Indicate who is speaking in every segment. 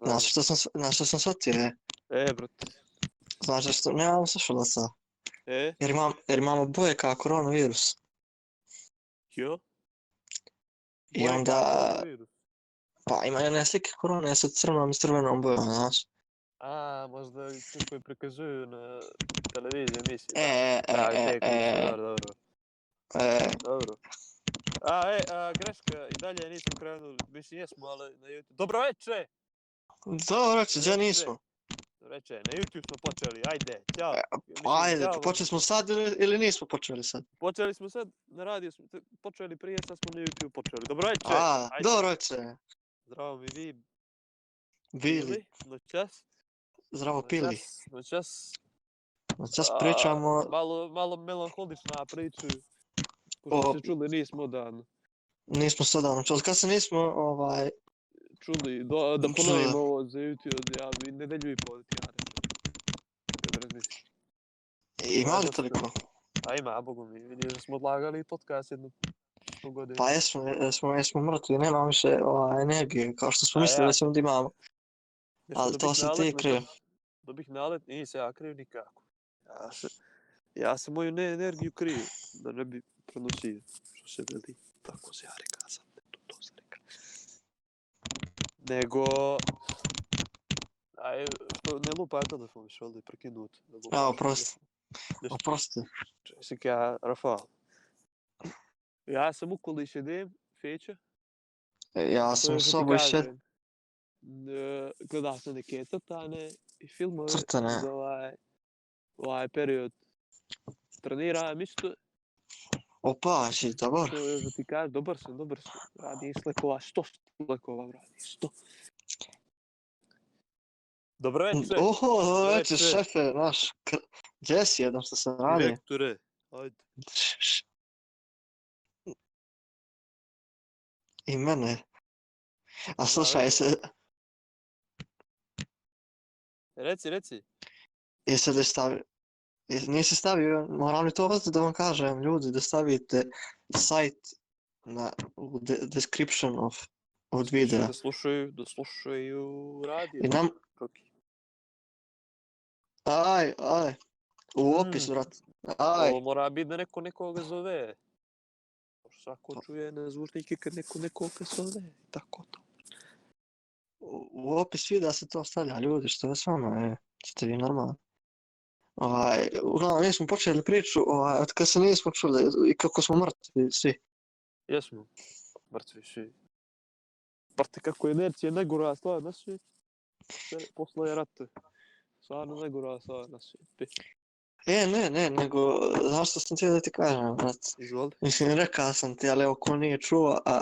Speaker 1: Nasze to są, nasze są słodkie.
Speaker 2: E, brat.
Speaker 1: Znaczy, że to miałem zeszłego lata.
Speaker 2: E,
Speaker 1: Jer mam, jer mam oboje kao koronawirus.
Speaker 2: jo.
Speaker 1: I onda, pa imaju one slike korone sa crnom i s crvenom bojom, znaš.
Speaker 2: A, možda kako je prikazuju na televiziji emisiji.
Speaker 1: E, e, e,
Speaker 2: Da,
Speaker 1: e,
Speaker 2: okej, okej,
Speaker 1: e,
Speaker 2: dobro, dobro,
Speaker 1: e,
Speaker 2: dobro. A, e, a, greška, i dalje nismo krenuli, mislim jesmo, ali na YouTube. Dobro večer!
Speaker 1: Dobro, reći, gdje nismo?
Speaker 2: Dobro večer, na YouTube smo počeli, ajde, ćao.
Speaker 1: E,
Speaker 2: Mislim,
Speaker 1: Pa ajde,
Speaker 2: ćao.
Speaker 1: počeli smo sad ili, ili nismo počeli sad?
Speaker 2: Počeli smo sad, na radiju smo t- počeli prije, sad smo na YouTube počeli. Dobro večer!
Speaker 1: A,
Speaker 2: ajde.
Speaker 1: Pa, dobro večer.
Speaker 2: Zdravo mi vi,
Speaker 1: Bili,
Speaker 2: noćas.
Speaker 1: zdravo pili.
Speaker 2: noćas,
Speaker 1: Sad
Speaker 2: Noćas, A,
Speaker 1: pričamo,
Speaker 2: Malo, malo melanholična priča.
Speaker 1: O-
Speaker 2: Pošto se čuli nismo dan.
Speaker 1: nismo sad ono, čuli, kad se nismo, ovaj,
Speaker 2: Čuli, do, da
Speaker 1: Čuli.
Speaker 2: ponovimo ovo za YouTube, ja bi nedelju i pol ti ja rekao. Kad razmislim.
Speaker 1: imali
Speaker 2: dosta.
Speaker 1: toliko?
Speaker 2: A ima, a bogu mi, vidiš da smo odlagali podcast jednu po godinu.
Speaker 1: Pa jesmo, jesmo, jesmo mrtvi, nemamo više ovaj, energije, kao što smo
Speaker 2: A
Speaker 1: mislili
Speaker 2: ja.
Speaker 1: da ćemo da imamo.
Speaker 2: Jesmo
Speaker 1: ali
Speaker 2: dobih
Speaker 1: to si ti
Speaker 2: nalet na
Speaker 1: kriv.
Speaker 2: to- Dobih nalet, nisam ja kriv nikako. Ja se, ja se moju ne energiju kriv, da ne bi prenosio, što se veli. Tako se ja reka sam, ne to, to se reka. Nego... Aj, što, ne lupa je telefon više, ovdje prekinut. ne lupa
Speaker 1: A,
Speaker 2: je
Speaker 1: oprosti.
Speaker 2: Ništa.
Speaker 1: Oprosti.
Speaker 2: telefon. Čekaj, ja, Rafael. Ja sam ukoliš idem, Feća.
Speaker 1: Ja sam u
Speaker 2: još da ti
Speaker 1: sobu išće
Speaker 2: kažem. N- Gledao sam neke crtane i filmove
Speaker 1: crtane.
Speaker 2: za ovaj, ovaj period trenira, mislim
Speaker 1: Opa, si dobar.
Speaker 2: to je da ti kažem, dobar sam, dobar sam, radi slekova, sto slekova radi, sto. Dobro
Speaker 1: Oho, dobro
Speaker 2: Sve,
Speaker 1: večer,
Speaker 2: sve.
Speaker 1: šefe, naš. kr- Gdje si jednom što se radi?
Speaker 2: direktore, ajde.
Speaker 1: Š- š- I mene. A slušaj,
Speaker 2: vidi.
Speaker 1: jesi,
Speaker 2: Reci, reci,
Speaker 1: jesi li stavio... jesi- Nisi stavio, moram li to ostati da vam kažem, ljudi, da stavite sajt na u de- description of od videa.
Speaker 2: da slušaju, da slušaju radio.
Speaker 1: I nam,
Speaker 2: Ok.
Speaker 1: aj, aj, u opisu,
Speaker 2: Mm.
Speaker 1: brat. Aj,
Speaker 2: Ovo mora biti da neko nekoga zove.
Speaker 1: Pa.
Speaker 2: Svako čuje na zvučnike kad neko nekoga zove. i Tako to.
Speaker 1: u- u opis videa se to stavlja, ljudi, što je s vama, e, ste vi normalni. Ovaj, uglavnom, nismo počeli priču, ovaj, od kad se nismo čuli i kako smo mrtvi svi.
Speaker 2: Jesmo. Mrtvi svi. Brate, kako je inercija najgora stvar na svijetu. Sve Posle je rat. Stvarno najgora stvar na svijetu.
Speaker 1: E, ne, ne, nego, znaš što sam htio da ti kažem, brat?
Speaker 2: Izvoli.
Speaker 1: Mislim, rekao sam ti, ali ako nije čuo, a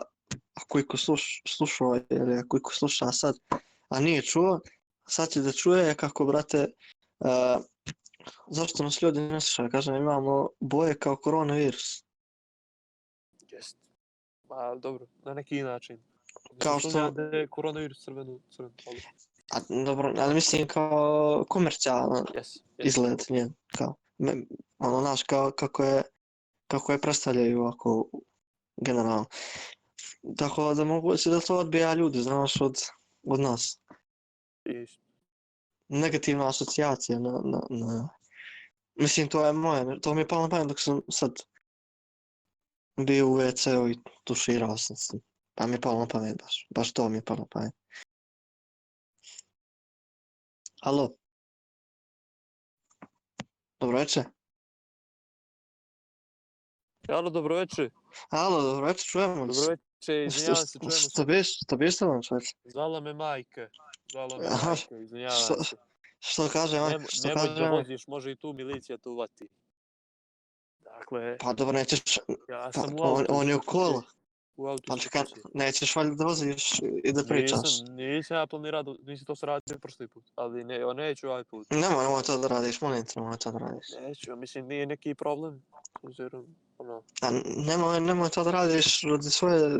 Speaker 1: ako iko sluš, slušao, ili ako iko sluša sad, a nije čuo, sad će da čuje kako, brate, e, zašto nas ljudi ne slušaju, kažem, imamo boje kao koronavirus.
Speaker 2: Jest. Pa dobro, na neki način.
Speaker 1: Kao što-
Speaker 2: Sumnjam da je koronavirus crvenu, crvenu. ali
Speaker 1: A, dobro, ali mislim kao komercijalno
Speaker 2: Jes. jes.
Speaker 1: izgled njen, kao, me, ono, znaš, kao, kako je, kako je predstavljaju ovako, generalno. Tako da mogu se da to odbija ljudi, znaš, od, od nas.
Speaker 2: I
Speaker 1: Negativna asocijacija na, na, na... Mislim, to je moje, to mi je palo na pamet dok sam sad bio u WC-u i tuširao sam se. Pa mi je palo na pamet baš, baš to mi je palo na pamet. Alo? Dobro večer.
Speaker 2: Alo, dobro večer.
Speaker 1: Alo, dobro večer, čujemo
Speaker 2: Dobro
Speaker 1: se.
Speaker 2: večer,
Speaker 1: Što-
Speaker 2: izvinjavam se,
Speaker 1: što-
Speaker 2: čujemo se.
Speaker 1: Što biš, što biš tamo čovječe?
Speaker 2: Zala me majka. Zala me
Speaker 1: Aha,
Speaker 2: majka, izvinjavam
Speaker 1: što-
Speaker 2: se.
Speaker 1: Što kaže majka,
Speaker 2: Nemo,
Speaker 1: što
Speaker 2: nemoj
Speaker 1: kaže
Speaker 2: da
Speaker 1: majka?
Speaker 2: voziš, može i tu milicija tu uvati. Dakle,
Speaker 1: Pa dobro, nećeš,
Speaker 2: ja
Speaker 1: pa,
Speaker 2: sam u
Speaker 1: on,
Speaker 2: autu.
Speaker 1: on je u
Speaker 2: kod
Speaker 1: kola.
Speaker 2: kuće, U autu.
Speaker 1: Pa
Speaker 2: kod
Speaker 1: čekaj,
Speaker 2: kuće.
Speaker 1: nećeš valjda da voziš i da pričaš.
Speaker 2: Nisam, nisam ja planirao, da- nisam to sradio prošli put, ali ne, ja neću ovaj put.
Speaker 1: Nemoj, nemoj to da radiš, molim te, nemoj to da radiš.
Speaker 2: Neću, mislim nije neki problem, obzirom, ono,
Speaker 1: A nemoj, nemoj to da radiš radi svoje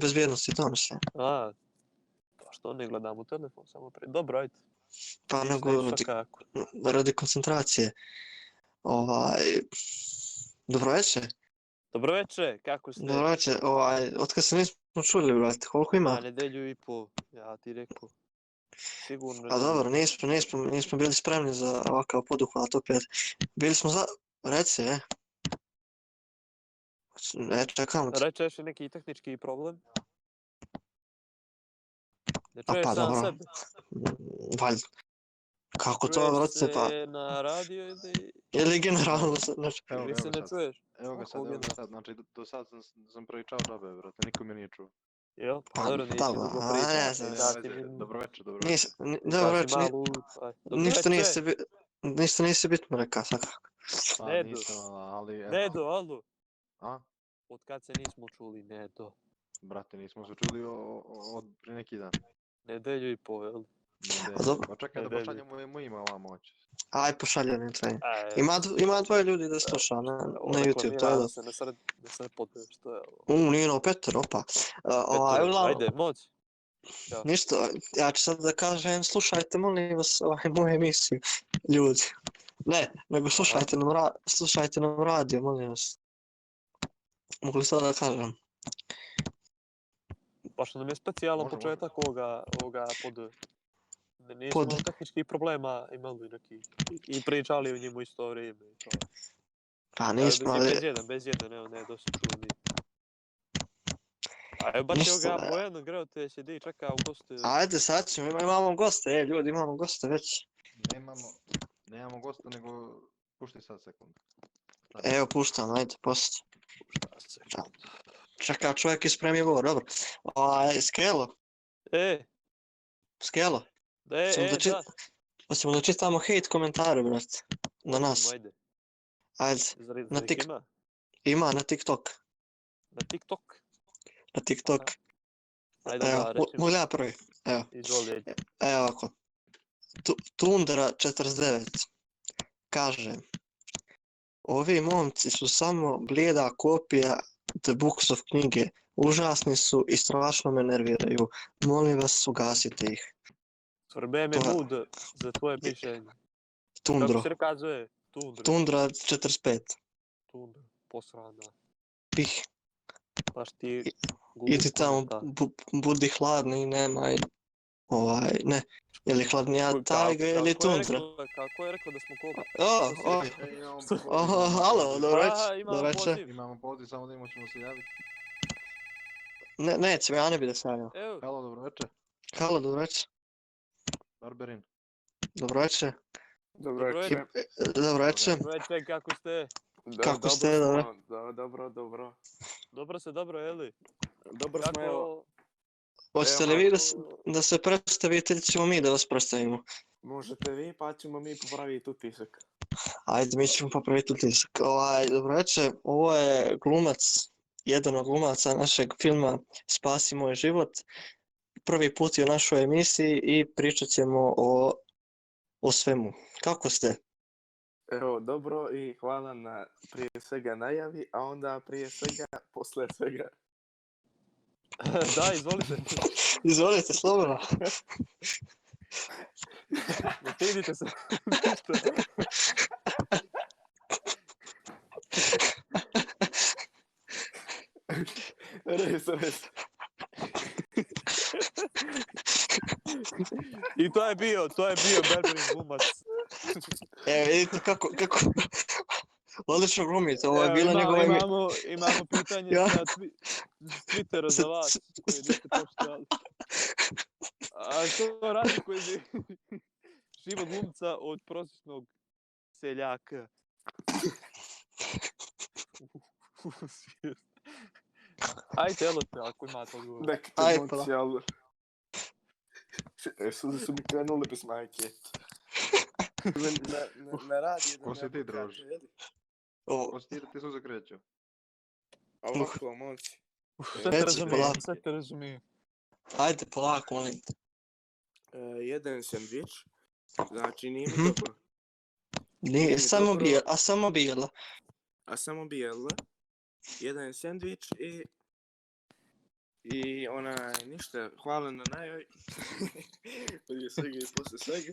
Speaker 1: bezbjednosti, to mislim.
Speaker 2: a, pa što ne gledam u telefon, samo pre, dobro, ajde,
Speaker 1: Pa
Speaker 2: šta
Speaker 1: nego
Speaker 2: je šta
Speaker 1: radi,
Speaker 2: kako.
Speaker 1: radi koncentracije. Ovaj... Dobro večer,
Speaker 2: Dobro večer, kako ste? Pa
Speaker 1: dobro večer, ovaj, otkad se nismo čuli, brate, koliko
Speaker 2: Na
Speaker 1: ima?
Speaker 2: nedelju i po, ja ti rekao. Sigurno.
Speaker 1: A
Speaker 2: ne.
Speaker 1: Pa dobro, nismo, nismo, nismo bili spremni za ovakav poduhvat opet. Bili smo za... Reci, e. E, čekamo te.
Speaker 2: Reče još neki tehnički problem. Ne
Speaker 1: A
Speaker 2: čuješ
Speaker 1: pa,
Speaker 2: sam
Speaker 1: dobro.
Speaker 2: sebe.
Speaker 1: Valjda. Kako to,
Speaker 2: Čuješ
Speaker 1: vrate, pa...
Speaker 2: se na radio ili,
Speaker 1: Ili generalno se... Znači,
Speaker 3: Evo
Speaker 2: ili
Speaker 3: ga,
Speaker 2: se
Speaker 3: evo
Speaker 2: ne
Speaker 3: ga sad.
Speaker 2: čuješ?
Speaker 3: Evo ga
Speaker 2: Kako
Speaker 3: sad, evo ga
Speaker 2: objeda?
Speaker 3: sad. Znači, do- do sad sam, sam pričao džabe, brate, niko me nije čuo.
Speaker 2: Jel?
Speaker 1: Pa,
Speaker 2: Dobro, nisi
Speaker 1: dobro,
Speaker 2: dugo
Speaker 1: a,
Speaker 2: pričao,
Speaker 1: ne
Speaker 2: ali
Speaker 1: znam,
Speaker 3: Nema
Speaker 2: sat i
Speaker 3: veze,
Speaker 2: minut.
Speaker 3: Dobro večer, dobro večer.
Speaker 1: nisi... ni- Dobro,
Speaker 2: Sad
Speaker 1: reći,
Speaker 2: si
Speaker 1: ni-
Speaker 2: malo u- aj, dobro
Speaker 1: ništa
Speaker 2: veče.
Speaker 1: nisi, bi- ništa nisi bitno rekao, svakako.
Speaker 3: Pa
Speaker 2: Nedo.
Speaker 3: nisam, ali... eto.
Speaker 2: Nedo, alo.
Speaker 3: A?
Speaker 2: Od kad se nismo čuli, Nedo.
Speaker 3: Brate, nismo se čuli o- o- o- od pre neki dan.
Speaker 2: Nedelju i po, jel?
Speaker 3: Nedelju.
Speaker 1: A dobro.
Speaker 3: Pa čekaj da
Speaker 2: Nedelju.
Speaker 3: pošaljemo i mu ima ovamo hoće.
Speaker 1: Aj, pošalje mi taj.
Speaker 2: E,
Speaker 1: Ima, dv- ima dvoje ljudi da sluša na, na YouTube, to je
Speaker 2: da.
Speaker 1: da.
Speaker 2: Se ne sred, ne sred podbiješ, što je ovo.
Speaker 1: U, Nino, Petar, opa. A, ovaj,
Speaker 2: Petar,
Speaker 1: uglavnom,
Speaker 2: Ajde, moć.
Speaker 1: Ništa, ja ću sad da kažem, slušajte molim vas ovaj, moju emisiju, ljudi. Ne, nego slušajte nam, ra- slušajte nam radio, molim vas. Mogu li sad da kažem?
Speaker 2: Baš nam je specijalan
Speaker 3: Može, može.
Speaker 2: početak ovoga, ovoga pod... Ne, nismo
Speaker 1: Pod.
Speaker 2: od tehničkih problema imali neki i, i pričali o njemu isto vrijeme. i to.
Speaker 1: Pa
Speaker 2: Evo,
Speaker 1: nismo,
Speaker 2: i Bez
Speaker 1: ali
Speaker 2: jedan, bez jedan, evo, ne, dosta čuli. A evo, baš
Speaker 1: Ništa,
Speaker 2: ga
Speaker 1: da.
Speaker 2: Bojan greo te sjedi i čeka u gostu.
Speaker 1: ajde sad ćemo, ima- imamo goste, e, ljudi, imamo goste već.
Speaker 3: Nemamo, nemamo gosta, nego... Pušti sad sekund. Sad.
Speaker 1: Evo, puštam, ajde, poslije.
Speaker 2: Šta se-
Speaker 1: Čeka, čovjek je spremio govor, dobro. Ovaj, skelo,
Speaker 2: E,
Speaker 1: skelo,
Speaker 2: da, e,
Speaker 1: Samo
Speaker 2: e,
Speaker 1: da čit-
Speaker 2: da.
Speaker 1: hoćemo da čitamo hate komentare, brate, na nas.
Speaker 2: Ajde,
Speaker 1: Ajde,
Speaker 2: zar, zar
Speaker 1: Na
Speaker 2: ih
Speaker 1: tik-
Speaker 2: ima?
Speaker 1: ima na TikTok,
Speaker 2: Na TikTok?
Speaker 1: na TikTok.
Speaker 2: Ajde,
Speaker 1: Evo,
Speaker 2: da,
Speaker 1: mo-
Speaker 2: reći
Speaker 1: mogu ja prvi, evo.
Speaker 2: Izvoli,
Speaker 1: Evo ovako. Tu, Tundra 49 kaže Ovi momci su samo blijeda kopija The Books of knjige. Užasni su i strašno me nerviraju. Molim vas, ugasite ih.
Speaker 2: tvrbe me
Speaker 1: to je-
Speaker 2: mood za tvoje mišljenje. Kako
Speaker 1: Tundro.
Speaker 2: se kazuje? Tundra.
Speaker 1: Tundra 45.
Speaker 2: Tundra. Posrana.
Speaker 1: Pih.
Speaker 2: Baš ti... glup
Speaker 1: Idi tamo,
Speaker 2: komentar.
Speaker 1: bu- budi hladni, nemaj... Ovaj, ne. Ili hladnija
Speaker 2: Kako-
Speaker 1: tajga ili
Speaker 2: kako je
Speaker 1: tundra.
Speaker 2: rekla- Kako je rekao da smo kopa?
Speaker 1: O,
Speaker 2: što si
Speaker 1: o,
Speaker 2: rekao?
Speaker 3: E, imamo
Speaker 2: Što-
Speaker 3: poziv,
Speaker 1: o,
Speaker 3: imamo
Speaker 1: halo,
Speaker 3: poziv.
Speaker 1: dobro
Speaker 2: Aha,
Speaker 1: večer,
Speaker 2: imamo
Speaker 1: dobro večer.
Speaker 2: poziv.
Speaker 3: Imamo poziv, samo da imamo ćemo se javiti.
Speaker 1: Ne, nećemo, ja ne bi da se javljam.
Speaker 2: Evo,
Speaker 3: Halo, dobro večer.
Speaker 1: Halo, dobro večer.
Speaker 3: Barberin.
Speaker 1: Dobro večer.
Speaker 4: Dobro
Speaker 2: Dobro
Speaker 4: večer.
Speaker 1: Dobro večer.
Speaker 2: veče, kako ste?
Speaker 4: Da,
Speaker 1: Kako
Speaker 4: dobro
Speaker 1: ste, dobro?
Speaker 4: smo, Da, dobro, dobro.
Speaker 2: Dobro se, dobro, jeli?
Speaker 4: Dobro smo, evo.
Speaker 2: Kako...
Speaker 1: Hoćete
Speaker 4: Evo,
Speaker 1: li vi da,
Speaker 4: Marko,
Speaker 1: s- da se predstavite ili ćemo mi da vas predstavimo?
Speaker 4: Možete vi, pa ćemo mi popraviti utisak.
Speaker 1: Ajde, mi ćemo popraviti utisak. Ovaj, dobro večer, ovo je glumac, jedan od glumaca našeg filma Spasi moj život. Prvi put je u našoj emisiji i pričat ćemo o, o svemu. Kako ste?
Speaker 4: Evo, dobro i hvala na prije svega najavi, a onda prije svega, posle svega.
Speaker 2: da, izvolite.
Speaker 1: Izvolite, slobodno.
Speaker 2: Ne stidite se.
Speaker 4: Res, res.
Speaker 2: I to je bio, to je bio Berberin glumac.
Speaker 1: E, vidite kako, kako... Odlično glumite, ovo je
Speaker 2: Evo,
Speaker 1: bilo
Speaker 2: ima-
Speaker 1: njegovo ime.
Speaker 2: Imamo, imamo pitanje
Speaker 1: Ja.
Speaker 2: sa twi- s Twittera
Speaker 1: Sa-
Speaker 2: za vas. koji niste pročitali. A što radi koji je život glumca od prosječnog seljaka? Ajde, evo te, ako imate odgovor.
Speaker 4: Nek te
Speaker 1: Aj, pa.
Speaker 4: emocije, ali... E, Suze su mi krenule bez majke. Na, na, na, na radi
Speaker 3: Ko si ti, druže?
Speaker 1: O,
Speaker 3: Ostira, ti suze kreću.
Speaker 4: Ovako, momci.
Speaker 2: Sve te
Speaker 1: Reci,
Speaker 2: razumijem,
Speaker 1: polako.
Speaker 2: sve te razumijem.
Speaker 1: Ajde, polako, molim te.
Speaker 4: E, jedan sandvič. Znači, nije mi
Speaker 1: Mhm.
Speaker 4: dobro.
Speaker 1: Nije,
Speaker 4: Meni
Speaker 1: samo
Speaker 4: dobro.
Speaker 1: bijela, a samo bijela.
Speaker 4: a samo bijela, jedan sandvič i i ona ništa, hvala na najoj, prije svega i posle svega.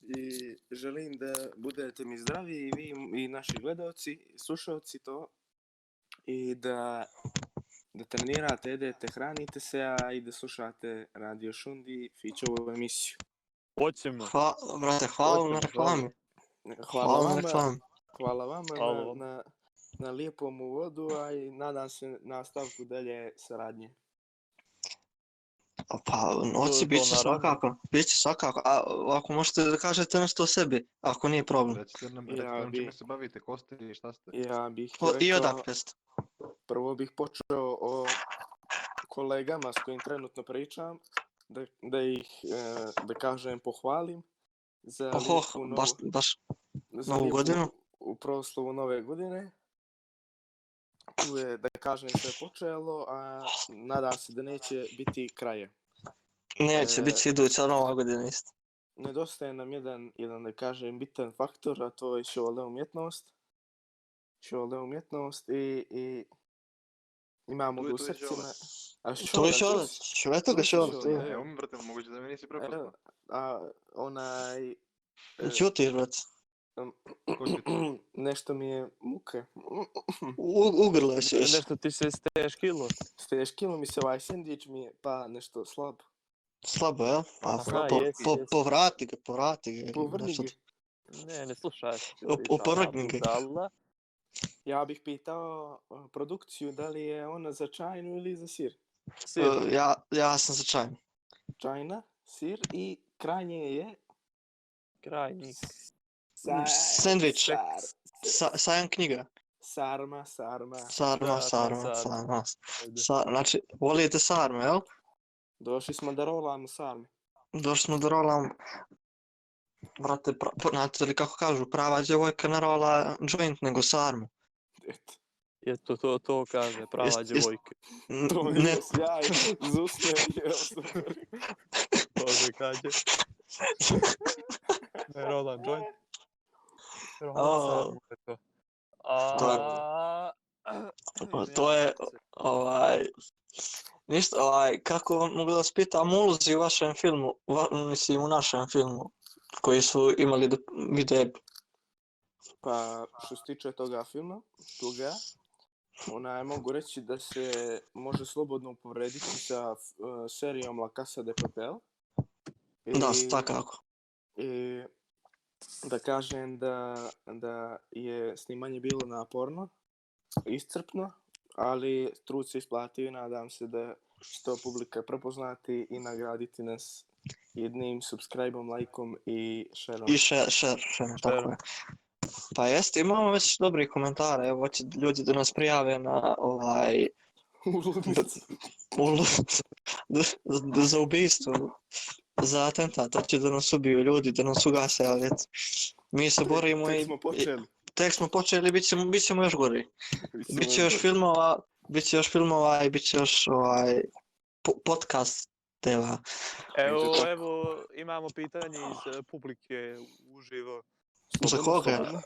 Speaker 4: I želim da budete mi zdravi i vi i naši gledalci, slušalci to. I da da trenirate, jedete, hranite se, a i da slušate Radio Šundi, Fićovu emisiju.
Speaker 2: Hoćemo.
Speaker 1: Hva, brate, hvala vam na
Speaker 3: Hoćemo,
Speaker 1: reklami.
Speaker 4: Hvala,
Speaker 1: Hvala na
Speaker 4: vama,
Speaker 1: reklami.
Speaker 4: hvala vama
Speaker 2: Hvala
Speaker 4: na,
Speaker 2: vam.
Speaker 4: na, na lijepom uvodu, a i nadam se nastavku dalje saradnje.
Speaker 1: A Pa,
Speaker 2: To
Speaker 1: oci,
Speaker 2: je
Speaker 1: bit
Speaker 2: to,
Speaker 1: će
Speaker 2: naravno.
Speaker 1: svakako. Bit će svakako. A ako možete da kažete nešto o sebi, ako nije problem.
Speaker 3: Recite nam,
Speaker 4: Ja
Speaker 3: recite nam
Speaker 4: bi-
Speaker 3: čime se bavite, ko ste i šta ste.
Speaker 4: Ja bih
Speaker 1: O, I
Speaker 4: rekao-
Speaker 1: odakle ste?
Speaker 4: prvo bih počeo o kolegama s kojim trenutno pričam, da, da ih, e, da kažem, pohvalim za
Speaker 1: Oho,
Speaker 4: lijepu novu-
Speaker 1: Pa, baš, baš
Speaker 4: za
Speaker 1: novu
Speaker 4: lijepu-
Speaker 1: godinu?
Speaker 4: U proslovu nove godine. Tu je, da kažem, sve počelo, a nadam se da neće biti kraja.
Speaker 1: neće
Speaker 4: E,
Speaker 1: biti iduća nova godina isto.
Speaker 4: Nedostaje nam jedan, jedan da kažem, bitan faktor, a to je šole umjetnost. Šole umjetnost i, i imamo
Speaker 3: Tu
Speaker 4: ga
Speaker 3: je-
Speaker 4: u
Speaker 3: tu je šole.
Speaker 4: srcima. A
Speaker 1: To
Speaker 4: šola,
Speaker 1: je šola,
Speaker 4: čuo si?
Speaker 1: šveta ga šola.
Speaker 4: Šola,
Speaker 1: to je.
Speaker 4: da,
Speaker 3: E, ovo mi, brate, moguće da mi nisi
Speaker 4: Evo,
Speaker 3: prepoznao.
Speaker 4: a onaj... e,
Speaker 1: Ćutiš, brate.
Speaker 3: Ko će ti?
Speaker 4: nešto mi je muke.
Speaker 1: U- Ugrlo je se još.
Speaker 2: Nešto ti se steškilo.
Speaker 4: Steškilo mi se ovaj sendvič mi je, pa nešto slab.
Speaker 1: Slabo, jel? A,
Speaker 3: Aha,
Speaker 1: po, po,
Speaker 2: jest,
Speaker 1: po,
Speaker 2: jest.
Speaker 1: povrati ga, povrati ga.
Speaker 4: Povrni
Speaker 1: nešto
Speaker 4: ga.
Speaker 1: t-
Speaker 2: Ne, ne slušaj.
Speaker 1: Op- opovrgni ga.
Speaker 4: Ja bih pitao e, produkciju da li je ona za čajnu ili za sir.
Speaker 1: E, Ja, ja sam za čaj.
Speaker 4: Čajna, sir i krajnje je...
Speaker 2: Krajnik.
Speaker 4: sa-
Speaker 1: Sendvič. Sa, sajam knjiga.
Speaker 4: sarma, sarma.
Speaker 1: Sarma,
Speaker 2: Da,
Speaker 1: sarma,
Speaker 2: sarma.
Speaker 1: sarma. Sa, znači, volite sarme, jel?
Speaker 4: Došli smo da rolamo sarme.
Speaker 1: Došli smo do rola... Brate, pra, pa, znate li kako kažu, prava djevojka ne rola joint nego sarmu.
Speaker 4: Eto,
Speaker 2: Je to, to, to kaže, prava
Speaker 1: Jest- jest-
Speaker 2: djevojka.
Speaker 1: N-
Speaker 4: To mi
Speaker 1: Ne,
Speaker 4: je sjaj, zustavio.
Speaker 2: To se kaže. Ne, Roland joint.
Speaker 1: A.
Speaker 2: Roland sarmu,
Speaker 1: To je-
Speaker 2: A...
Speaker 1: to je, ovaj... Ništa, ovaj, kako vam mogu da vas pitam ulozi u vašem filmu, va, mislim u našem filmu, koji su imali do, vide
Speaker 4: Pa, što se tiče toga filma, toga, onaj, mogu reći da se može slobodno uporediti sa uh, serijom La Casa de Papel. I,
Speaker 1: Da, svakako.
Speaker 4: I, da kažem da, da je snimanje bilo naporno, iscrpno, ali trud se isplatio i nadam se da će to publika prepoznati i nagraditi nas jednim subscribe-om, lajkom i share-om.
Speaker 1: I share, share, share, tako je. Pa jeste, imamo već dobrih komentara, evo će ljudi da nas prijave na ovaj,
Speaker 4: Uludnici.
Speaker 1: ulu, za- Ono, za ubijstvo, za atentat, hoće da nas ubiju ljudi, da nas ugase, ali eto, mi se borimo
Speaker 4: Tek
Speaker 1: i
Speaker 4: smo počeli.
Speaker 1: tek smo počeli, bit ćemo, bit ćemo još gori. Bit će još filmova, bit će još filmova i bit će još ovaj, po- podcasteva.
Speaker 2: Evo,
Speaker 4: Eto tako.
Speaker 2: evo, imamo pitanje iz e, publike uživo.
Speaker 1: Za koga?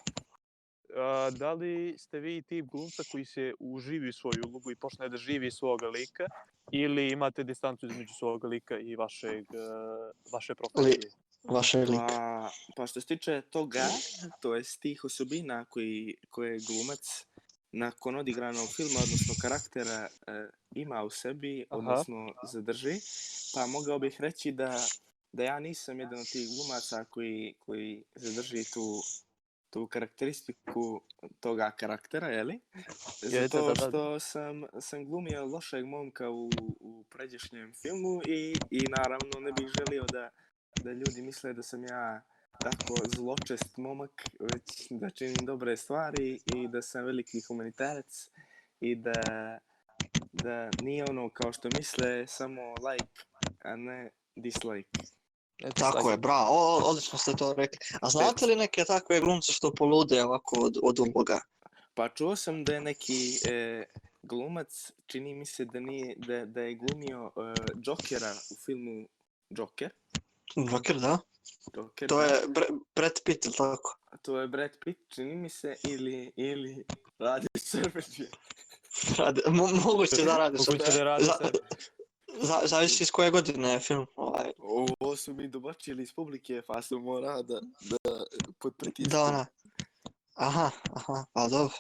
Speaker 2: A, da li ste vi tip glumca koji se uživi u svoju ulogu i počne da živi svoga lika ili imate distancu između svoga lika i vašeg, e, vaše profesije?
Speaker 1: Vaše lik.
Speaker 4: Pa, pa što se tiče toga, to je tih osobina koji, koje glumac nakon odigranog filma, odnosno karaktera, e, ima u sebi,
Speaker 2: Aha.
Speaker 4: odnosno zadrži, pa mogao bih reći da, da ja nisam jedan od tih glumaca koji, koji zadrži tu, tu karakteristiku toga karaktera, jeli?
Speaker 2: Jeste,
Speaker 4: Zato
Speaker 2: da, da.
Speaker 4: što sam, sam glumio lošeg momka u, u pređešnjem filmu i, i naravno ne bih želio da, da ljudi misle da sam ja tako zločest momak, već da činim dobre stvari i da sam veliki humanitarac i da, da nije ono kao što misle samo like, a ne dislike.
Speaker 2: Eto,
Speaker 1: Tako je, bravo, o, odlično ste to rekli. A znate li neke takve glumce što polude ovako od, od uloga?
Speaker 4: Pa čuo sam da je neki e, glumac, čini mi se da, nije, da, da je glumio e, Jokera u filmu Joker.
Speaker 1: Joker, da?
Speaker 4: Joker
Speaker 1: To
Speaker 4: da.
Speaker 1: je Bre- Brad Pitt, ili tako?
Speaker 4: to je Brad Pitt, čini mi se, ili, ili Radi Crveđe.
Speaker 1: Rade, mo- moguće da radi
Speaker 2: Moguće
Speaker 1: sve.
Speaker 2: da radi
Speaker 1: Za-
Speaker 2: sve.
Speaker 1: za- zavisi iz koje godine je film. Ovaj,
Speaker 4: Ovo su mi dobačili iz publike, pa sam morao da, da pod pritiskom.
Speaker 1: da ono. ona. А, Aha, aha, pa dobro.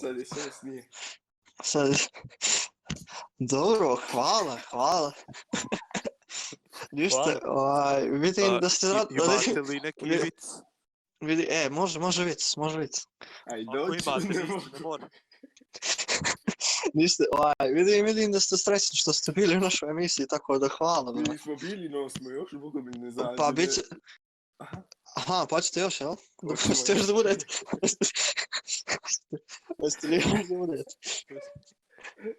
Speaker 4: Sad je sve snije.
Speaker 1: Sad, Dobro, hvala, hvala. Ništa,
Speaker 2: Hvala.
Speaker 1: ovaj, vidim
Speaker 2: A,
Speaker 1: da ste...
Speaker 2: I-
Speaker 1: rad- da vidim-
Speaker 2: Imate li neki
Speaker 1: Ne.
Speaker 2: vic?
Speaker 1: vidi, e, može, može vic, može vic.
Speaker 4: Aj,
Speaker 2: Ako
Speaker 4: dođi.
Speaker 2: imate,
Speaker 4: ne
Speaker 2: vi
Speaker 4: mogu.
Speaker 2: ste, ne moram.
Speaker 1: Niste, ovaj, vidim, vidim da ste stresni što ste bili u našoj emisiji, tako da hvala. brate.
Speaker 4: Mi smo bili, no smo još, Boga mi ne zađe.
Speaker 1: Pa bit će...
Speaker 4: Aha.
Speaker 1: Aha, pa ćete još, jel? Da
Speaker 4: Hoćemo
Speaker 1: Hoćete još da budete? Hoćete li još da budete?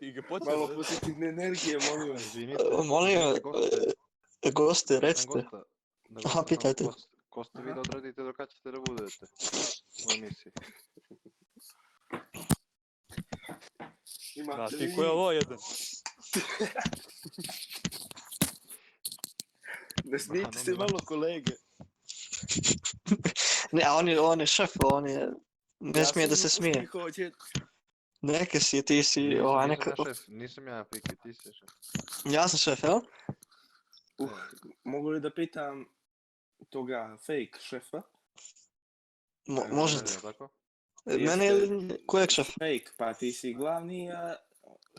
Speaker 2: I ga počeli.
Speaker 4: Malo pozitivne energije, molim vas.
Speaker 3: Izvinite,
Speaker 1: E, molim,
Speaker 3: imate goste?
Speaker 1: E, Goste, recite.
Speaker 3: Imam gosta. Da
Speaker 1: Aha,
Speaker 3: gosta imam.
Speaker 1: pitajte.
Speaker 3: Gost- Goste vi da odredite do kada ćete da budete u emisiji.
Speaker 2: Da,
Speaker 4: Imate
Speaker 2: ti
Speaker 4: li-
Speaker 2: ko je ovo jedan?
Speaker 4: Ne smijete se
Speaker 3: Aha,
Speaker 4: malo kolege.
Speaker 1: Ne, a on je, on je šef, on je... Ne
Speaker 4: Ja
Speaker 1: smije
Speaker 4: sam
Speaker 1: da se
Speaker 4: uspjeh
Speaker 1: smije.
Speaker 4: ovdje.
Speaker 1: Neke si, ti si,
Speaker 3: Nisam-
Speaker 1: ovaj,
Speaker 3: nisam
Speaker 1: neka...
Speaker 3: ja šef, Nisam ja Fiki, ti si šef.
Speaker 1: Ja sam šef, jel?
Speaker 4: Uh, mogu li da pitam toga fake šefa?
Speaker 1: Mo-
Speaker 4: E,
Speaker 1: možete.
Speaker 3: Jel' Tako?
Speaker 1: E, Mene ili kojeg šefa?
Speaker 4: Fake, pa ti si glavni, a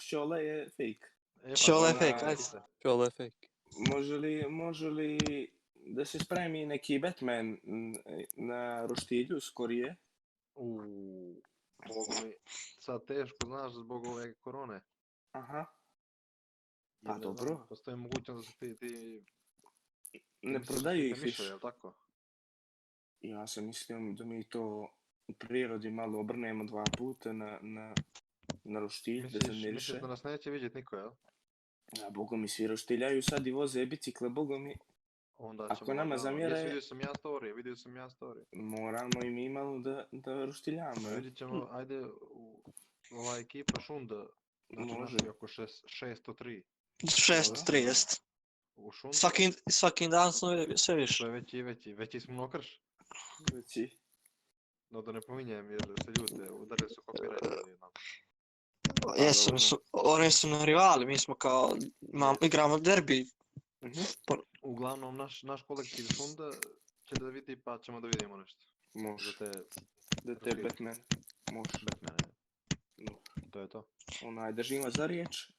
Speaker 4: Šole je fake.
Speaker 3: E, pa
Speaker 1: Šole
Speaker 3: ona-
Speaker 1: fake, ajde.
Speaker 2: Čelo je fake.
Speaker 4: Može li, može li da se spremi neki Batman m, na roštilju skorije?
Speaker 3: Uuu, Bogu mi, sad teško, znaš, zbog ove korone.
Speaker 4: Aha.
Speaker 3: I
Speaker 4: Pa
Speaker 3: ne
Speaker 4: dobro.
Speaker 3: znam, Postoji mogućnost da se ti, ti...
Speaker 4: Ne
Speaker 3: misliš da
Speaker 4: prodaju
Speaker 3: ti
Speaker 4: ih
Speaker 3: mišlja,
Speaker 4: više.
Speaker 3: jel' tako?
Speaker 4: Ja sam mislio da mi to u prirodi malo obrnemo dva puta na, na, na roštilj, da se
Speaker 3: Misliš,
Speaker 4: miriše.
Speaker 3: misliš da nas neće vidjeti niko, jel?
Speaker 4: A boga mi svi roštiljaju sad i voze bicikle, boga mi.
Speaker 3: Onda
Speaker 4: Ako
Speaker 3: ćemo,
Speaker 4: nama
Speaker 3: da,
Speaker 4: zamjere-
Speaker 3: Jes, vidio sam ja story, vidio sam ja story.
Speaker 4: Moramo i mi malo da, da roštiljamo.
Speaker 3: Ma
Speaker 4: je.
Speaker 3: Vidjet ćemo, ajde, u, ova ekipa Šunda, znači
Speaker 4: Može.
Speaker 3: naši oko šest, 603.
Speaker 1: Šest,
Speaker 4: Dobro.
Speaker 1: tri, jest.
Speaker 3: U Šunda,
Speaker 1: Svaki, svaki dan smo ve- sve više.
Speaker 3: to je veći i veći, veći smo mnokrš.
Speaker 4: Znači,
Speaker 3: No da ne pominjem jer se ljute, udarili su kopiranje.
Speaker 4: Pa,
Speaker 1: Jesu,
Speaker 4: dobro.
Speaker 1: su, oni su nam rivali, mi smo kao, imamo, igramo derbi.
Speaker 4: Mhm.
Speaker 3: Uglavnom, naš, naš kolektiv Šunda će da vidi pa ćemo da vidimo nešto. Za
Speaker 4: Može,
Speaker 3: te
Speaker 4: da te
Speaker 3: roštilj.
Speaker 4: Batman. Može.
Speaker 3: Batmane.
Speaker 4: No.
Speaker 3: To je to.
Speaker 4: Onaj, držim vas za riječ.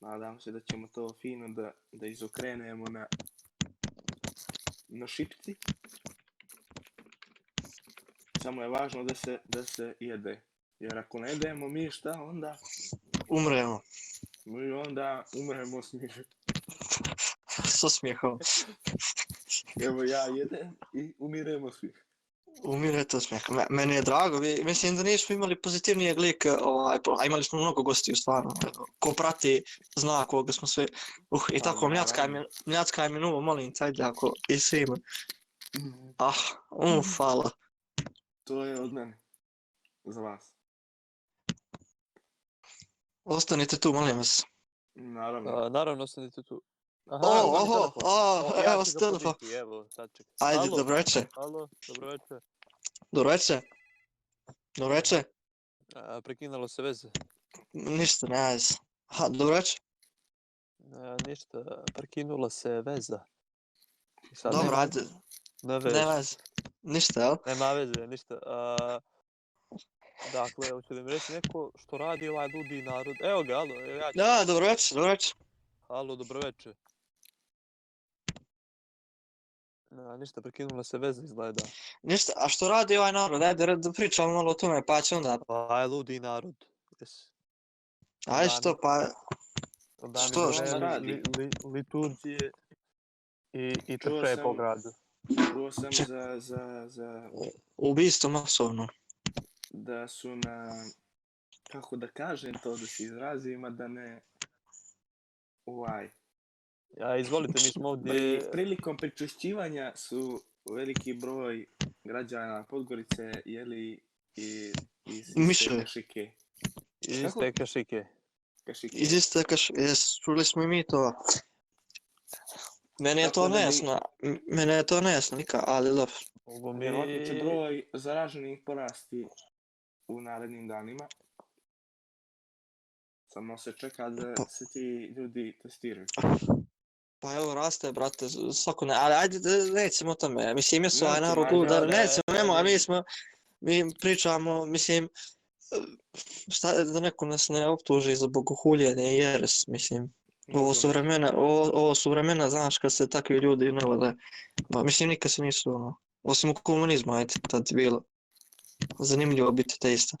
Speaker 4: Nadam se da ćemo to fino da, da izokrenemo na, na šipci. Samo je važno da se, da se jede. Jer ako ne jedemo mi šta onda?
Speaker 1: Umremo.
Speaker 4: Mi onda umremo s njim.
Speaker 1: Sa smijehom.
Speaker 4: Evo ja jedem i umiremo svi.
Speaker 1: Umirete od smijeha. Me- Meni je drago, vi, mislim da nismo imali pozitivnijeg lika, ovaj, po- a imali smo mnogo gostiju stvarno. Ko prati, zna koga smo sve. Uh, i
Speaker 4: Pa,
Speaker 1: tako, mljackaj mi,
Speaker 4: naravno.
Speaker 1: mljackaj mi nuvo, molim, taj djako, i svima.
Speaker 2: Mhm.
Speaker 1: Ah, um, hvala.
Speaker 4: To je od mene. Za vas.
Speaker 1: Ostanite tu, molim vas.
Speaker 4: Naravno.
Speaker 2: A, Naravno, ostanite tu. Aha,
Speaker 1: O,
Speaker 2: imam i
Speaker 1: oho,
Speaker 2: telefon.
Speaker 1: o,
Speaker 2: O, ja
Speaker 1: evo
Speaker 2: ću
Speaker 1: s
Speaker 2: ga
Speaker 1: telefon.
Speaker 2: poditi, Evo, sad čekaj.
Speaker 1: Ajde,
Speaker 2: Alo,
Speaker 1: dobro večer.
Speaker 2: Alo, dobro večer.
Speaker 1: Dobro večer. Dobro večer.
Speaker 2: A, prekinalo se veze.
Speaker 1: Ništa, ne veze. Ha, dobro večer.
Speaker 2: A, ništa, prekinula se veza. I sad
Speaker 1: Dobro,
Speaker 2: nema-
Speaker 1: ajde,
Speaker 2: Ne veze.
Speaker 1: ne veze. Ništa, jel?
Speaker 2: Nema veze, E, ništa. A, dakle, hoće da mi reći neko što radi ovaj ludi narod. Evo ga, alo, evo ja ću.
Speaker 1: Da, dobro večer, dobro večer.
Speaker 2: Alo, dobro večer. A, ništa, prekinula se veza izgleda.
Speaker 1: Ništa, a što radi ovaj narod? Ajde re- da pričamo malo o tome, pa će onda.
Speaker 2: Aj, Ovaj ludi narod. Jes.
Speaker 1: Ajde
Speaker 2: Da,
Speaker 1: što, pa
Speaker 2: Da
Speaker 1: Što,
Speaker 4: šta radi?
Speaker 2: Li, li, liturgije i, i
Speaker 4: Čuo
Speaker 2: čepe po
Speaker 4: sam-
Speaker 2: gradu.
Speaker 4: Čuo sam
Speaker 1: Ček.
Speaker 4: za, za, za
Speaker 1: ubistvo masovno.
Speaker 4: da su na, kako da kažem to, da se izrazim, a da ne, ovaj,
Speaker 2: Ja, izvolite, mi smo
Speaker 4: pri,
Speaker 2: ovdje...
Speaker 1: E,
Speaker 4: prilikom pričušćivanja su veliki broj građana Podgorice jeli i iz iste
Speaker 1: Miševe.
Speaker 4: kašike.
Speaker 2: Iz
Speaker 4: Kako?
Speaker 2: te kašike.
Speaker 4: kašike.
Speaker 1: Iz iste kaš, jes, čuli smo i mi to. Mene je
Speaker 4: Tako
Speaker 1: to
Speaker 4: da mi-
Speaker 1: nejasno, m- mene je to nejasno nikad, ali dobro.
Speaker 2: Ovo mi...
Speaker 4: Vjerojatno
Speaker 1: E.
Speaker 4: će broj zaraženih porasti u narednim danima. Samo se čeka da
Speaker 1: Pa-
Speaker 4: se ti ljudi testiraju.
Speaker 1: Pa evo raste, brate, z- svako ne, ali ajde, da- nećemo o tome, mislim, jesu ovaj
Speaker 4: Nećemo,
Speaker 1: narod
Speaker 4: ajde,
Speaker 1: ludar,
Speaker 4: ajde,
Speaker 1: nećemo,
Speaker 2: ajde,
Speaker 1: nemo, a mi
Speaker 2: ajde.
Speaker 1: smo, mi pričamo, mislim, šta, da neko nas ne optuži za bogohuljenje i jeres, mislim. Ovo su vremena, ovo, ovo su vremena, znaš, kad se takvi ljudi ne vole. Ma, mislim, nikad se nisu, ono, osim u komunizma, ajde, tad je bilo. Zanimljivo biti te isto.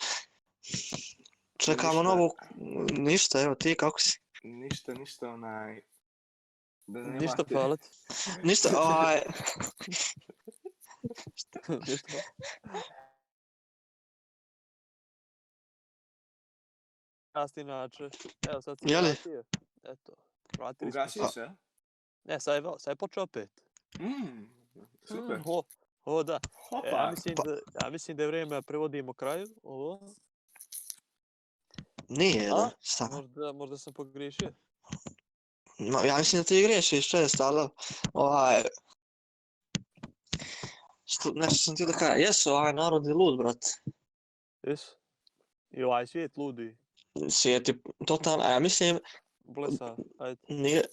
Speaker 1: Čekamo
Speaker 4: Ništa.
Speaker 1: novo, ništa, evo ti, kako si?
Speaker 4: Ništa, ništa onaj... Da
Speaker 2: Ništa,
Speaker 4: nemate-
Speaker 2: hvala ti.
Speaker 1: Ništa, ovaj, aj,
Speaker 2: Ništa. Rast inače. Evo sad se
Speaker 1: Jeli?
Speaker 2: vratio. Eto. Vratili smo se.
Speaker 4: Ugasio se, a?
Speaker 2: Ne, sad je, val- sad je počeo opet.
Speaker 4: Mm, super.
Speaker 2: Mm, Ho, ho, da. E, ja,
Speaker 4: Hopa.
Speaker 2: mislim
Speaker 1: Pa-
Speaker 2: da, ja mislim da je vrijeme da prevodimo kraju ovo.
Speaker 1: nije,
Speaker 2: A?
Speaker 1: da, šta?
Speaker 2: Možda, možda sam pogriješio.
Speaker 1: Ma, ja mislim da ti griješiš često, ali ovaj... Što, nešto sam ti da kažem, jesu, ovaj narod je lud, brate.
Speaker 2: Jes? I ovaj svijet ludi.
Speaker 1: Sjeti, totalno, a ja mislim,
Speaker 2: Blesa. Ajde.
Speaker 1: nije, e,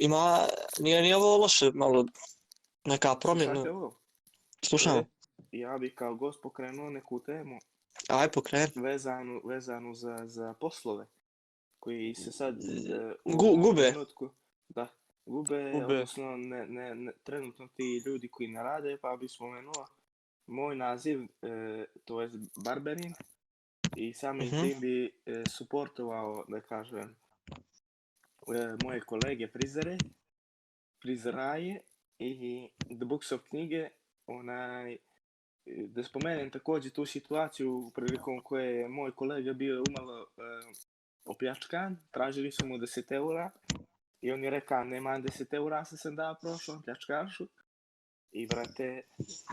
Speaker 1: ima, nije, nije ovo loše, malo, neka promjena,
Speaker 4: Slušajte ovo.
Speaker 1: slušam,
Speaker 2: E.
Speaker 4: Ja bi kao gost pokrenuo neku temu
Speaker 1: aj pokreni.
Speaker 4: vezanu, vezanu za, za poslove koji se sad e, u
Speaker 1: Gu-
Speaker 4: ovom
Speaker 1: gube.
Speaker 4: trenutku- da, gube,
Speaker 2: Gube.
Speaker 4: odnosno ne, ne, ne, trenutno ti ljudi koji ne rade, pa bi spomenuo moj naziv, e, to je Barberin i samim
Speaker 1: Mhm.
Speaker 4: tim bi e, suportovao, da kažem, e, moje kolege prizere, prizraje i The Books of knjige, onaj, e, da spomenem također tu situaciju prilikom koje je moj kolega bio umalo e, opljačkan, tražili su mu 10 eura i on je rekao nema 10 eura, sam sam dao prošlom pljačkašu i vrate,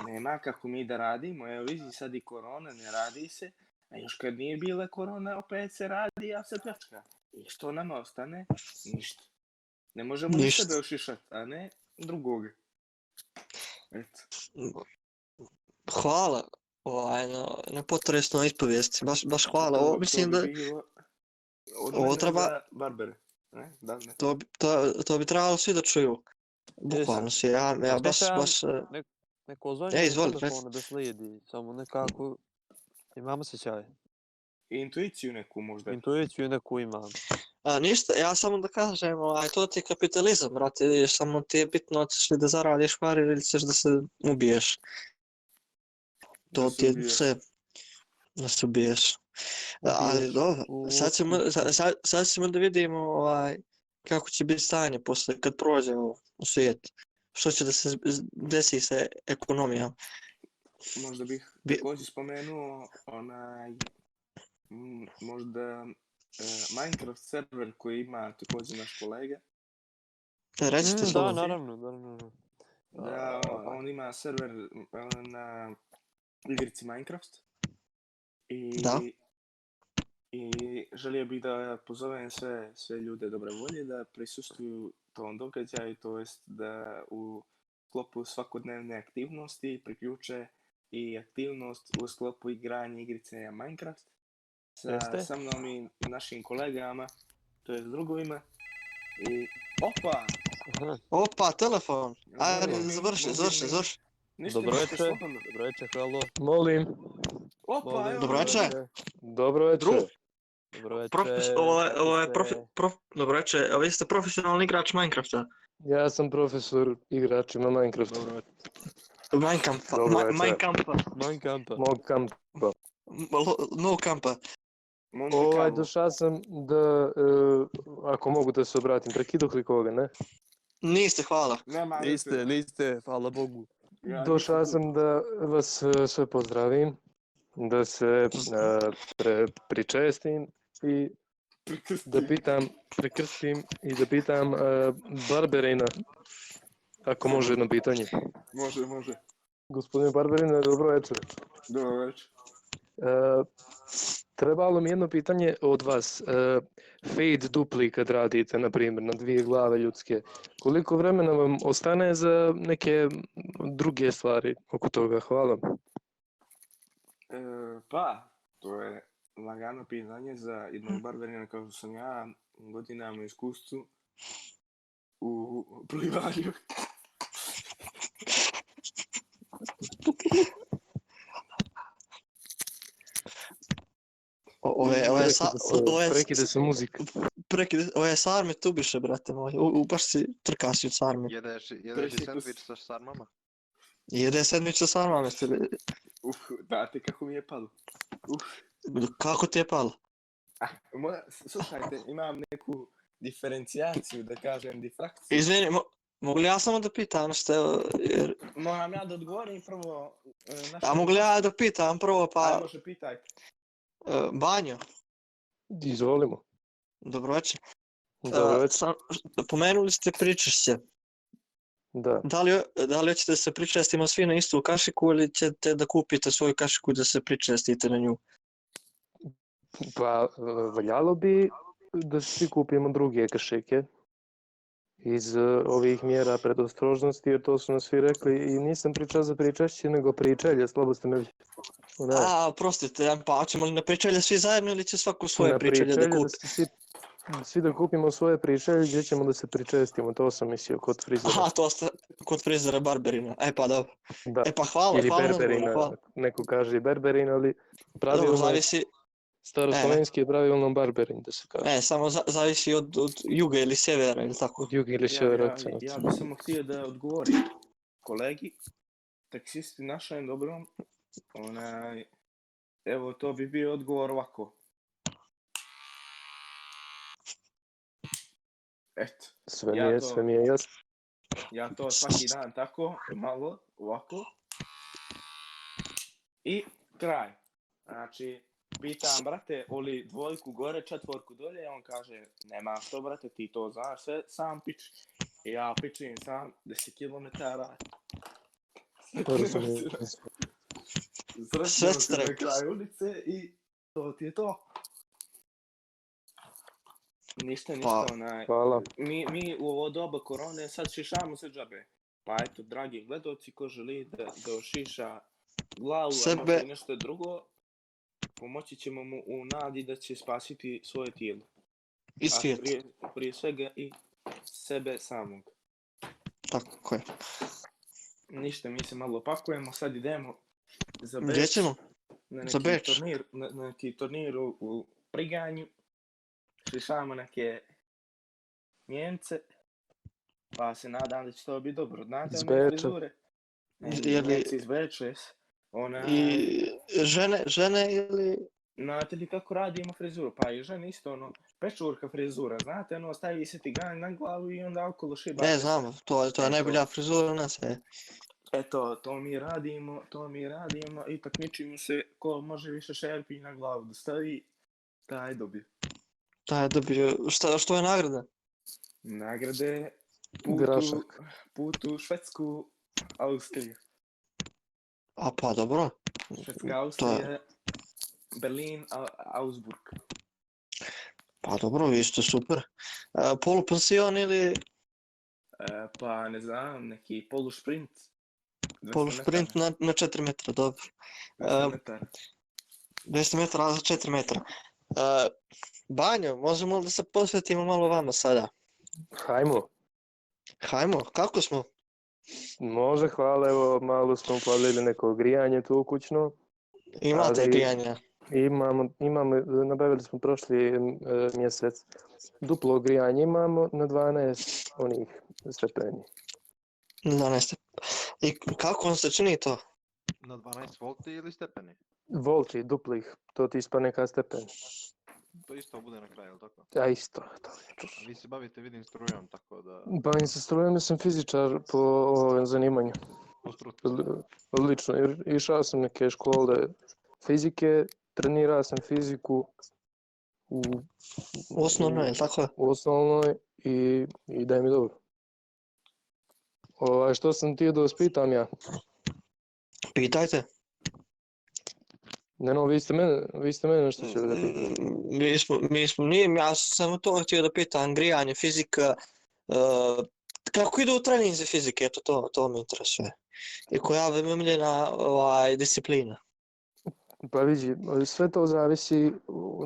Speaker 4: nema kako mi da radimo, evo vidi sad i korona, ne radi se, a još kad nije bila korona, opet se radi, a se pljačka. I što nama ostane? Ništa. Ne možemo ništa
Speaker 1: Ništa.
Speaker 4: sebe ošišat, a ne drugoga. Eto.
Speaker 1: Hvala, ovaj, na, na potresnoj ispovijesti, baš, baš hvala,
Speaker 4: To-
Speaker 1: ovo
Speaker 4: to
Speaker 1: mislim
Speaker 4: bi
Speaker 1: da,
Speaker 4: bilo od
Speaker 1: ovo
Speaker 4: mene
Speaker 1: treba-
Speaker 4: za Barbere, ne? Da, ne.
Speaker 1: to, bi- to, to bi trebalo svi da čuju. Bukvalno si, ja, ja
Speaker 2: Šta
Speaker 1: baš,
Speaker 2: sam-
Speaker 1: baš, e,
Speaker 2: Neko zvanje
Speaker 1: E,
Speaker 2: e,
Speaker 1: izvoli,
Speaker 2: izvoli,
Speaker 1: reci.
Speaker 2: da slijedi. Samo nekako imam sjećaj.
Speaker 4: I Intuiciju neku možda.
Speaker 2: Intuiciju neku imam.
Speaker 1: A, ništa, ja samo da kažem, ovaj, to ti je kapitalizam, brate, vidiš, samo ti je bitno hoćeš li da zaradiš pare ili ćeš da se ubiješ.
Speaker 4: Da
Speaker 1: To
Speaker 4: se
Speaker 1: ti je
Speaker 4: ubiješ.
Speaker 1: sve, da se ubiješ. Da, ali
Speaker 2: Ubiješ
Speaker 1: dobro,
Speaker 2: u
Speaker 1: sad ćemo, sa- sad, sad ćemo da vidimo ovaj, kako će biti stanje posle, kad prođe ovo u svijet. Što će da se z- z- desi sa ekonomijom.
Speaker 4: Možda bih
Speaker 1: Bi-
Speaker 4: također spomenuo onaj, m, možda e, Minecraft server koji ima također naš kolega.
Speaker 1: E, Recite
Speaker 2: Mm, Da,
Speaker 1: slobodno.
Speaker 2: naravno, da, naravno.
Speaker 4: Da, ono, o-
Speaker 2: Ovaj.
Speaker 4: on ima server m, e, na igrici Minecraft. I,
Speaker 1: Da.
Speaker 4: I želio bih da pozovem sve, sve ljude dobre volje da prisustuju tom događaju, to jest da u sklopu svakodnevne aktivnosti priključe i aktivnost u sklopu igranja igrice Minecraft sa,
Speaker 2: Jeste.
Speaker 4: sa mnom i našim kolegama, to jest drugovima. I opa!
Speaker 1: ono.
Speaker 2: Aha,
Speaker 1: Opa, telefon. Ajde,
Speaker 4: Mobilni-
Speaker 1: završi, završi,
Speaker 4: mobilni-
Speaker 1: završi.
Speaker 4: Ništa,
Speaker 5: Dobro
Speaker 4: ništa,
Speaker 5: večer.
Speaker 4: slobodno.
Speaker 2: Dobro večer, halo.
Speaker 5: Molim.
Speaker 4: Opa, pa, evo,
Speaker 1: Dobro večer.
Speaker 5: Dobro večer.
Speaker 1: Drugo.
Speaker 2: Dobro večer.
Speaker 1: Profes, ovo je, ovo je profe,
Speaker 2: kako ste?
Speaker 1: prof, dobro reče, a vi ste profesionalni igrač Minecrafta.
Speaker 5: Ja sam profesor igračima Minecrafta.
Speaker 2: Dobro večer.
Speaker 1: Minecampa,
Speaker 5: Dobro
Speaker 1: Ma-
Speaker 5: reče.
Speaker 1: Minecampa,
Speaker 2: Minecampa.
Speaker 5: Mog kampa.
Speaker 1: M- lo- no campa.
Speaker 4: Monte
Speaker 5: Ovaj,
Speaker 4: Carlo.
Speaker 5: došao sam da, e, ako mogu da se obratim, prekidoh li koga, ne?
Speaker 1: Niste, hvala.
Speaker 4: Nema veze.
Speaker 2: Niste, niste, hvala Bogu.
Speaker 4: Ja nisam
Speaker 5: Došao
Speaker 4: tu.
Speaker 5: sam da vas e, sve pozdravim, da se e, pre- pričestim i da pitam, prekrstim i da pitam e, Barberina, ako može jedno pitanje.
Speaker 4: Može, može.
Speaker 5: Gospodine Barberina, dobro večer.
Speaker 4: Dobro večer.
Speaker 5: E, trebalo mi jedno pitanje od vas. E, fade dupli kad radite, na primjer, na dvije glave ljudske, koliko vremena vam ostane za neke druge stvari oko toga? Hvala.
Speaker 4: E, pa, to je lagano pitanje za jednog barberina kao što sam ja, godinama iskustvu u plivanju.
Speaker 1: sa-
Speaker 5: prekida se,
Speaker 1: ovo je-
Speaker 5: prekida se muzika.
Speaker 1: Prekid, ove sarme tu biše, brate moj. U, u- baš si trkasi od sarme.
Speaker 3: Jedeš, jedeš i
Speaker 4: Presjeku
Speaker 3: sandvič
Speaker 4: s-
Speaker 3: sa sarmama?
Speaker 1: Jede sandvič sa sarmama, jeste li-
Speaker 4: Uf, date kako mi je palo.
Speaker 1: Kako ti je palo?
Speaker 4: Moja, slušajte, imam neku diferencijaciju, da kažem difrakciju.
Speaker 1: Izvini, mo, mogu li ja samo da pitam nešto, evo, jer,
Speaker 4: Moram ja da odgovorim prvo. e, naša-
Speaker 1: a mogu li ja da pitam prvo,
Speaker 4: Aj,
Speaker 1: pa,
Speaker 4: može pitaj.
Speaker 1: e, Banjo,
Speaker 5: Izvolimo.
Speaker 1: dobro večer.
Speaker 5: Dobro
Speaker 1: E,
Speaker 5: večer.
Speaker 1: sam- pomenuli ste pričešće.
Speaker 5: Da.
Speaker 1: Da li, da li hoćete da se pričestimo svi na istu kašiku ili ćete da kupite svoju kašiku i da se pričestite na nju?
Speaker 5: Pa e, valjalo bi da svi kupimo druge kašike iz e, ovih mjera predostrožnosti, jer to su nam svi rekli i nisam pričao za pričešće, nego pričelje, slabo ste me... Onaj,
Speaker 1: A, oprostite, ja- pa ćemo li na pričelje svi zajedno ili će svako svoje
Speaker 5: na
Speaker 1: pričelje da
Speaker 5: pričelje,
Speaker 1: kupi?
Speaker 5: se svi, svi da kupimo svoje pričelje gdje ćemo da se pričestimo, to sam mislio kod frizera.
Speaker 1: Aha, to ste kod frizera Barberina. E pa dobro.
Speaker 5: da.
Speaker 1: E pa hvala,
Speaker 5: Ili
Speaker 1: hvala na
Speaker 5: berberina,
Speaker 1: odgovoru, hvala.
Speaker 5: neko kaže i berberin, ali
Speaker 1: Dobro,
Speaker 5: pravilno je
Speaker 1: zavisi,
Speaker 5: staroslovenski je pravilno barberin, da se kaže.
Speaker 1: e, samo za- zavisi od, od juga ili sjevera ili tako.
Speaker 5: Jug ili
Speaker 4: Ja,
Speaker 5: sjever
Speaker 4: ja,
Speaker 5: akcenat.
Speaker 4: ja bi samo htio da odgovorim kolegi, taksisti našem dobrom, onaj, evo to bi bio odgovor ovako. Eto,
Speaker 5: Sve
Speaker 4: ja
Speaker 5: mi je,
Speaker 4: to-
Speaker 5: sve mi je jasno.
Speaker 4: ja to svaki dan tako, malo, ovako. I kraj. Znači, pitam, brate, oli dvojku gore, četvorku dolje, on kaže, nema što, brate, ti to znaš, sve sam piči. I ja pičim sam 10 km.
Speaker 5: To razumijem.
Speaker 4: Sretimo se
Speaker 1: Sestre.
Speaker 4: na kraju ulice i to ti je to. Ništa, ništa, onaj,
Speaker 5: Hvala.
Speaker 4: mi, mi u ovo doba korone sad šišamo se džabe. Pa eto, dragi gledoci, ko želi da, da ošiša glavu, a možda
Speaker 1: Sebe.
Speaker 4: i nešto drugo, pomoći ćemo mu u nadi da će spasiti svoje tijelo.
Speaker 1: I
Speaker 4: A
Speaker 1: svijet,
Speaker 4: prije, prije svega i sebe samog.
Speaker 1: tako je.
Speaker 4: Ništa, mi se malo opakujemo, sad idemo za Beč.
Speaker 1: Gdje ćemo?
Speaker 4: Na
Speaker 1: Za
Speaker 4: neki,
Speaker 1: Beč.
Speaker 4: Turnir, na, na neki turnir u, u Priganju. Šišamo neke Njemce. Pa se nadam da će to biti dobro. Znate,
Speaker 5: Iz
Speaker 4: one
Speaker 5: Beča.
Speaker 4: frizure? Ne,
Speaker 1: Iz- je li-
Speaker 4: Njemci iz Beča, jes. Ona,
Speaker 1: I žene, žene ili...
Speaker 4: Znate li kako radimo frizuru? Pa i žene isto, ono, pečurka frizura, znate, ono, stavi se ti ganj na glavu i onda okolo šiba.
Speaker 1: Ne znamo, to, to je
Speaker 5: E,
Speaker 4: Eto.
Speaker 1: najbolja frizura nas. E.
Speaker 4: Eto, to mi radimo, to mi radimo i takmičimo se ko može više šerpi na glavu da stavi, taj dobije.
Speaker 1: Da je dobio, šta, što je nagrada?
Speaker 4: Nagrade putu,
Speaker 5: Grašak.
Speaker 4: putu Švedsku, Austriju.
Speaker 1: A pa dobro.
Speaker 4: Švedska, Austrija, Berlin, A- Augsburg.
Speaker 1: Pa dobro, vi ste super. E, polupansion ili
Speaker 4: E, Eh, pa ne znam, neki polušprint. 200
Speaker 1: polusprint
Speaker 4: metara,
Speaker 1: na, na 4 metra, dobro.
Speaker 4: 200
Speaker 6: eh,
Speaker 1: em,
Speaker 4: metara.
Speaker 1: 200 metara za 4 metra. E, Banjo, možemo li da se posvetimo malo vama sada?
Speaker 5: Hajmo.
Speaker 1: Hajmo, kako smo?
Speaker 5: Može, hvala, evo, malo smo upalili neko grijanje tu kućno.
Speaker 1: Imate
Speaker 5: Ali-
Speaker 1: grijanja.
Speaker 5: Imamo, imamo, nabavili smo prošli e, mjesec duplo grijanje, imamo na 12 onih stepeni.
Speaker 1: 11. I kako vam se čini to?
Speaker 3: Na 12 volti ili stepeni?
Speaker 5: Volti duplih, to ti ispa neka stepen.
Speaker 3: To isto bude na kraju, jel tako?
Speaker 5: A isto, to je to.
Speaker 3: Vi se bavite, vidim, strujom, tako da...
Speaker 5: Bavim se strojom, ja sam fizičar po ovom zanimanju.
Speaker 3: Po struci.
Speaker 5: Li- Lično, jer išao sam neke škole fizike, trenirao sam fiziku u,
Speaker 1: Osnovno je,
Speaker 5: u-
Speaker 1: li tako?
Speaker 5: u osnovnoj i, i da mi dobro. Ovaj, što sam ti da vas pitam ja?
Speaker 1: Pitajte.
Speaker 5: Ne no, vi ste mene, vi ste mene nešto ćete da pitate.
Speaker 1: Mi smo, mi smo, nijem, ja sam samo to htio da pitam, grijanje, fizika, e, kako idu treninzi fizike, eto to, to me interesuje. I koja vam je omiljena ovaj, disciplina?
Speaker 5: Pa vidi, sve to zavisi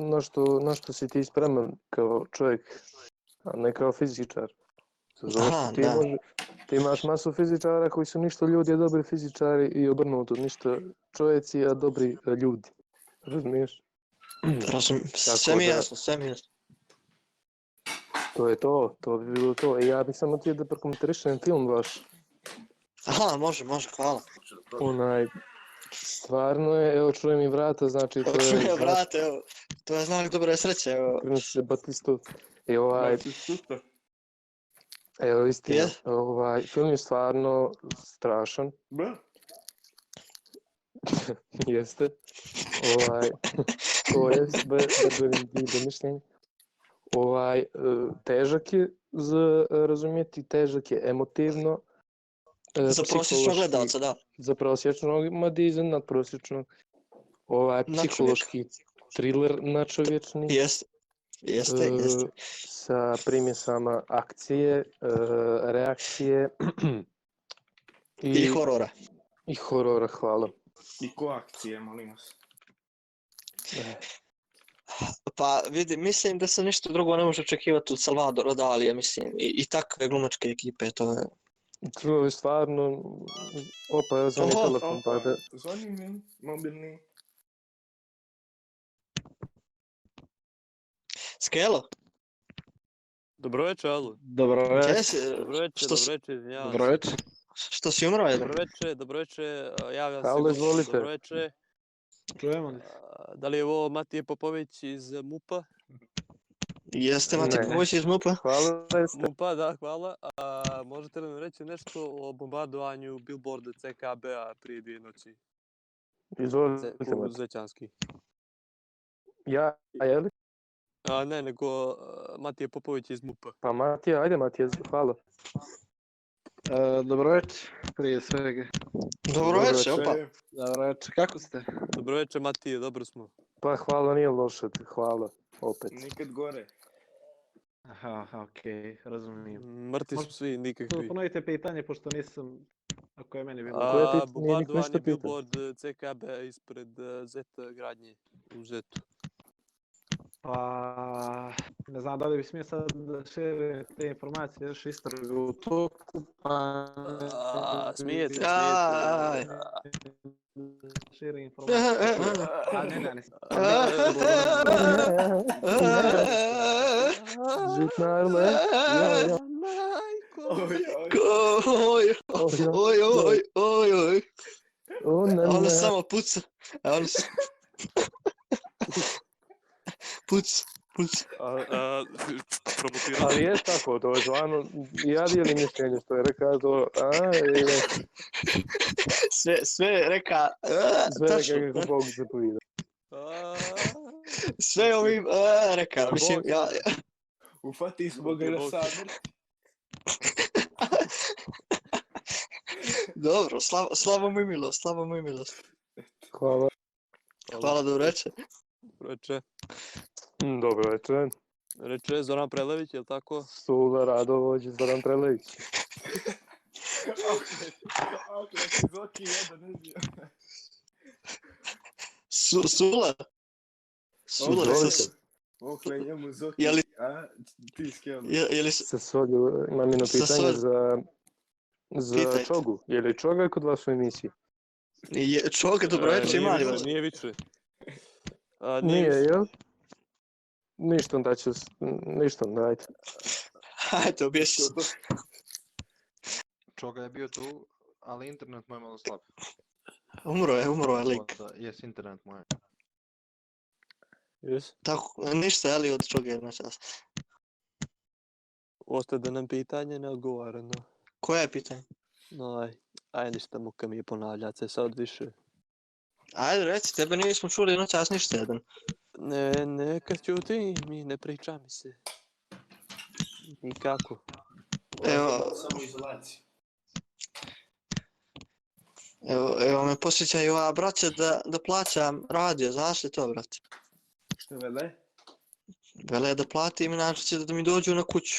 Speaker 5: na što, na što si ti spreman kao čovjek, a ne kao fizičar. Zato što
Speaker 1: Aha,
Speaker 5: ti,
Speaker 1: da.
Speaker 5: može- ti imaš masu fizičara koji su ništa ljudi, a dobri fizičari i obrnuto, ništa čovjeci, a dobri e, ljudi. Razumiješ?
Speaker 1: Razum, sve
Speaker 5: Tako
Speaker 1: mi je
Speaker 5: da-
Speaker 1: jasno, sve mi je jasno.
Speaker 5: To je to, to bi bilo to. E, ja bih samo htio da prokomentariš jedan film vaš.
Speaker 1: Aha, može, može, hvala.
Speaker 5: Onaj, stvarno je, evo čujem i vrata, znači to je...
Speaker 1: Čuje, brate, evo, to je znak dobre sreće, evo.
Speaker 5: Prinose Batistu. I ovaj,
Speaker 1: Znači.
Speaker 5: evo istina,
Speaker 1: Je.
Speaker 5: ovaj, film je stvarno strašan, jeste. Ovaj, to je sve do mišljenja. Ovaj, eh, težak je za eh, razumjeti, težak je emotivno. eh,
Speaker 1: Za prosječnog
Speaker 5: psihološki-
Speaker 1: gledalca, da.
Speaker 5: Za prosječnog, ma di za nadprosječnog. Ovaj,
Speaker 1: Nadčovjek.
Speaker 5: psihološki thriller načovječni.
Speaker 1: Jeste, jeste,
Speaker 5: e,
Speaker 1: jeste.
Speaker 5: sa primjesama akcije, e, reakcije i,
Speaker 1: I horora.
Speaker 5: i horora, hvala.
Speaker 4: I ko akcije, molim vas.
Speaker 1: Pa vidi, mislim da se ništa drugo ne može očekivati od Salvadora Dalija, mislim, i, i takve glumačke ekipe, to je.
Speaker 5: Čuo je stvarno, opa, ja zvoni
Speaker 1: Oho,
Speaker 5: telefon, pa da,
Speaker 4: Eh, Zvoni mi, mobilni.
Speaker 1: Skelo,
Speaker 2: Dobroveče, alo.
Speaker 6: Dobro
Speaker 2: Е,
Speaker 1: gdje
Speaker 6: večer.
Speaker 1: si,
Speaker 2: Dobroveče,
Speaker 1: Što si-
Speaker 2: dobroveče, izvinjavam
Speaker 6: Dobro
Speaker 2: se.
Speaker 6: večer.
Speaker 1: što si umro jedan?
Speaker 2: Dobroveče, dobroveče, a, javljam se.
Speaker 5: Alo,
Speaker 2: Alo,
Speaker 5: izvolite.
Speaker 2: Dobroveče.
Speaker 6: Čujemo li?
Speaker 2: a, Da li je ovo Matije Popović iz MUPA?
Speaker 1: Jeste,
Speaker 5: Ne.
Speaker 1: Mati Ković iz MUP-a?
Speaker 5: hvala jeste.
Speaker 2: MUPA, da, hvala. A, možete li nam reći nešto o bombardovanju billboarda CKB-a prije dvije noći?
Speaker 5: Izvolite,
Speaker 2: Ce- u
Speaker 5: Mate.
Speaker 2: Zećanski.
Speaker 5: ja, a je li?
Speaker 2: A, ne, nego a, Matije Popović iz MUPA.
Speaker 5: Pa Matija, ajde Matija, hvala.
Speaker 6: E, Dobro večer, prije svega.
Speaker 1: Dobro večer, opa.
Speaker 4: eh,
Speaker 6: Dobro večer, kako ste?
Speaker 2: Dobroveče, Matije, dobro smo.
Speaker 5: Pa hvala, nije loše, hvala, opet.
Speaker 4: Nikad gore.
Speaker 6: Aha, aha, okej, razumijem.
Speaker 2: Mrtvi su
Speaker 6: Možete-
Speaker 2: svi, nikakvi.
Speaker 6: Ponovite pitanje, pošto nisam, ako je meni bilo.
Speaker 5: Koje pitanje?
Speaker 2: A,
Speaker 5: Nije niko ništa
Speaker 2: bombardovanje
Speaker 5: pitao.
Speaker 2: billboard CKB ispred eh, Z gradnje u Zetu.
Speaker 6: Pa, ne znam da li bi smio sad da širim te informacije, još istraga u toku, pa...
Speaker 2: A, smijete, smijete.
Speaker 1: Aj.
Speaker 6: Širim
Speaker 1: E, e,
Speaker 6: informacije.
Speaker 1: e.
Speaker 6: A, ne, ne, ne.
Speaker 5: Žitnarle, ja, ja,
Speaker 2: Majko!
Speaker 1: Oj,
Speaker 5: ja,
Speaker 1: oj, oj, oj, oj.
Speaker 5: o, ne,
Speaker 1: A Ono
Speaker 5: ne.
Speaker 1: samo puca. A Ono s- Puca, puca.
Speaker 2: A, a, promotirali.
Speaker 5: Ali je tako, to je stvarno, ja dijelim mišljenje što je rekao to, a, je,
Speaker 1: Sve, sve reka, "A", E, tačno,
Speaker 5: sve kako Bog zapovida.
Speaker 2: A,
Speaker 1: sve ovim "A", reka, mislim, ja,
Speaker 4: Ufati zbog ga
Speaker 2: Bog.
Speaker 4: sabr.
Speaker 1: dobro, slavo, slavo mu i milost, slavo mu i milost.
Speaker 5: Hvala.
Speaker 1: Hvala, dobro večer.
Speaker 2: Reče,
Speaker 5: Mm, Dobro večer,
Speaker 2: reče Zoran Prelević, je li tako?
Speaker 5: Sula Radovođ, Zoran Prelević.
Speaker 4: Okret, Zoki jedan uzio.
Speaker 1: Su, sula? Sula,
Speaker 5: Izvolite.
Speaker 1: rekao sam.
Speaker 4: Okle njemu Zoki.
Speaker 1: Je li-
Speaker 4: A, ti skijel.
Speaker 1: je, je li,
Speaker 5: Sa Solju, imam jedno
Speaker 1: Sa
Speaker 5: pitanje
Speaker 1: Solju.
Speaker 5: za, za
Speaker 1: Pitajte.
Speaker 5: Čogu. Je li Čoga kod vas u emisiji?
Speaker 1: je, čovjek, dobro
Speaker 2: E,
Speaker 1: večer,
Speaker 2: nije
Speaker 1: mali
Speaker 2: više,
Speaker 1: vas.
Speaker 2: Nije više.
Speaker 1: Pa
Speaker 2: A,
Speaker 5: Nije,
Speaker 2: više.
Speaker 5: jel? Ništa onda ću, s- ništa onda, ajde.
Speaker 1: Hajde, objasni.
Speaker 3: Čoga je bio tu, ali internet mu je malo slab.
Speaker 1: Umro je, umro je lik.
Speaker 3: Onda, Jes, internet mu je.
Speaker 2: Jes?
Speaker 1: Tako, ništa, ali od čega je na čas.
Speaker 2: Ostade nam pitanje neodgovoreno.
Speaker 1: Koje je pitanje?
Speaker 2: No, aj, aj ništa muka mi je ponavljat se sad više.
Speaker 1: Ajde, reci, tebe nismo čuli na čas ništa jedan.
Speaker 2: Ne, ne, kad ćuti, mi ne priča mi se. Nikako.
Speaker 1: Evo,
Speaker 4: Samo izolacija.
Speaker 1: evo, evo me posjećaju ova braća da, da plaćam radio, znaš li to, brate?
Speaker 4: Što vele?
Speaker 1: Vele da platim, inače će da mi dođu na kuću.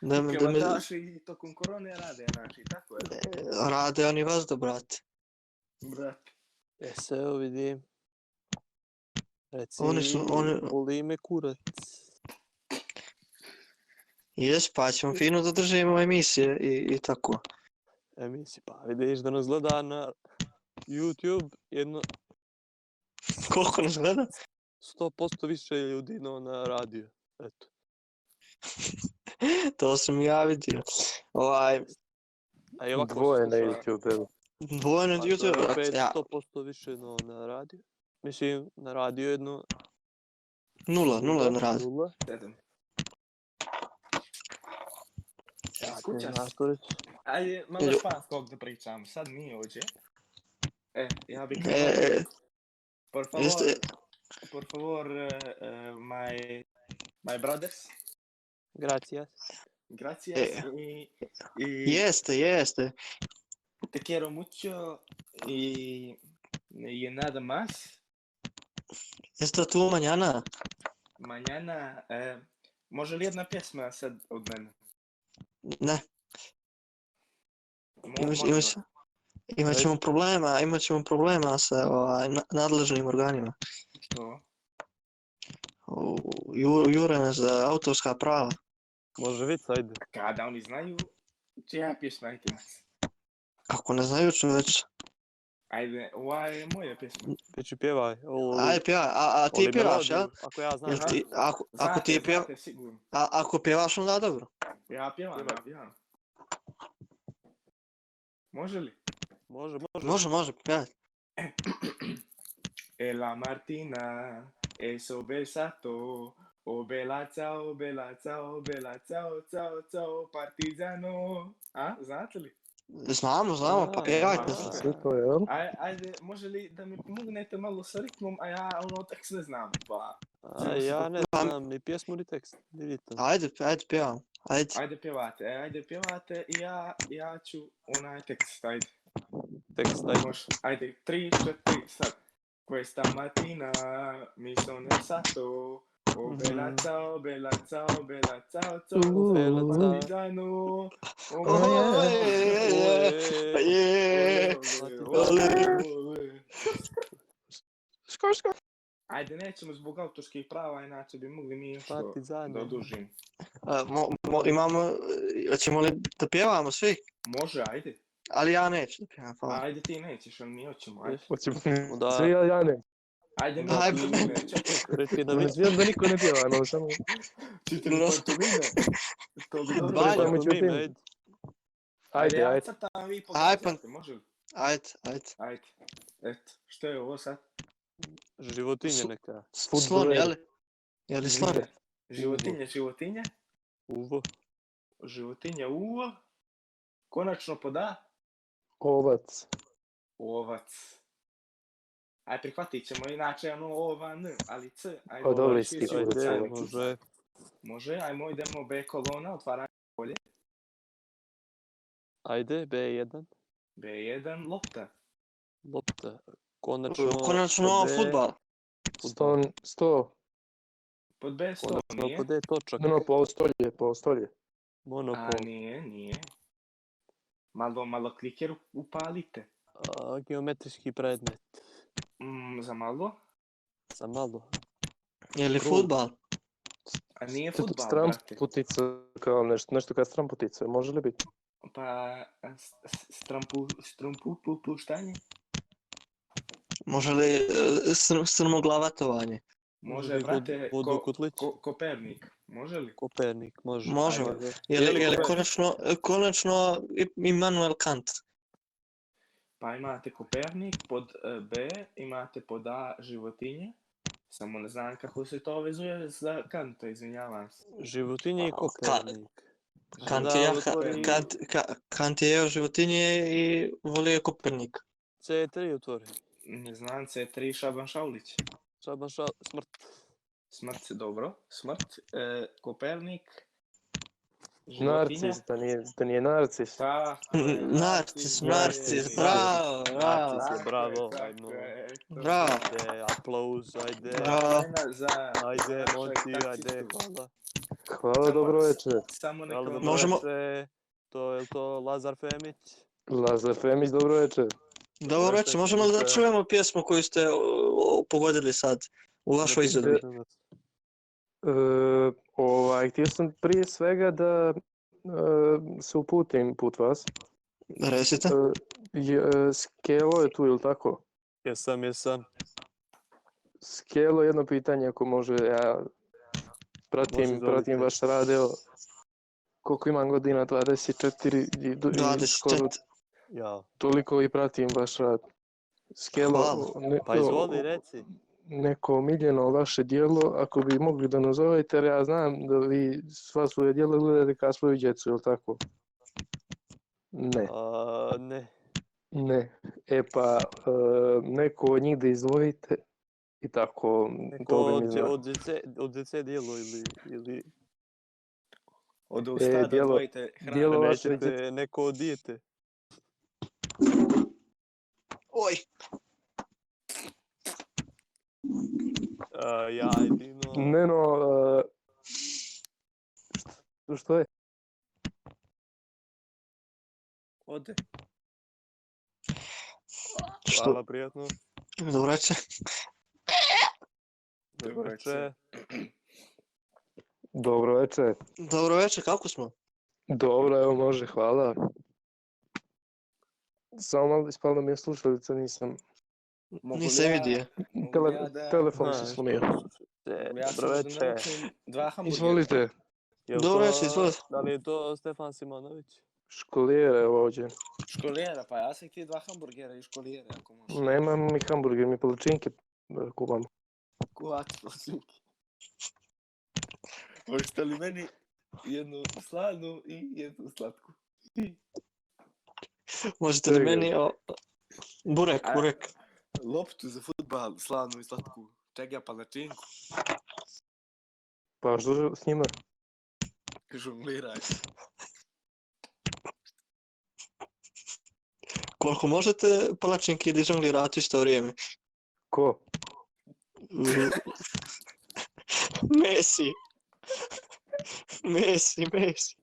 Speaker 1: Da, me- da me e,
Speaker 4: Kevataši i tokom korone rade, znači, tako je.
Speaker 1: rade oni vas da, brate.
Speaker 4: Brat.
Speaker 2: E se evo vidim. Reci,
Speaker 1: Oni su- oni-
Speaker 2: Boli me kurac.
Speaker 1: Jes, pa ćemo fino da držimo emisije i, i tako.
Speaker 2: E misli, pa vidiš da nas gleda na YouTube jedno
Speaker 1: Koliko nas gleda?
Speaker 2: 100% više ljudi no, na radiju. Eto.
Speaker 1: to sam ja vidio. Ovaj,
Speaker 2: A i ovako
Speaker 5: Dvoje na
Speaker 2: sluša-
Speaker 5: YouTube.
Speaker 1: dvoje na
Speaker 2: Pa to je
Speaker 1: YouTube, brate,
Speaker 2: opet
Speaker 1: ja,
Speaker 2: 100% više no, na radiju. Mislim, na radiju jedno...
Speaker 1: nula, nula na rad.
Speaker 2: Nula.
Speaker 4: Sedam.
Speaker 2: Ja, ti
Speaker 4: Kuća.
Speaker 2: znaš to reći.
Speaker 4: Ajde, malo
Speaker 1: Ju.
Speaker 4: španskog da pričam, sad nije ođe. E, ja bih...
Speaker 1: E, e,
Speaker 4: Por favor,
Speaker 1: jeste,
Speaker 4: por favor, eh, eh, my, my brothers,
Speaker 2: Gracias.
Speaker 4: gracias
Speaker 1: E.
Speaker 4: i, i
Speaker 1: jeste, jeste.
Speaker 4: te quiero mucho i, i nada más.
Speaker 1: Jeste tu manjana?
Speaker 4: Mañana, eh, može li jedna pjesma sad od mene?
Speaker 1: Ne,
Speaker 4: Mo-
Speaker 1: imaš,
Speaker 4: može.
Speaker 1: imaš, imat ćemo problema, imat ćemo problema sa ovaj, na- nadležnim organima.
Speaker 4: Što?
Speaker 1: U, ju, jure nas za autorska prava.
Speaker 2: Može biti, ajde.
Speaker 4: Kada oni znaju, čija pjesma je to?
Speaker 1: Ako ne znaju čoveč,
Speaker 4: Ajde, ova je moja pjesma.
Speaker 2: Ti ću pjevaj. Ovo,
Speaker 1: aj pjevaj, a, a ti
Speaker 2: Oli
Speaker 1: pjevaš, jel?
Speaker 2: melodiju, Ako ja znam.
Speaker 1: Jel ti, ako, ako
Speaker 4: Znate,
Speaker 1: ti je pjevaš,
Speaker 4: znate sigurno.
Speaker 1: a, ako pjevaš onda dobro.
Speaker 4: Ja pjevam, ja pjevam. Može li?
Speaker 2: Može, može.
Speaker 1: Može, može, pjevaj.
Speaker 4: E la Martina, e so besato, o bella ciao, bella ciao, bella ciao, ciao, ciao, partizano. A, znate li?
Speaker 1: Znamo, znamo, pa
Speaker 2: Da,
Speaker 1: pjevajte.
Speaker 4: da.
Speaker 1: brate.
Speaker 5: Sve to, jel?
Speaker 4: Aj, ajde, može li da mi pomognete malo sa ritmom, a ja ono tekst ne znam, pa.
Speaker 2: A, ja ne
Speaker 1: Pa-
Speaker 2: znam ni pjesmu ni tekst. Ni ritam.
Speaker 1: Ajde, ajde pjevam. Ajde,
Speaker 4: Ajde pjevate, e, ajde pjevate i ja, ja ću onaj tekst, ajde.
Speaker 2: Tekst,
Speaker 1: E,
Speaker 2: ajde.
Speaker 4: Može, ajde, tri, četiri, sad. Questa mattina mi sono alzato, oh bella
Speaker 2: Mhm.
Speaker 4: ciao, bella ciao, bella ciao, ciao,
Speaker 2: Uh,
Speaker 4: bella
Speaker 2: bella ciao.
Speaker 4: partigiano. Oh,
Speaker 1: Oj, e, oj, oj,
Speaker 2: Ojej.
Speaker 1: Pa je. Skor, skor.
Speaker 4: Ajde, nećemo zbog autorskih prava, inače bi mogli mi još to
Speaker 2: Partizani.
Speaker 4: da odužim.
Speaker 1: A, E, mo, mo, imamo, e, hoćemo li da pjevamo svi?
Speaker 4: Može, ajde.
Speaker 1: Ali ja neću da pjevam,
Speaker 5: Pa.
Speaker 1: hvala.
Speaker 4: Ajde ti nećeš, ali mi hoćemo. Ajde,
Speaker 5: Hoćemo
Speaker 2: Da.
Speaker 5: svi, ja, ja ne.
Speaker 4: ajde mi
Speaker 1: Aj,
Speaker 4: pantomime, čekaj.
Speaker 2: Reći da
Speaker 5: Da mi
Speaker 2: mi
Speaker 5: znam da niko ne pjeva, no samo...
Speaker 4: Čite mi pantomime. To bi dobro.
Speaker 1: Valja.
Speaker 5: Ajmo,
Speaker 2: pantomime,
Speaker 5: ćutim.
Speaker 2: ajde.
Speaker 5: Ajde,
Speaker 4: ja
Speaker 5: ajde.
Speaker 4: crtam, vi
Speaker 1: Aj, pa-
Speaker 4: pokazujete, može li?
Speaker 1: Ajde, ajde.
Speaker 4: Ajde, eto, što je ovo sad?
Speaker 2: Životinje
Speaker 1: Su-
Speaker 2: neka.
Speaker 1: Slon,
Speaker 5: Fudbaler.
Speaker 1: jeli? Jeli slon?
Speaker 4: Životinje, životinje,
Speaker 2: Uvo.
Speaker 4: životinje, uo, konačno poda,
Speaker 5: Ovac.
Speaker 4: ovac. Aj, prihvatit ćemo, inače, ono, ova, n, ali c, ajmo,
Speaker 5: O, dobri
Speaker 4: ovaj,
Speaker 5: ste,
Speaker 4: svi su
Speaker 5: ajde,
Speaker 4: ulicani.
Speaker 5: evo.
Speaker 2: Može.
Speaker 4: Može, ajmo, idemo B kolona, otvaranje polje,
Speaker 2: Ajde, B1.
Speaker 4: B1, lopta,
Speaker 2: Lopta. Konačno.
Speaker 1: Konačno,
Speaker 2: pod E,
Speaker 1: futbal.
Speaker 5: Ston, sto,
Speaker 4: pod B sto,
Speaker 2: Konačno
Speaker 4: nije,
Speaker 2: pod E točak.
Speaker 5: no, no, po stolje, po stolje.
Speaker 4: a
Speaker 2: Monopol.
Speaker 4: nije, nije. Malo, malo kliker upalite,
Speaker 2: A, geometrijski predmet.
Speaker 4: mm, za malo,
Speaker 2: Za malo.
Speaker 1: Jeli
Speaker 2: krug.
Speaker 1: futbal?
Speaker 4: a nije
Speaker 5: Stran
Speaker 4: futbal, brate.
Speaker 5: Stranputica, kao nešto, nešto kao stranputica, može li biti?
Speaker 4: Pa, s- s- strampu, strampu, pu, puštanje?
Speaker 1: Može li e, sr- strmoglavatowanie?
Speaker 4: Može,
Speaker 2: biti
Speaker 4: brate,
Speaker 2: vod-
Speaker 4: ko,
Speaker 2: Vodu kutlić.
Speaker 4: ko, Kopernik, može li?
Speaker 2: Kopernik, može.
Speaker 1: Može.
Speaker 2: Ajde.
Speaker 1: Jeli,
Speaker 4: Jeli
Speaker 1: jeli
Speaker 4: Kopernik?
Speaker 1: konačno, konačno I- Immanuel Kant?
Speaker 4: Pa imate Kopernik, pod eh, B imate pod A životinje. Samo ne znam kako se to vezuje za kanta, izvinjavam se.
Speaker 2: Životinje i
Speaker 1: Ka-
Speaker 2: Kopernik.
Speaker 1: Kant
Speaker 2: Onda
Speaker 1: je, ja-
Speaker 2: otvori
Speaker 1: Kant, Ka- Kant je jeo životinje i volio je Kopernik.
Speaker 2: C3 otvori.
Speaker 4: Ne znam, C3 Šaban Šaulić.
Speaker 2: Šaban ša... smrt.
Speaker 4: Smrt, dobro, smrt, eh, Kopernik, životinja.
Speaker 5: Narcis, da nije, da nije narcis.
Speaker 4: Tako je,
Speaker 1: N- Narcis,
Speaker 4: Pa, e, je,
Speaker 1: narcis,
Speaker 2: narcis.
Speaker 1: bravo, bravo,
Speaker 2: Narcis.
Speaker 4: tako je,
Speaker 2: bravo,
Speaker 4: tako
Speaker 2: ajmo.
Speaker 4: je, to je
Speaker 1: bravo.
Speaker 2: Ajde, aplauz, ajde.
Speaker 1: bravo.
Speaker 4: Ajna za...
Speaker 2: Ajde,
Speaker 4: našeg
Speaker 2: Monti, ajde,
Speaker 4: taksistu.
Speaker 2: hvala.
Speaker 5: Hvala, dobro večer.
Speaker 4: Samo neka
Speaker 2: Hvala,
Speaker 4: vam-
Speaker 2: dobro
Speaker 1: Možemo-
Speaker 2: večer. To je to Lazar Femić.
Speaker 5: Lazar Femić, dobro večer.
Speaker 1: Dobro
Speaker 2: Dobro
Speaker 1: večer,
Speaker 2: večer,
Speaker 1: možemo da
Speaker 2: dobro.
Speaker 1: čujemo pjesmu koju ste o, o, pogodili sad u vašoj
Speaker 5: Napišite-
Speaker 1: izvedbi.
Speaker 5: E, ovaj, htio sam prije svega da e, se uputim put vas.
Speaker 1: Recite.
Speaker 5: E, je- e, Skelo je tu, ili tako?
Speaker 2: Jesam, jesam.
Speaker 5: Skelo, jedno pitanje ako može, ja
Speaker 2: Može,
Speaker 5: pratim,
Speaker 2: izvolite.
Speaker 5: pratim vaš radio. Koliko imam godina? 24 i, do- i skoro
Speaker 1: 24.
Speaker 2: Ja.
Speaker 5: toliko i pratim vaš rad. Skelo,
Speaker 1: Hvala.
Speaker 5: neko,
Speaker 2: Pa izvoli, reci.
Speaker 5: neko omiljeno vaše dijelo, ako bi mogli da nazovete, jer ja znam da vi sva svoje dijela gledate kao svoju djecu, jel tako? Ne.
Speaker 2: A, ne.
Speaker 5: Ne, e pa e, neko od njih da izdvojite i tako m,
Speaker 2: Neko
Speaker 5: to bi mi
Speaker 2: od,
Speaker 5: zna.
Speaker 2: od, dece, od dece dijelo ili, ili
Speaker 4: Od
Speaker 5: E,
Speaker 4: usta da
Speaker 5: dijelo-
Speaker 4: odvojite hranu.
Speaker 5: dijelo- Djelo vaše
Speaker 2: nećete neko od dijete.
Speaker 1: Oj,
Speaker 2: A, ja jedino...
Speaker 5: Ne no, e, što- što je?
Speaker 4: Ode.
Speaker 1: što?
Speaker 2: Hvala, prijatno.
Speaker 1: Dobro večer.
Speaker 4: Dobro
Speaker 2: Dobroče.
Speaker 5: Dobro večer.
Speaker 1: Dobro večer, kako smo?
Speaker 5: Dobro, evo može, hvala. Samo malo ispala mi je slušalica, nisam.
Speaker 4: Mogu li
Speaker 1: Nisam
Speaker 4: ja-
Speaker 1: vidio.
Speaker 4: mogu
Speaker 5: Tele-
Speaker 4: li ja da-
Speaker 5: telefon
Speaker 2: Ne.
Speaker 5: se slomio.
Speaker 4: Ja sam
Speaker 2: Dobro
Speaker 4: da
Speaker 2: večer.
Speaker 4: naručim dva hamburgera.
Speaker 5: Izvolite,
Speaker 2: Jel
Speaker 1: Dobro
Speaker 2: to-
Speaker 1: večer, izvolite.
Speaker 2: Da li je to Stefan Simonović?
Speaker 5: školijera je ovdje.
Speaker 4: Školijera, pa ja sam htio dva hamburgera i školijera ako može.
Speaker 5: Nemam mi hamburger, mi palačinke e, kupam.
Speaker 4: Kuhat posluki. Možete li meni jednu slanu i jednu slatku?
Speaker 1: Možete li
Speaker 5: Čekaj.
Speaker 1: meni o... Burek,
Speaker 4: A-
Speaker 1: burek.
Speaker 4: Loptu za futbal, slanu i slatku. Čega pa načinku?
Speaker 5: Pa što s njima?
Speaker 4: Žongliraj.
Speaker 1: Koliko možete palačinki ili žonglirati u isto vrijeme?
Speaker 5: Ko?
Speaker 1: Messi. Messi, Messi.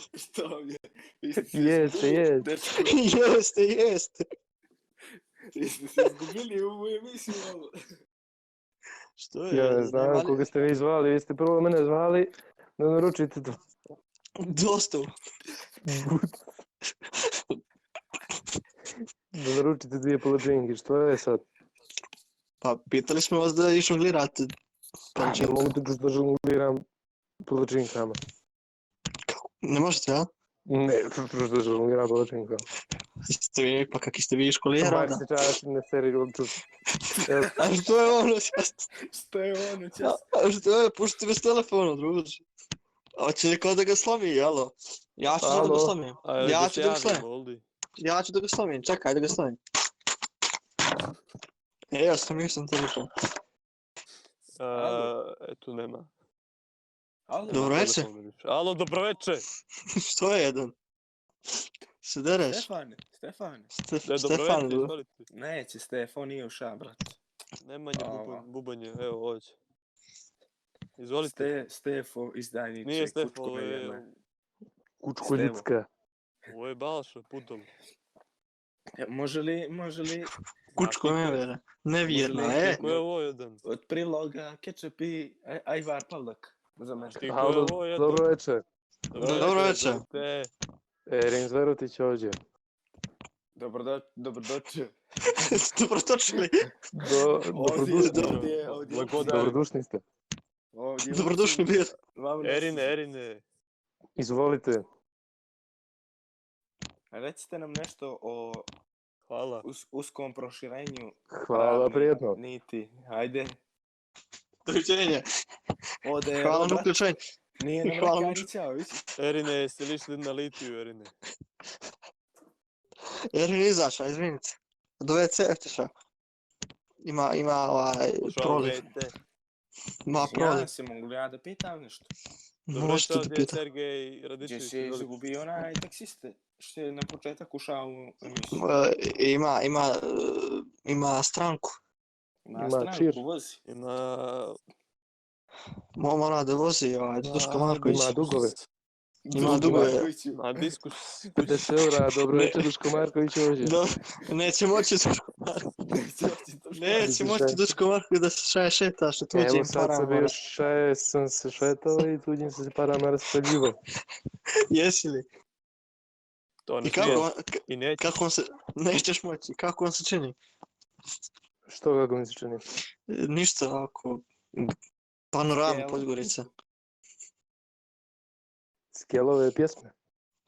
Speaker 4: Što vam je?
Speaker 5: Jeste, jeste.
Speaker 4: Dečko,
Speaker 1: Jeste, jeste.
Speaker 4: jeste se izgubili u moju emisiju, malo.
Speaker 1: Što je?
Speaker 5: Ja ne
Speaker 1: nema
Speaker 5: znam
Speaker 1: li-
Speaker 5: koga ste vi zvali, vi ste prvo mene zvali da naručite to.
Speaker 1: Dosta.
Speaker 5: Da naručite dvije palačinke, što je sad?
Speaker 1: Pa pitali smo vas da i žonglirate.
Speaker 5: Ne
Speaker 1: palačinkom.
Speaker 5: Znači, mogu da da žongliram palačinkama.
Speaker 1: Ne možete, a?
Speaker 5: Ne, prosto da žongliram palačinkama.
Speaker 1: Ste vi, pa kak ste vi iz škole
Speaker 5: Mak
Speaker 1: rada.
Speaker 5: se čaraš ne seri lopču. Evo,
Speaker 1: A što je ono? sad?
Speaker 4: Što je ono, čas?
Speaker 1: A, a što je? Pušti me s telefona, druže. A će neko da ga slomi, alo? Ja ću da
Speaker 5: Alo.
Speaker 1: ga slomim.
Speaker 2: A,
Speaker 1: Ja
Speaker 2: da
Speaker 1: ću
Speaker 2: se
Speaker 1: da
Speaker 2: javim,
Speaker 1: ustanem.
Speaker 2: Oldi.
Speaker 1: Ja ću da ga slomim, čekaj da ga slomim. E, ja slomio sam telefon.
Speaker 2: A, eto, nema.
Speaker 4: Alo,
Speaker 1: Dobro večer.
Speaker 2: Telefon miriše. Alo, dobro večer.
Speaker 1: Što je jedan? Se dereš?
Speaker 4: Stefane, Stefane.
Speaker 1: Ste,
Speaker 2: Ne, dobro
Speaker 1: Stefan,
Speaker 2: večer,
Speaker 1: ljubav.
Speaker 2: izvolite.
Speaker 4: Neće, Stefan nije u šam, brat.
Speaker 2: Nemanje
Speaker 4: Ava.
Speaker 2: bubanj- bubanje, evo, ovdje. Izvolite.
Speaker 4: Ste, Stefo izdajniče.
Speaker 2: Nije Stefan,
Speaker 4: kučko
Speaker 2: ovo
Speaker 4: me
Speaker 2: je,
Speaker 4: jebe.
Speaker 5: kučkuljicka.
Speaker 2: ovo je Balša, putom.
Speaker 4: E, Može li, može li
Speaker 1: Kučko me vera. Nevjerna,
Speaker 4: Možda
Speaker 1: e.
Speaker 4: neki-
Speaker 2: Ko je ovo jedan?
Speaker 4: od priloga ketchup i aj- ajvar pavlak za mene?
Speaker 2: Ti ko je
Speaker 5: Halo,
Speaker 2: ovo jedan?
Speaker 5: dobro večer.
Speaker 1: Dobro večer.
Speaker 2: Te,
Speaker 5: Erin Zverotić ovdje.
Speaker 4: Dobrodo, dobrodošli.
Speaker 1: Dobrodošli.
Speaker 5: Do,
Speaker 4: Ovdje,
Speaker 5: dobrodušni,
Speaker 2: dobro.
Speaker 4: ovdje, ovdje.
Speaker 2: Blagodat.
Speaker 5: dobrodušni ste.
Speaker 4: Ovdje.
Speaker 1: Dobrodošli bir.
Speaker 4: Vam ne-
Speaker 2: Erine, Erine.
Speaker 5: Izvolite.
Speaker 4: Recite nam nešto o
Speaker 2: Hvala.
Speaker 4: us, uskom proširenju.
Speaker 5: Hvala,
Speaker 1: Pa,
Speaker 4: pravne
Speaker 5: prijetno.
Speaker 4: Niti, ajde.
Speaker 1: Doviđenja.
Speaker 4: Ode,
Speaker 1: Hvala na
Speaker 4: brat,
Speaker 1: uključenje.
Speaker 4: Nije nam
Speaker 1: Hvala
Speaker 4: rekao
Speaker 1: na-
Speaker 4: ni ćao, vidi.
Speaker 2: Erine, jeste li išli na litiju, Erine?
Speaker 1: Erin je E, izašao, izvinite. Do WC je otišao. Ima, ima ovaj
Speaker 2: Šao
Speaker 1: proliv.
Speaker 2: vete.
Speaker 1: Ima
Speaker 4: Ja
Speaker 1: proliv.
Speaker 4: se mogu ja da pitam nešto.
Speaker 2: Dobro
Speaker 1: Možete
Speaker 2: večer,
Speaker 1: da
Speaker 2: ovdje je
Speaker 1: pitate.
Speaker 2: Sergej
Speaker 4: Gdje
Speaker 2: Radičević.
Speaker 4: se
Speaker 2: izvolite.
Speaker 4: izgubio onaj taksiste što je na početak ušao u emisiju.
Speaker 1: E, Ima, ima, e, ima stranku.
Speaker 4: Na
Speaker 5: Ima čir.
Speaker 4: stranku vozi.
Speaker 2: Ima...
Speaker 1: Mo- Mora da vozi ovaj Duško
Speaker 5: A,
Speaker 1: Marković.
Speaker 5: Ima dugove.
Speaker 1: Ima dugove.
Speaker 4: Markoviću.
Speaker 2: Ima diskus.
Speaker 5: 50 eura, dobro
Speaker 1: Ne.
Speaker 5: večer, Duško Marković ovdje.
Speaker 1: Da, neće moći Duško Marković. Neće moći Duško Marković da se šaje šeta što tuđim
Speaker 5: Evo sad sam
Speaker 1: parama.
Speaker 5: bio
Speaker 1: ono.
Speaker 5: šaj, sam se šetao i tuđim sam se parama raspaljivo.
Speaker 1: Jesi li?
Speaker 2: To ne
Speaker 1: I kako,
Speaker 2: smije.
Speaker 1: on- k-
Speaker 2: I neće.
Speaker 1: kako on se, nećeš moći, kako on se čini?
Speaker 5: Što kako mi se čini?
Speaker 1: Ništa ovako, panorama
Speaker 2: Skele.
Speaker 1: Podgorica.
Speaker 5: Skelove pjesme.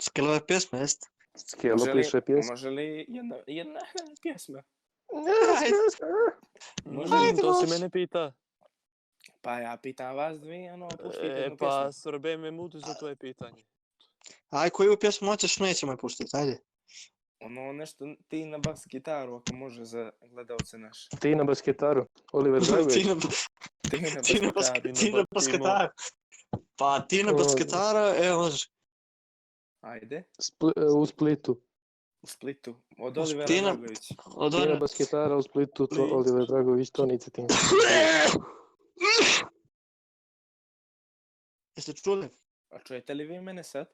Speaker 1: Skelove pjesme, jeste?
Speaker 5: Skelo
Speaker 4: Može li-
Speaker 5: piše pjesme.
Speaker 4: Može li jedna, jedna pjesma? Može li?
Speaker 2: Možda to se mene pita.
Speaker 4: Pa ja pitam vas dvije, ono, puštite
Speaker 2: E,
Speaker 4: jednu
Speaker 2: pa
Speaker 4: pjesmu.
Speaker 2: srbe me mutu za tvoje pitanje.
Speaker 1: Aj, koju pjesmu hoćeš, nećemo je puštiti, ajde.
Speaker 4: Ono nešto ti na bas gitaru, ako može za gledalce naše.
Speaker 5: Ti na basketaru. Oliver Dragović.
Speaker 1: Tina,
Speaker 4: Ti na bas
Speaker 1: Tina,
Speaker 4: gitaru.
Speaker 1: Bask-
Speaker 2: Tina
Speaker 1: Tina
Speaker 2: Basketara.
Speaker 1: Basketara. Pa Tina
Speaker 5: Ko-
Speaker 1: Basketara, e, može.
Speaker 4: Ajde,
Speaker 5: Spli- e, u Splitu.
Speaker 4: u Splitu. Od
Speaker 1: U
Speaker 4: Olivera
Speaker 1: Splina-
Speaker 4: Dragovića.
Speaker 1: Od
Speaker 5: Ti na
Speaker 1: one...
Speaker 5: basketara u Splitu. To
Speaker 1: Split.
Speaker 5: Oliver Dragović. To nici ti.
Speaker 1: Jeste čuli?
Speaker 4: A čujete li vi mene sad?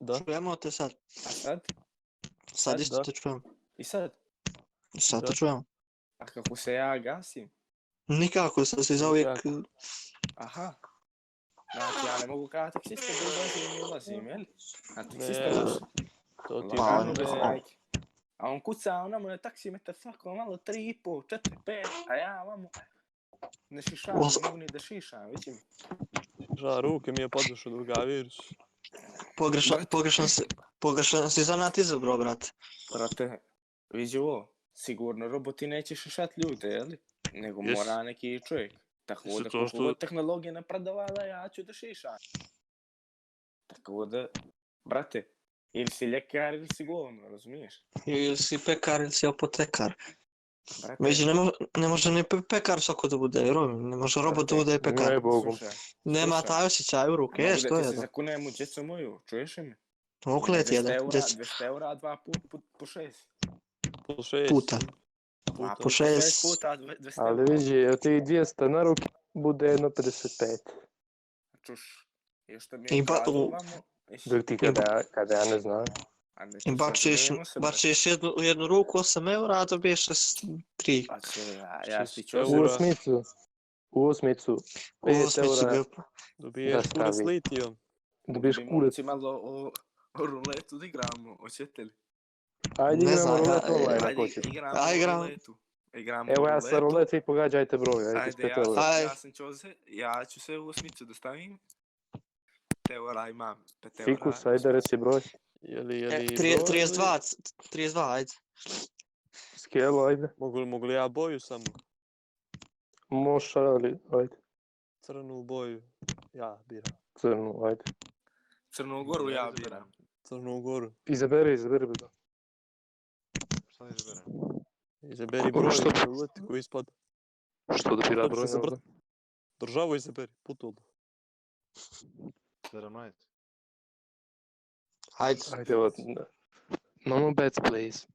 Speaker 2: Da?
Speaker 1: Čujemo te sad.
Speaker 4: A sad?
Speaker 1: Sad
Speaker 4: Sad,
Speaker 1: isto
Speaker 2: da.
Speaker 1: te čujemo.
Speaker 4: I sad?
Speaker 1: Sad te
Speaker 2: Da.
Speaker 1: čujemo.
Speaker 4: A kako se ja gasim?
Speaker 1: Nikako, sad si zauvijek...
Speaker 4: Aha. Znači, ja ne mogu kada taksista da ulazim i ulazim, jel? Znači, A taksista
Speaker 2: Ne,
Speaker 4: može.
Speaker 2: to ti
Speaker 1: Pa,
Speaker 4: Lagano
Speaker 2: je
Speaker 4: bez
Speaker 1: ne.
Speaker 4: majke. A on kuca, ona mu je taksimetar svako malo 3,5, 4, 5, a ja vamo ne šišam,
Speaker 1: Os-
Speaker 4: ne mogu ni da šišam, vidim.
Speaker 2: ža, ruke mi je podzašao drugavirus.
Speaker 1: Pogrešan, pogrešan, si, pogrešan si zanat izabrao, brate.
Speaker 4: Brate, vidi ovo, sigurno roboti neće šišat ljude, jeli? Nego
Speaker 2: Jes.
Speaker 4: mora neki čovjek. Tako
Speaker 2: Jesu
Speaker 4: da
Speaker 2: to
Speaker 4: kako
Speaker 2: što-
Speaker 4: god tehnologija napredovala, ja ću da šišam. Tako da, brate, ili si ljekar ili si govno, razumiješ?
Speaker 1: Ili si pekar, ili si apotekar.
Speaker 4: Brate,
Speaker 1: Među, ne, mo, ne može ni pe- pekar svako da bude, vjerujem. Ne može robot da bude pekar.
Speaker 5: Ne, Bogom.
Speaker 4: slušaj,
Speaker 1: Nema
Speaker 4: slušaj.
Speaker 1: taj osjećaj u ruke,
Speaker 4: mogu
Speaker 1: je, što
Speaker 4: da ti
Speaker 1: je
Speaker 4: se
Speaker 1: da.
Speaker 4: zakunem u djecu moju, čuješ li me?
Speaker 1: Okleti jedan,
Speaker 4: 200 eura,
Speaker 1: djec-
Speaker 4: 200 eura, dva put, put po šest.
Speaker 2: Po šest.
Speaker 1: puta.
Speaker 4: Dva
Speaker 2: puta.
Speaker 1: po šest.
Speaker 4: puta, dve- 200
Speaker 5: Ali
Speaker 4: eura.
Speaker 5: vidi, od tih 200 na ruke bude jedno 55.
Speaker 4: Čuš, još što mi
Speaker 1: I
Speaker 4: je
Speaker 1: ba-
Speaker 4: ukradao
Speaker 1: u-
Speaker 4: vamo, iš-
Speaker 5: Dok ti kada, ja- kada ja ne znam.
Speaker 4: a ne,
Speaker 1: I
Speaker 4: sad
Speaker 1: bačiš,
Speaker 4: smijemo se, brate.
Speaker 1: bačiš jednu, u jednu ruku 8 eura, a dobiješ 3.
Speaker 4: Pa će, ja, ja si
Speaker 2: 600
Speaker 4: ću
Speaker 5: U
Speaker 2: Eura.
Speaker 5: osmicu. U osmicu.
Speaker 4: Pa,
Speaker 1: Ovo
Speaker 5: 5
Speaker 1: osmicu
Speaker 5: eura.
Speaker 1: bi...
Speaker 2: Dobiješ
Speaker 5: Da,
Speaker 2: kurac
Speaker 5: stavi.
Speaker 2: litijom.
Speaker 5: Dobiješ
Speaker 4: Bi
Speaker 5: kurac.
Speaker 4: momci malo o, o ruletu da igramo, hoćete li?
Speaker 5: Ajde
Speaker 1: Ne
Speaker 5: igramo
Speaker 1: znam,
Speaker 5: rulet
Speaker 1: ja-
Speaker 5: online
Speaker 4: Ajde,
Speaker 5: Ovaj, ako hoćeš.
Speaker 4: igramo
Speaker 1: Aj, igramo.
Speaker 4: ruletu. Igramo
Speaker 5: Evo ja sa
Speaker 4: ruletu.
Speaker 5: rulet, vi pogađajte broj. Ajde,
Speaker 4: Ajde, ja,
Speaker 5: ispred eura.
Speaker 1: Aj.
Speaker 4: sam- ja sam Čoze, ja ću se u osmicu da stavim. Te eura imam, pet eura.
Speaker 5: Fikus, ajde reci broj.
Speaker 2: Je li,
Speaker 1: E,
Speaker 2: je li broj ili-
Speaker 1: 32, c- 32, ajde.
Speaker 5: Skelo, ajde.
Speaker 2: Mogu li, mogu li ja boju samo?
Speaker 5: Moša, ali, ajde.
Speaker 2: Crnu boju. Ja biram.
Speaker 5: Crnu, ajde.
Speaker 4: Crnogoru ja biram.
Speaker 2: Crnu goru.
Speaker 5: Izaberi, izaberi. broj.
Speaker 3: Šta da izaberem?
Speaker 2: Izaberi
Speaker 5: Dobro,
Speaker 2: broj
Speaker 5: što-
Speaker 2: na ruleti koji ispada.
Speaker 5: Što da bira
Speaker 2: Hoćeš
Speaker 5: broj?
Speaker 2: da se
Speaker 5: ne
Speaker 2: br-
Speaker 5: znam.
Speaker 2: Državu izaberi. Put odmah.
Speaker 3: 17.
Speaker 1: Ajde.
Speaker 5: Ajde, od... Mama bets, please.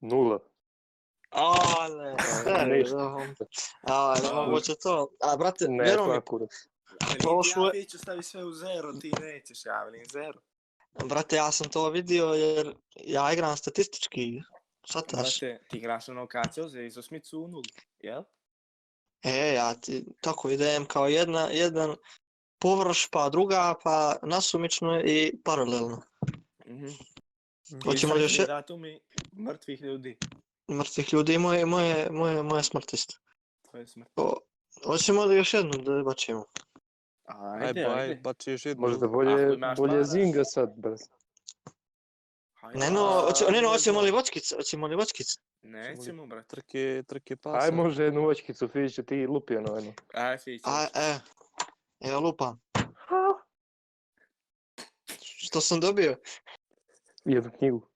Speaker 5: Nula.
Speaker 1: Ale, ne,
Speaker 5: ništa.
Speaker 1: da, a, ne moguće to. A, brate,
Speaker 5: Ne,
Speaker 1: vjeruj mi,
Speaker 5: svaku.
Speaker 4: Ali
Speaker 1: Ovo
Speaker 4: ja
Speaker 1: što Pa je-
Speaker 4: neću stavi sve u zero, ti nećeš, ja velim zero.
Speaker 1: brate, ja sam to vidio jer ja igram statistički, shvataš?
Speaker 4: Brate, ti igraš ono kacio za iz osmicu u nulu, jel?
Speaker 1: E, ja ti tako idem kao jedna, jedan površ, pa druga, pa nasumično i paralelno.
Speaker 4: Mhm.
Speaker 1: Hoćemo li još je-
Speaker 4: datumi mrtvih ljudi.
Speaker 1: mrtvih ljudi i moje, moje, moje, moje smrti isto.
Speaker 4: To je smrt.
Speaker 1: O, Hoćemo li još jednu da bačimo?
Speaker 4: Ajde,
Speaker 2: Ajde,
Speaker 4: ajde.
Speaker 2: ajde. Bači još jednu.
Speaker 5: Možda
Speaker 4: Ako
Speaker 5: bolje,
Speaker 4: imaš para.
Speaker 5: bolje Zinga sad, brate.
Speaker 4: Ajde.
Speaker 1: Ne no, hoće, ne no, hoćemo li vočkice, hoćemo li vočkice?
Speaker 4: Nećemo, brate.
Speaker 2: Trke, trke
Speaker 4: Pa
Speaker 2: pasa.
Speaker 5: Aj može jednu vočkicu, Fiće, ti lupi ono jedno.
Speaker 4: Aj, Fić.
Speaker 1: A, e, evo lupam. Što sam dobio?
Speaker 5: Jednu knjigu.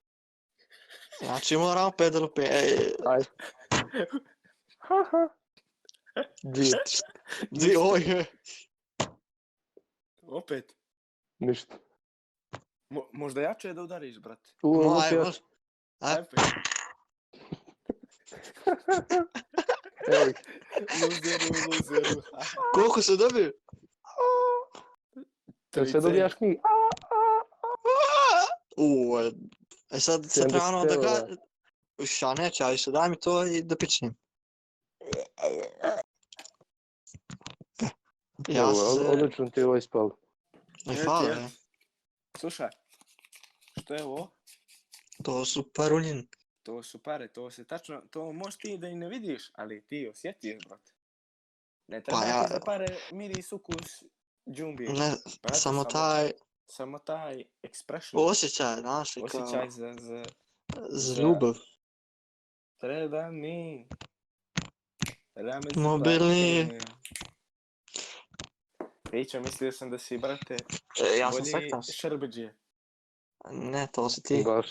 Speaker 1: Znači moram opet da lupim. E,
Speaker 5: Aj. Haha. Dvije.
Speaker 1: di, oj,
Speaker 4: Opet.
Speaker 5: Ništa.
Speaker 4: Mo, možda jače je da udariš, brate.
Speaker 5: U,
Speaker 1: no, aj,
Speaker 5: lupi,
Speaker 1: može. A?
Speaker 4: Opet.
Speaker 5: evo ih.
Speaker 4: Luzeru, luzeru.
Speaker 1: Koliko se dobio?
Speaker 5: Jel sve dobijaš knjige?
Speaker 1: U, e, e sad se
Speaker 5: 70
Speaker 1: treba ono da
Speaker 5: eura.
Speaker 1: ga... Ša neće, ali se daj mi to i da pičnem. Ja
Speaker 5: Dobro,
Speaker 1: se...
Speaker 5: odlično ti je ovaj ovo ispalo.
Speaker 1: Ne,
Speaker 4: Eto,
Speaker 1: hvala.
Speaker 4: ja.
Speaker 1: e.
Speaker 4: Slušaj, šta je ovo?
Speaker 1: To su parulin.
Speaker 4: To su pare, to se tačno, to možeš ti da i ne vidiš, ali ti osjetiš, brate. Ne treba
Speaker 1: ja-
Speaker 4: ti za pare miris, ukus, džumbije.
Speaker 1: Ne,
Speaker 4: brate,
Speaker 1: samo taj
Speaker 4: Samo taj expression,
Speaker 1: osjećaj, znaš, i kao,
Speaker 4: osjećaj za, za,
Speaker 1: za ljubav.
Speaker 4: treba mi. Treba mi za
Speaker 1: Mobilni.
Speaker 4: pare. Rića, mislio sam da si, brate,
Speaker 1: E, Ja sam sektan.
Speaker 4: bolji šrbeđe.
Speaker 1: Ne, to si ti.
Speaker 5: Baš.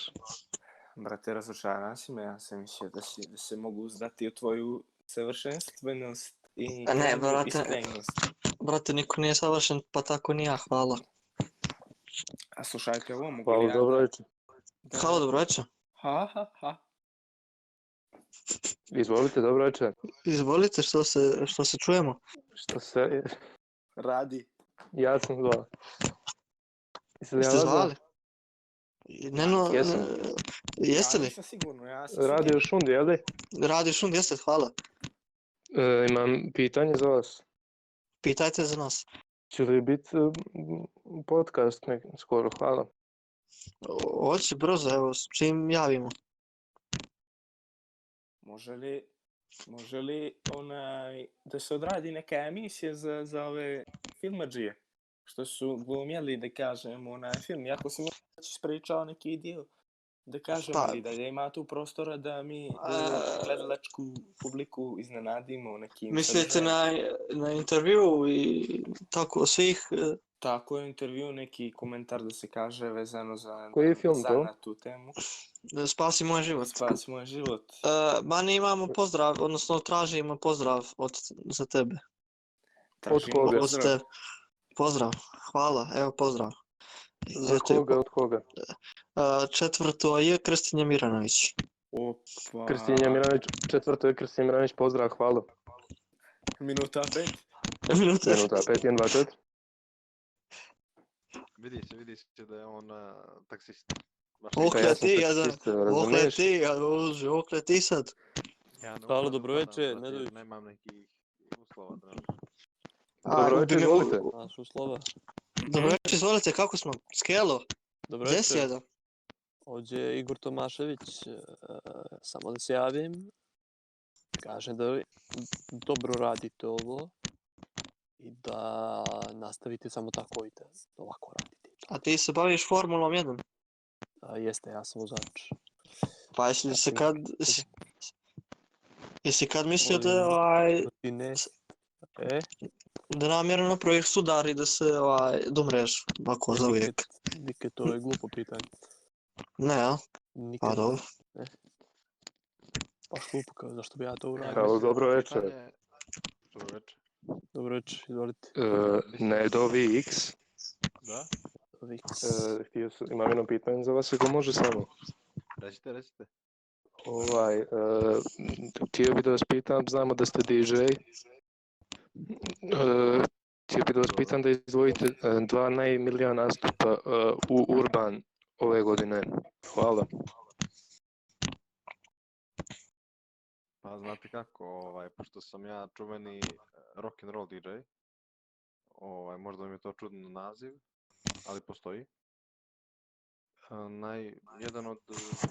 Speaker 4: Brate, razočaran si me, ja sam mislio da, si, da se mogu uzdati u tvoju savršenstvenost i
Speaker 1: A ne,
Speaker 4: tvoju
Speaker 1: brate.
Speaker 4: iskrenost.
Speaker 1: Brate, niko nije savršen, pa tako ni ja, hvala.
Speaker 4: A slušajte ovo, mogu li
Speaker 5: Hvala,
Speaker 4: ja
Speaker 5: dobro večer.
Speaker 4: da-
Speaker 1: Hvala, dobro večer.
Speaker 4: Ha, ha, ha.
Speaker 5: Izvolite, dobro večer.
Speaker 1: Izvolite, što se, što se čujemo.
Speaker 5: Što se...
Speaker 4: Radi.
Speaker 5: Ja sam zvao. Jeste li
Speaker 1: Jeste
Speaker 5: ja vas
Speaker 1: zvali? Ne, no,
Speaker 5: Jesam.
Speaker 1: e, jeste
Speaker 4: Ja
Speaker 1: li?
Speaker 4: nisam sigurno, ja sam
Speaker 5: zvao? Radio Šund, jel' E, li?
Speaker 1: Radiš um, jeste, hvala.
Speaker 5: E, imam pitanje za vas.
Speaker 1: Pitajte za nas.
Speaker 5: Će li biti e, m, podcast nek- skoro? Hvala.
Speaker 1: O- Hoće brzo, evo, s čim javimo.
Speaker 4: Može li, može li onaj, da se odradi neka emisija za, za ove filmadžije? Što su glumjeli, da kažem, onaj film. Jako sam ja već ispričao neki dio. Da kažem,
Speaker 1: Pa-
Speaker 4: ali da ima tu prostora da mi e,
Speaker 1: A-
Speaker 4: gledalačku publiku iznenadimo nekim...
Speaker 1: Mislite
Speaker 4: sadržajem.
Speaker 1: na, na intervju i tako svih... e,
Speaker 4: Tako je intervju, neki komentar da se kaže vezano za,
Speaker 5: Koji je film
Speaker 4: za
Speaker 5: to?
Speaker 4: na tu temu.
Speaker 1: e, Spasi moj život.
Speaker 4: Spasi moj život.
Speaker 1: E, Ma ne imamo pozdrav, odnosno tražimo pozdrav od, za tebe.
Speaker 4: Tražim
Speaker 5: koga?
Speaker 1: Od
Speaker 4: pozdrav.
Speaker 1: tebe. Pozdrav, hvala, evo pozdrav.
Speaker 5: Od koga, od koga?
Speaker 1: E, Četvrto je Kristinja Miranović.
Speaker 4: Opa.
Speaker 5: Kristinja Miranić, četvrto je Kristinja Miranić, pozdrav, hvala.
Speaker 4: Minuta pet.
Speaker 1: Minuta.
Speaker 5: Minuta, 5, 1, 2, 4.
Speaker 3: Vidi se, vidi se da je on a, taksist. Baš
Speaker 1: Ok,
Speaker 5: Pa ja sam
Speaker 1: ti, ja da-
Speaker 5: taksista,
Speaker 1: Okle
Speaker 5: razumiješ?
Speaker 1: ti, a, uže, okle ti sad.
Speaker 3: Ja ne
Speaker 2: Halo,
Speaker 3: uspem
Speaker 2: dobro
Speaker 3: da
Speaker 2: večer,
Speaker 3: nadam,
Speaker 2: Nedović.
Speaker 3: znači, Nemam nekih uslova. trenutno.
Speaker 1: A,
Speaker 5: Dobro večer,
Speaker 1: bi me-
Speaker 5: izvolite.
Speaker 2: Naš uslova.
Speaker 1: Dobro večer, izvolite, kako smo? Skelo,
Speaker 2: Dobro
Speaker 1: gdje si
Speaker 2: večer.
Speaker 1: jedan?
Speaker 2: Ovdje je Igor Tomašević. e, Samo da se javim. Kažem da vi dobro radite ovo i da nastavite samo tako i da ovako radite.
Speaker 1: A ti se baviš Formulom 1?
Speaker 2: A, jeste, ja sam vozač.
Speaker 1: Pa jesi li se
Speaker 2: Tako.
Speaker 1: kad... jesi- Jesi kad mislio da,
Speaker 2: Volim.
Speaker 1: ovaj,
Speaker 2: Ti ne... E,
Speaker 1: da namjerno napraviš sudar i da se ovaj, domreš ovako za uvijek?
Speaker 2: nikad, nikad to je glupo pitanje.
Speaker 1: Ne, jel?
Speaker 2: Nikad,
Speaker 1: Pa dobro.
Speaker 2: baš glupo kao zašto bi ja to
Speaker 3: Ja
Speaker 2: uradio.
Speaker 5: Halo,
Speaker 3: mislim,
Speaker 5: dobro večer.
Speaker 3: pitanje- Dobro večer.
Speaker 2: Dobro večer, izvolite.
Speaker 5: E, Nedovi X.
Speaker 3: Da,
Speaker 2: Viks.
Speaker 5: E, htio sam, imam jedno pitanje za vas, ako može samo.
Speaker 3: recite, recite.
Speaker 5: Ovaj, e, m, htio bi da vas pitam, znamo da ste DJ. E, htio bi da vas pitam da izdvojite e, dva najmilija nastupa e, u Urban ove godine. Hvala.
Speaker 3: Pa znate kako, ovaj, pošto sam ja čuveni eh, rock and roll DJ, ovaj, možda mi je to čudno naziv, ali postoji. E, Naj, jedan od eh,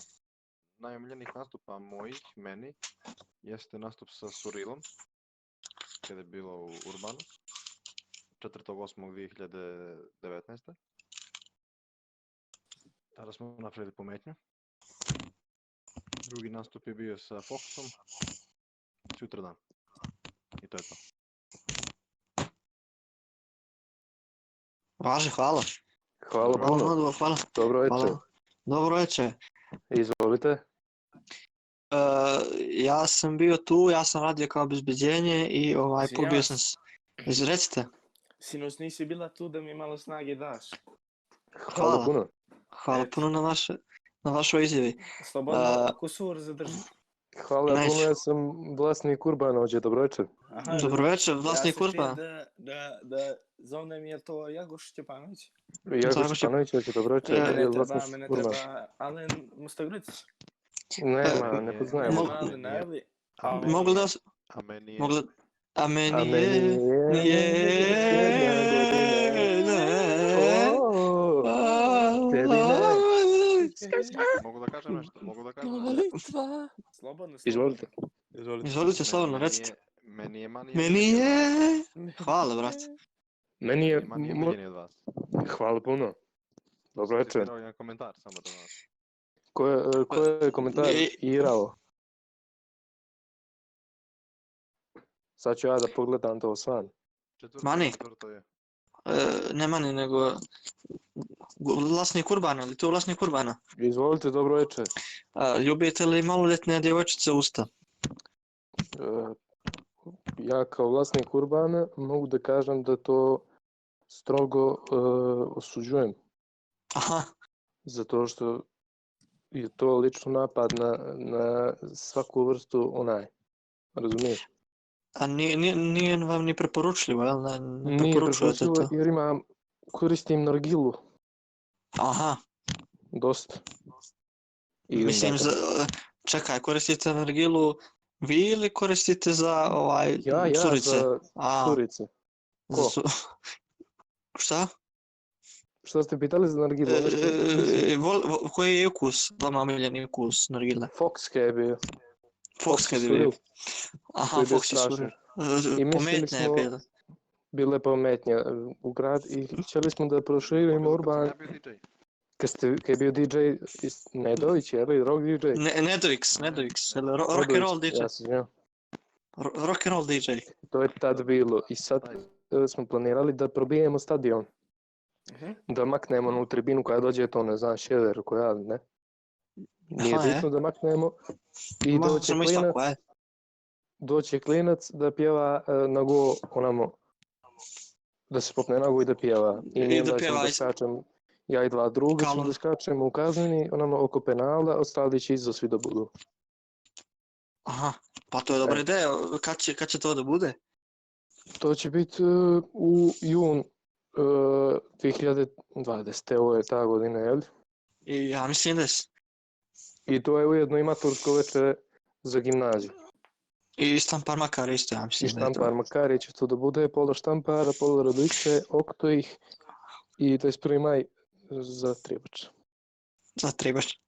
Speaker 3: najomiljenijih nastupa mojih, meni, jeste nastup sa Surilom, kada je bilo u Urbanu, 4.8.2019. Tada smo napravili pometnju. Drugi nastup je bio sa Foxom, sutra dan. I to je to.
Speaker 1: Važi, hvala.
Speaker 5: Hvala
Speaker 1: Hvala, na
Speaker 5: puno.
Speaker 1: odgovoru, hvala.
Speaker 5: Dobro večer.
Speaker 1: Hvala. Dobro večer.
Speaker 5: Izvolite.
Speaker 1: E, ja sam bio tu, ja sam radio kao obezbeđenje i ovaj,
Speaker 4: Jesi
Speaker 1: pobio
Speaker 4: ja?
Speaker 1: sam se. Izrecite.
Speaker 4: Sinoć nisi bila tu da mi malo snage daš.
Speaker 5: Hvala,
Speaker 1: Hvala.
Speaker 5: puno.
Speaker 1: Hvala puno na, vaše, na vašoj izjavi.
Speaker 4: Slobodno,
Speaker 1: A-
Speaker 4: ako sur zadrži.
Speaker 5: Hvala
Speaker 1: Nice.
Speaker 5: puno, ja sam vlasnik Urbana ovdje, dobro večer.
Speaker 4: Aha,
Speaker 1: Dobro večer, vlasnik
Speaker 4: ja sam htio
Speaker 1: Urbana.
Speaker 4: Da, da, da zovnem je to Jagoš Stjepanović.
Speaker 5: Jako
Speaker 1: Zagorče.
Speaker 5: Španović ovdje, dobro večer.
Speaker 1: E,
Speaker 5: Ja,
Speaker 4: Mene
Speaker 5: ja,
Speaker 4: treba,
Speaker 5: vlasnik
Speaker 4: mene
Speaker 5: Urbana.
Speaker 4: treba Alen Mustagric.
Speaker 5: Nema, ne poznajem.
Speaker 1: Mogu-
Speaker 4: Nema Alen, najavli.
Speaker 3: A meni,
Speaker 1: Mogu li da... vas-
Speaker 3: a meni je-
Speaker 1: Mogu da... A meni
Speaker 5: A meni
Speaker 1: je...
Speaker 5: je-
Speaker 1: je-
Speaker 5: O,
Speaker 1: ne.
Speaker 5: tebi ne.
Speaker 3: nešto mogu da kažem?
Speaker 5: Molitva.
Speaker 4: Slobodno, slobodno.
Speaker 5: Izvolite.
Speaker 2: Izvolite.
Speaker 1: Izvolite, slobodno
Speaker 3: Meni je-
Speaker 1: recite.
Speaker 3: Meni je manje
Speaker 1: Meni
Speaker 3: viđenje od vas.
Speaker 1: je... Hvala, brate.
Speaker 5: Meni je...
Speaker 3: Manje
Speaker 5: mo-
Speaker 3: viđenje od vas.
Speaker 5: Hvala puno. Dobro
Speaker 3: Sam
Speaker 5: večer.
Speaker 3: citirao jedan komentar samo da vas.
Speaker 5: Ko je, ko je komentar
Speaker 1: Ne.
Speaker 5: irao? Sad ću ja da pogledam to svan.
Speaker 3: Četvrto,
Speaker 1: Mani.
Speaker 3: četvrto je.
Speaker 1: E, ne mani, nego vlasnik Urbana, ali to je vlasnik Urbana.
Speaker 5: Izvolite, dobro večer.
Speaker 1: A, ljubite li maloljetne djevojčice usta?
Speaker 5: E, Ja kao vlasnik Urbana mogu da kažem da to strogo e, osuđujem.
Speaker 1: Aha,
Speaker 5: zato što je to lično napad na, na svaku vrstu onaj. Razumiješ?
Speaker 1: a nije, nije, nije vam ni preporučljivo, jel? Ne, ne
Speaker 5: Nije
Speaker 1: preporučujete
Speaker 5: preporučljivo
Speaker 1: to.
Speaker 5: jer imam, koristim nargilu
Speaker 1: Aha,
Speaker 5: dosta. Idem
Speaker 1: mislim,
Speaker 5: dakle.
Speaker 1: za, e, čekaj, koristite nargilu vi ili koristite za ovaj,
Speaker 5: ja, ja,
Speaker 1: curice?
Speaker 5: za
Speaker 1: A,
Speaker 5: curice.
Speaker 1: za
Speaker 5: ko?
Speaker 1: su... Šta?
Speaker 5: Šta ste pitali za nargilu?
Speaker 1: E, e, vol, vo- koji je ukus, vama omiljeni ukus nargile?
Speaker 5: Fox kaj je bio.
Speaker 1: Fox kad je
Speaker 5: suril,
Speaker 1: bio.
Speaker 5: koji
Speaker 1: Aha,
Speaker 5: je bio
Speaker 1: Fox je
Speaker 5: strašan.
Speaker 1: suril.
Speaker 5: I
Speaker 1: E,
Speaker 5: mislili
Speaker 1: Pometna je
Speaker 5: smo-
Speaker 1: bila.
Speaker 5: Bile pametnje e, u grad i htjeli smo da proširimo
Speaker 3: Kad
Speaker 5: urban.
Speaker 3: sam ja bio DJ.
Speaker 5: Kad, ste, kad je bio DJ iz Nedović, je li? Rock DJ?
Speaker 1: Ne, Nedrix, Nedrix, jel, ro, Mm, rock and roll
Speaker 5: Nedović,
Speaker 1: DJ.
Speaker 5: Ja se izvinjam.
Speaker 1: Ro- Rock and roll DJ.
Speaker 5: To je tad bilo i sad
Speaker 3: Taj,
Speaker 5: e, smo planirali da probijemo stadion.
Speaker 4: Mhm.
Speaker 5: Da maknemo onu tribinu koja dođe, to ne znam, Šever koja, ne? Nije
Speaker 1: Aha, je.
Speaker 5: bitno da maknemo. I
Speaker 1: Ma,
Speaker 5: doće
Speaker 1: ćemo isto
Speaker 5: klinac,
Speaker 1: tako, e? ajde.
Speaker 5: doće klinac da pjeva e, na go, onamo, da se popne na go i da pjeva. I,
Speaker 1: I
Speaker 5: mi
Speaker 1: da
Speaker 5: onda ćemo
Speaker 1: pjeva,
Speaker 5: da
Speaker 1: ajde.
Speaker 5: skačem, ja i dva druga ćemo
Speaker 1: Kalon.
Speaker 5: da skačemo u kazneni, onamo oko penala, ostali će izo svi da budu.
Speaker 1: Aha, pa to je dobra
Speaker 5: Evo.
Speaker 1: ideja. Kad će, kad će to da bude?
Speaker 5: To će biti u jun e, 2020. Ovo je ta godina, jel?
Speaker 1: I ja mislim da s-
Speaker 5: I to je ujedno i matursko večer za gimnaziju.
Speaker 1: I štampar makar isto, ja
Speaker 5: I
Speaker 1: mislim da je to.
Speaker 5: štampar Makarić to da bude, pola štampara, pola radlice, okto ih i 21. maj za Tribač.
Speaker 1: Za trebaš.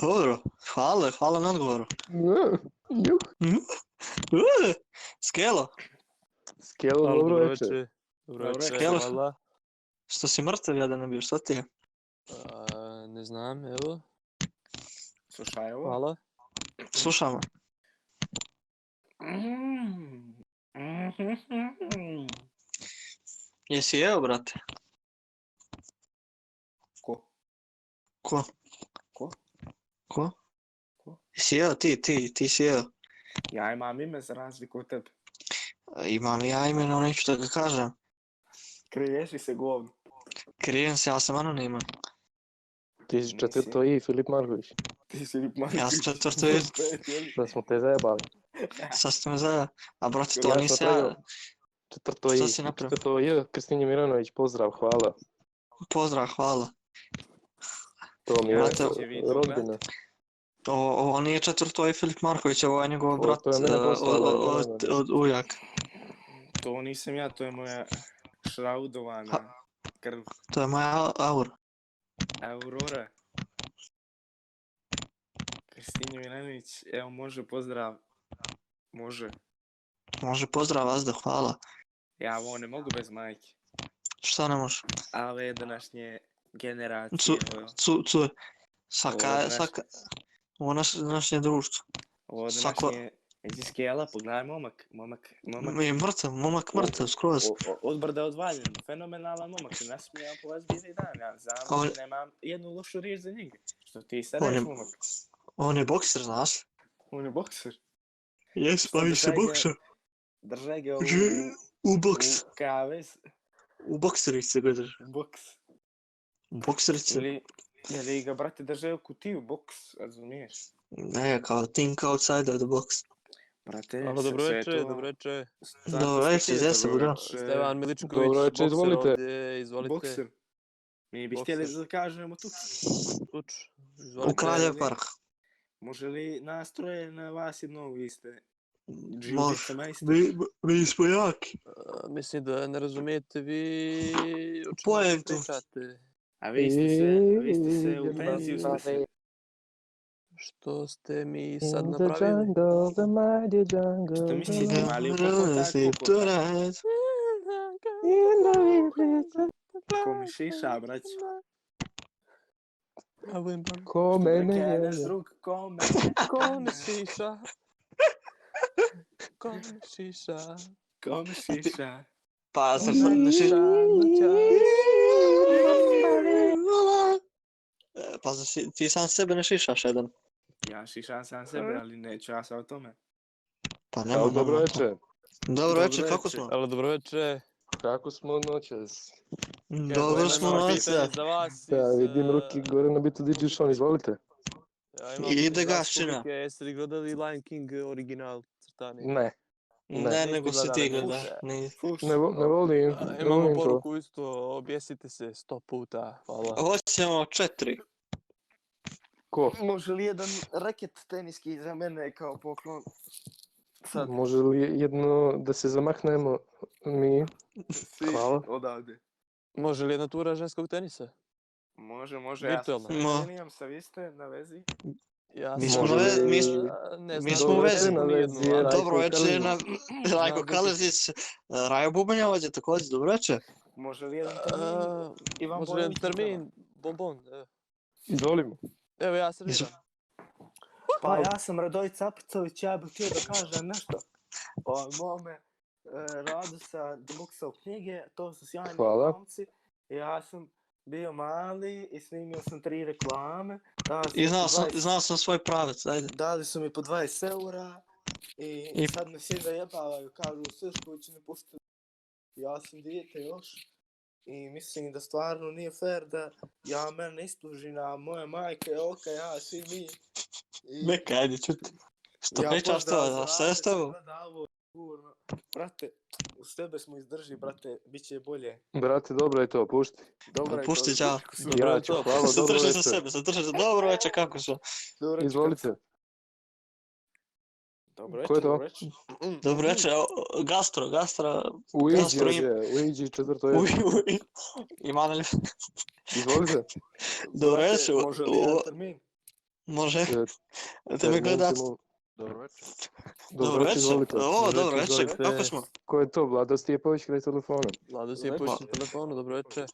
Speaker 1: Dobro, hvala, hvala na odgovoru. Uh, Skelo,
Speaker 5: Skelo,
Speaker 2: Hvala,
Speaker 5: dobro večer.
Speaker 2: Dobro
Speaker 4: Dobro
Speaker 2: večer,
Speaker 1: večer.
Speaker 2: hvala.
Speaker 1: što si mrtav jadan ne bio, što ti je?
Speaker 2: A, ne znam, evo,
Speaker 4: Slušaj ovo.
Speaker 2: hvala.
Speaker 1: Slušamo.
Speaker 4: Mm. Mhm.
Speaker 1: Jesi jeo, brate?
Speaker 4: Ko?
Speaker 1: Ko?
Speaker 4: Ko?
Speaker 1: Ko?
Speaker 4: Ko?
Speaker 1: Jesi jeo ti, ti, ti si jeo.
Speaker 4: Ja imam ime za razliku od tebe.
Speaker 1: E, Imam ja ime, no neću da ga kažem.
Speaker 4: Kriješi se govno.
Speaker 1: Krijem se, ja sam anoniman.
Speaker 5: Ti si četvrto i Filip Marković,
Speaker 4: Ti si Filip Marković.
Speaker 1: Ja sam četvrto i-
Speaker 5: da smo te zajebali.
Speaker 1: Sad ste me zajeli. A brate, to
Speaker 5: Ja sam
Speaker 1: nisam
Speaker 5: tragao.
Speaker 1: ja.
Speaker 5: Četvrto i,
Speaker 1: Šta si napravio?
Speaker 5: četvrto i, Kristinje Miranović, pozdrav, hvala.
Speaker 1: Pozdrav, hvala.
Speaker 5: To mi je
Speaker 1: Brate,
Speaker 4: hoće vi to
Speaker 5: rodbina.
Speaker 1: Ovo, ovo nije četvrto je Filip Marković, ovo je njegov
Speaker 5: Ovo,
Speaker 1: brat
Speaker 5: to je mene
Speaker 1: e, od,
Speaker 5: poslao,
Speaker 1: od,
Speaker 5: ovo je
Speaker 1: od, od ujak.
Speaker 4: To nisam ja, to je moja šraudovana
Speaker 1: Ha.
Speaker 4: krv.
Speaker 1: To je moja au- aura.
Speaker 4: Aurora. Kristinja Milanović, evo može pozdrav. Može.
Speaker 1: Može pozdrav vas da hvala.
Speaker 4: Ja ovo ne mogu bez majke.
Speaker 1: Šta ne može?
Speaker 4: Ale današnje generacije,
Speaker 1: Cu-
Speaker 4: ovo-
Speaker 1: Cu, cu. Svaka,
Speaker 4: Ovo
Speaker 1: ovo
Speaker 4: je
Speaker 1: svaka, ovo naš, naše društvo.
Speaker 4: ovo
Speaker 1: svako-
Speaker 4: današnje iz skela, pogledaj momak, momak, momak.
Speaker 1: Mi je mrtav, momak mrtav, skroz.
Speaker 4: O- o- Od brda odvaljen, fenomenalan momak, i nasmijavam po vas bizi dan, ja znam,
Speaker 1: On-
Speaker 4: da nemam jednu lošu riječ za njega. Što ti sad
Speaker 1: On je-
Speaker 4: reći momak?
Speaker 1: On je bokser, znaš?
Speaker 4: On je bokser.
Speaker 1: Jes,
Speaker 4: Sad
Speaker 1: bavi se
Speaker 4: daj ga-
Speaker 1: bokser.
Speaker 4: Držaj ga u,
Speaker 1: Ž- U boks,
Speaker 4: u kavez,
Speaker 1: u bokserice ga drži.
Speaker 4: boks.
Speaker 1: U bokserice.
Speaker 4: Ili, ili ga, brate, drže u kutiju, boks, razumiješ?
Speaker 1: Ne, kao think outside of the box.
Speaker 4: Brate,
Speaker 2: Hvala,
Speaker 4: sve-
Speaker 2: dobro
Speaker 4: sve je
Speaker 2: večer,
Speaker 4: to-
Speaker 2: dobro večer.
Speaker 4: Zato
Speaker 1: Dobro
Speaker 4: što ti
Speaker 1: večer,
Speaker 4: je
Speaker 1: Zesa,
Speaker 4: dobro
Speaker 1: bro.
Speaker 4: večer.
Speaker 2: Stevan Miličković,
Speaker 5: Dobro večer,
Speaker 2: bokser
Speaker 5: izvolite.
Speaker 2: ovdje, izvolite.
Speaker 4: Bokser. Mi bi
Speaker 2: Bokser.
Speaker 4: htjeli da kažemo tu.
Speaker 2: Tuč,
Speaker 1: U
Speaker 2: izvolite.
Speaker 1: Kraljev park.
Speaker 4: Može li nastroje na vas jednog, vi ste
Speaker 1: Može.
Speaker 4: džudice majstor?
Speaker 1: Mi, mi smo jaki.
Speaker 2: A, Mislim da ne razumijete vi o čemu
Speaker 1: Poentu.
Speaker 2: pričate.
Speaker 4: A vi ste se, vi ste se u penziju ste se.
Speaker 2: što ste mi
Speaker 5: In
Speaker 2: sad
Speaker 5: the
Speaker 2: napravili.
Speaker 5: jungle, the mighty jungle.
Speaker 4: Što misliš,
Speaker 5: the
Speaker 4: ali
Speaker 1: Don't
Speaker 4: upravo
Speaker 1: wanna
Speaker 4: tako,
Speaker 1: sleep
Speaker 4: ko-
Speaker 1: tonight.
Speaker 5: In the village,
Speaker 4: Kome šiša, brać?
Speaker 2: A vem pa
Speaker 5: Ko mene
Speaker 4: Kene,
Speaker 5: je.
Speaker 4: drug, kome?
Speaker 2: Kone šiša. Kone šiša.
Speaker 4: Kome šiša?
Speaker 1: Pa, zar sad
Speaker 2: Ona
Speaker 1: ne si...
Speaker 2: šiša na čas.
Speaker 1: E, Pa, zar si- ti sam sebe ne šišaš jedan?
Speaker 4: Ja šišam sam sebe, ali neću ja sad o tome.
Speaker 1: Pa nema,
Speaker 5: Ćao,
Speaker 1: nema.
Speaker 5: dobro večer.
Speaker 1: Dobro večer,
Speaker 4: Dobro
Speaker 1: kako
Speaker 4: večer.
Speaker 1: smo?
Speaker 2: Alo, dobro večer.
Speaker 5: Kako smo noćas?
Speaker 1: Dobro smo noća.
Speaker 2: Za vas
Speaker 5: Ja
Speaker 2: iz,
Speaker 5: vidim
Speaker 2: eh,
Speaker 5: ruki gore na bitu DJ Sean, izvolite.
Speaker 2: ja imam
Speaker 1: Ide
Speaker 2: za
Speaker 1: gaščina.
Speaker 2: publike, Jeste li gledali Lion King eh, original crtani?
Speaker 5: Ne, Ne,
Speaker 1: Ne, nego
Speaker 2: nisi
Speaker 1: si
Speaker 2: gledala,
Speaker 1: ti
Speaker 2: ne.
Speaker 1: gledaš. Ne.
Speaker 4: Fuš.
Speaker 5: ne, vo- ne volim.
Speaker 2: A,
Speaker 5: Ne
Speaker 2: Imamo
Speaker 5: volim to.
Speaker 2: poruku isto, objesite se sto puta, hvala.
Speaker 1: Hoćemo četiri.
Speaker 5: Ko?
Speaker 4: Može li jedan raket teniski za mene kao poklon? Sad,
Speaker 5: Može li jedno da se zamahnemo mi?
Speaker 4: svi
Speaker 5: hvala.
Speaker 4: odavde.
Speaker 2: Može li jedna tura ženskog tenisa?
Speaker 4: Može, može, ja sam
Speaker 2: Virtualno.
Speaker 1: Ma.
Speaker 4: imam sa vi ste na vezi.
Speaker 2: Ja
Speaker 1: Mi
Speaker 2: sam-
Speaker 1: smo
Speaker 5: Može
Speaker 1: ve- mi smo-
Speaker 5: li-
Speaker 2: A, ne
Speaker 1: mi
Speaker 2: znam,
Speaker 1: smo
Speaker 2: dobro,
Speaker 1: vezani.
Speaker 2: jednu, jednu,
Speaker 5: Vezi je
Speaker 2: a,
Speaker 5: Rajko
Speaker 1: Dobro večer, na...
Speaker 5: Karadžić.
Speaker 1: Rajko
Speaker 2: Da,
Speaker 1: Kalazić, Rajo Bubanjevađe također, dobro večer.
Speaker 4: Može li jedan termin?
Speaker 2: a,
Speaker 4: Ivan
Speaker 2: Može li jedan
Speaker 4: Bolović je
Speaker 2: termin, bonbon, evo.
Speaker 5: Izvolimo.
Speaker 2: evo ja sam
Speaker 1: Mislim-
Speaker 4: Pa ja sam Radović Capicović, ja bih htio da kažem nešto o mome e, radu sa Debuksa u knjige, to su sjajni
Speaker 5: Hvala.
Speaker 4: momci. Ja sam bio mali i snimio sam tri reklame. Dali su mi
Speaker 1: I znao
Speaker 4: po
Speaker 1: sam,
Speaker 4: 20
Speaker 1: znao sam svoj pravac, ajde.
Speaker 4: Dali su mi po 20 eura i,
Speaker 1: I-
Speaker 4: sad me svi zajebavaju, kažu Sršković ne pusti. Ja sam dijete još i mislim da stvarno nije fair da ja mene istužina, moja majka je oka, ja, svi mi. I-
Speaker 1: Neka, ajde, čuti. Što
Speaker 4: ja
Speaker 1: pričaš
Speaker 4: pozdrav
Speaker 1: to,
Speaker 4: za
Speaker 1: da sve
Speaker 4: Ante,
Speaker 1: s tobom?
Speaker 4: sad gleda ovo, sigurno. Brate, uz tebe smo izdrži, brate, bit će bolje.
Speaker 5: Brate, dobro je to, pušti.
Speaker 4: Dobro je
Speaker 1: Pusti,
Speaker 4: to.
Speaker 1: ćao.
Speaker 2: Dobro
Speaker 5: Ja
Speaker 2: je
Speaker 5: ću,
Speaker 2: to.
Speaker 5: hvala, dobro
Speaker 1: Zadrži za
Speaker 5: večer.
Speaker 1: sebe, zadrži za dobro večer, kako su?
Speaker 4: Dobro je,
Speaker 5: Izvolite.
Speaker 4: Dobro
Speaker 5: Ko je to?
Speaker 4: dobro je.
Speaker 1: Dobro večer, o, o, gastro, gastro.
Speaker 5: U
Speaker 1: Ja
Speaker 5: Iđi
Speaker 1: spremim.
Speaker 5: ovdje, u Iđi četvrto je.
Speaker 1: Uj, uj. Ima li?
Speaker 5: Izvolite.
Speaker 1: Dobro
Speaker 4: Brate,
Speaker 1: večer.
Speaker 4: Može li
Speaker 1: o,
Speaker 4: jedan termin?
Speaker 1: Može,
Speaker 5: E,
Speaker 1: te me
Speaker 5: termin
Speaker 1: gledat.
Speaker 5: ćemo-
Speaker 3: Dobro večer.
Speaker 1: Dobro večer.
Speaker 5: izvolite.
Speaker 1: O, dobro večer,
Speaker 5: izvolite.
Speaker 1: kako smo?
Speaker 5: Ko je to? Vlada Stjepović kraj telefona.
Speaker 2: Vlado si je
Speaker 4: Lepo.
Speaker 2: pušten telefonu, dobro večer.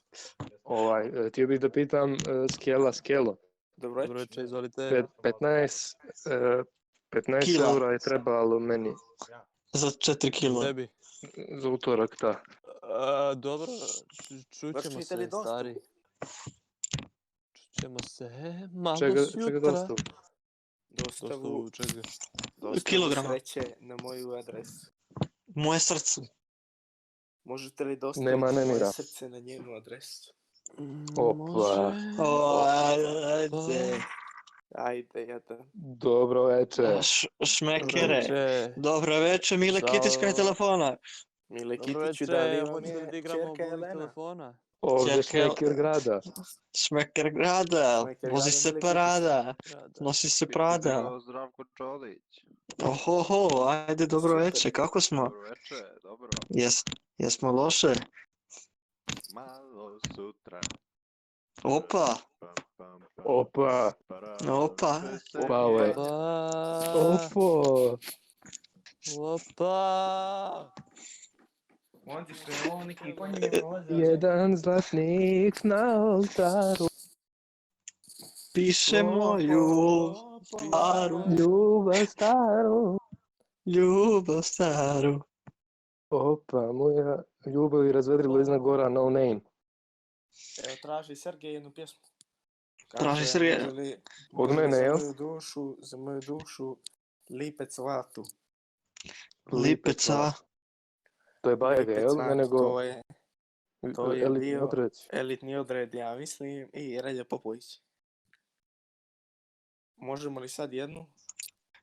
Speaker 5: Ovaj, e, htio bih da pitam e, Skela, Skelo.
Speaker 4: Dobro
Speaker 2: Dobro
Speaker 4: je.
Speaker 2: večer, izvolite.
Speaker 5: Pet- 15, e, 15
Speaker 1: E. Kila.
Speaker 5: eura je trebalo meni
Speaker 1: Za 4 kilo.
Speaker 2: Tebi.
Speaker 5: za utorak, da.
Speaker 2: A, dobro, ču- čućemo
Speaker 4: Vršite
Speaker 2: se,
Speaker 4: li dostavu?
Speaker 2: stari. Čućemo se, malo
Speaker 5: Čega,
Speaker 2: s
Speaker 5: čega
Speaker 2: jutra.
Speaker 5: dostav?
Speaker 4: Dostavu,
Speaker 2: Dostavu čega?
Speaker 4: dostavu
Speaker 1: kilograma.
Speaker 4: sreće na moju adresu.
Speaker 1: Moje srce.
Speaker 4: Možete li dostaviti
Speaker 5: Nema
Speaker 4: moje
Speaker 5: nemira.
Speaker 4: srce na njenu adresu? Mm.
Speaker 5: Opa.
Speaker 2: Može.
Speaker 1: O, ajde.
Speaker 4: Ajde, jedan.
Speaker 5: Dobro večer.
Speaker 1: Š- е,
Speaker 2: Dobro
Speaker 1: Šmekere.
Speaker 2: večer.
Speaker 1: Dobro večer, Mile
Speaker 2: Ćao.
Speaker 1: Kitić kraj telefona.
Speaker 4: Mile
Speaker 2: Dobro
Speaker 4: Kitiću, da li
Speaker 2: večer,
Speaker 4: vam
Speaker 2: hoćete da
Speaker 4: je
Speaker 2: igramo
Speaker 4: čerka
Speaker 2: mobilnog
Speaker 4: Elena?
Speaker 2: telefona?
Speaker 5: Ovdje
Speaker 1: Čekaj,
Speaker 5: šmeker grada.
Speaker 1: Šmeker grada,
Speaker 4: Šmeker grada,
Speaker 1: vozi se
Speaker 4: Mile Kitić.
Speaker 1: parada,
Speaker 2: Da, da.
Speaker 1: nosi se
Speaker 3: Pitanje
Speaker 1: prada.
Speaker 3: o Zdravko Čolić.
Speaker 1: Ohoho, ajde, dobro
Speaker 4: Super.
Speaker 1: večer, kako smo?
Speaker 3: Dobro večer, dobro.
Speaker 1: Jes, jesmo loše?
Speaker 3: Malo sutra.
Speaker 1: Opa,
Speaker 3: Pam, pam, pam,
Speaker 5: Opa.
Speaker 3: para,
Speaker 1: Opa.
Speaker 3: sve se
Speaker 5: Opa, ovaj.
Speaker 3: mijenja.
Speaker 2: Opa,
Speaker 5: Opo.
Speaker 2: opa.
Speaker 4: On ti štelovnik i on je mozak.
Speaker 5: Jedan zlatnik na oltaru.
Speaker 1: piše moju paru,
Speaker 5: Ljubav staru.
Speaker 1: ljubav staru.
Speaker 5: Opa, moja ljubav je razvedrila iznad gora, no name.
Speaker 4: Evo, traži Sergej jednu pjesmu.
Speaker 1: Traži Sergej.
Speaker 4: Ili,
Speaker 5: Od mene,
Speaker 4: za
Speaker 5: jel?
Speaker 4: moju dušu, za moju dušu, lipec vatu.
Speaker 1: Lipeca,
Speaker 5: To je Bajega,
Speaker 4: Lipec
Speaker 5: jel?
Speaker 4: vatu,
Speaker 5: Ne nego
Speaker 4: To je to je
Speaker 5: Elit
Speaker 4: bio-
Speaker 5: Modrec.
Speaker 4: elitni odred, ja mislim, i Relja Popović. Možemo li sad jednu?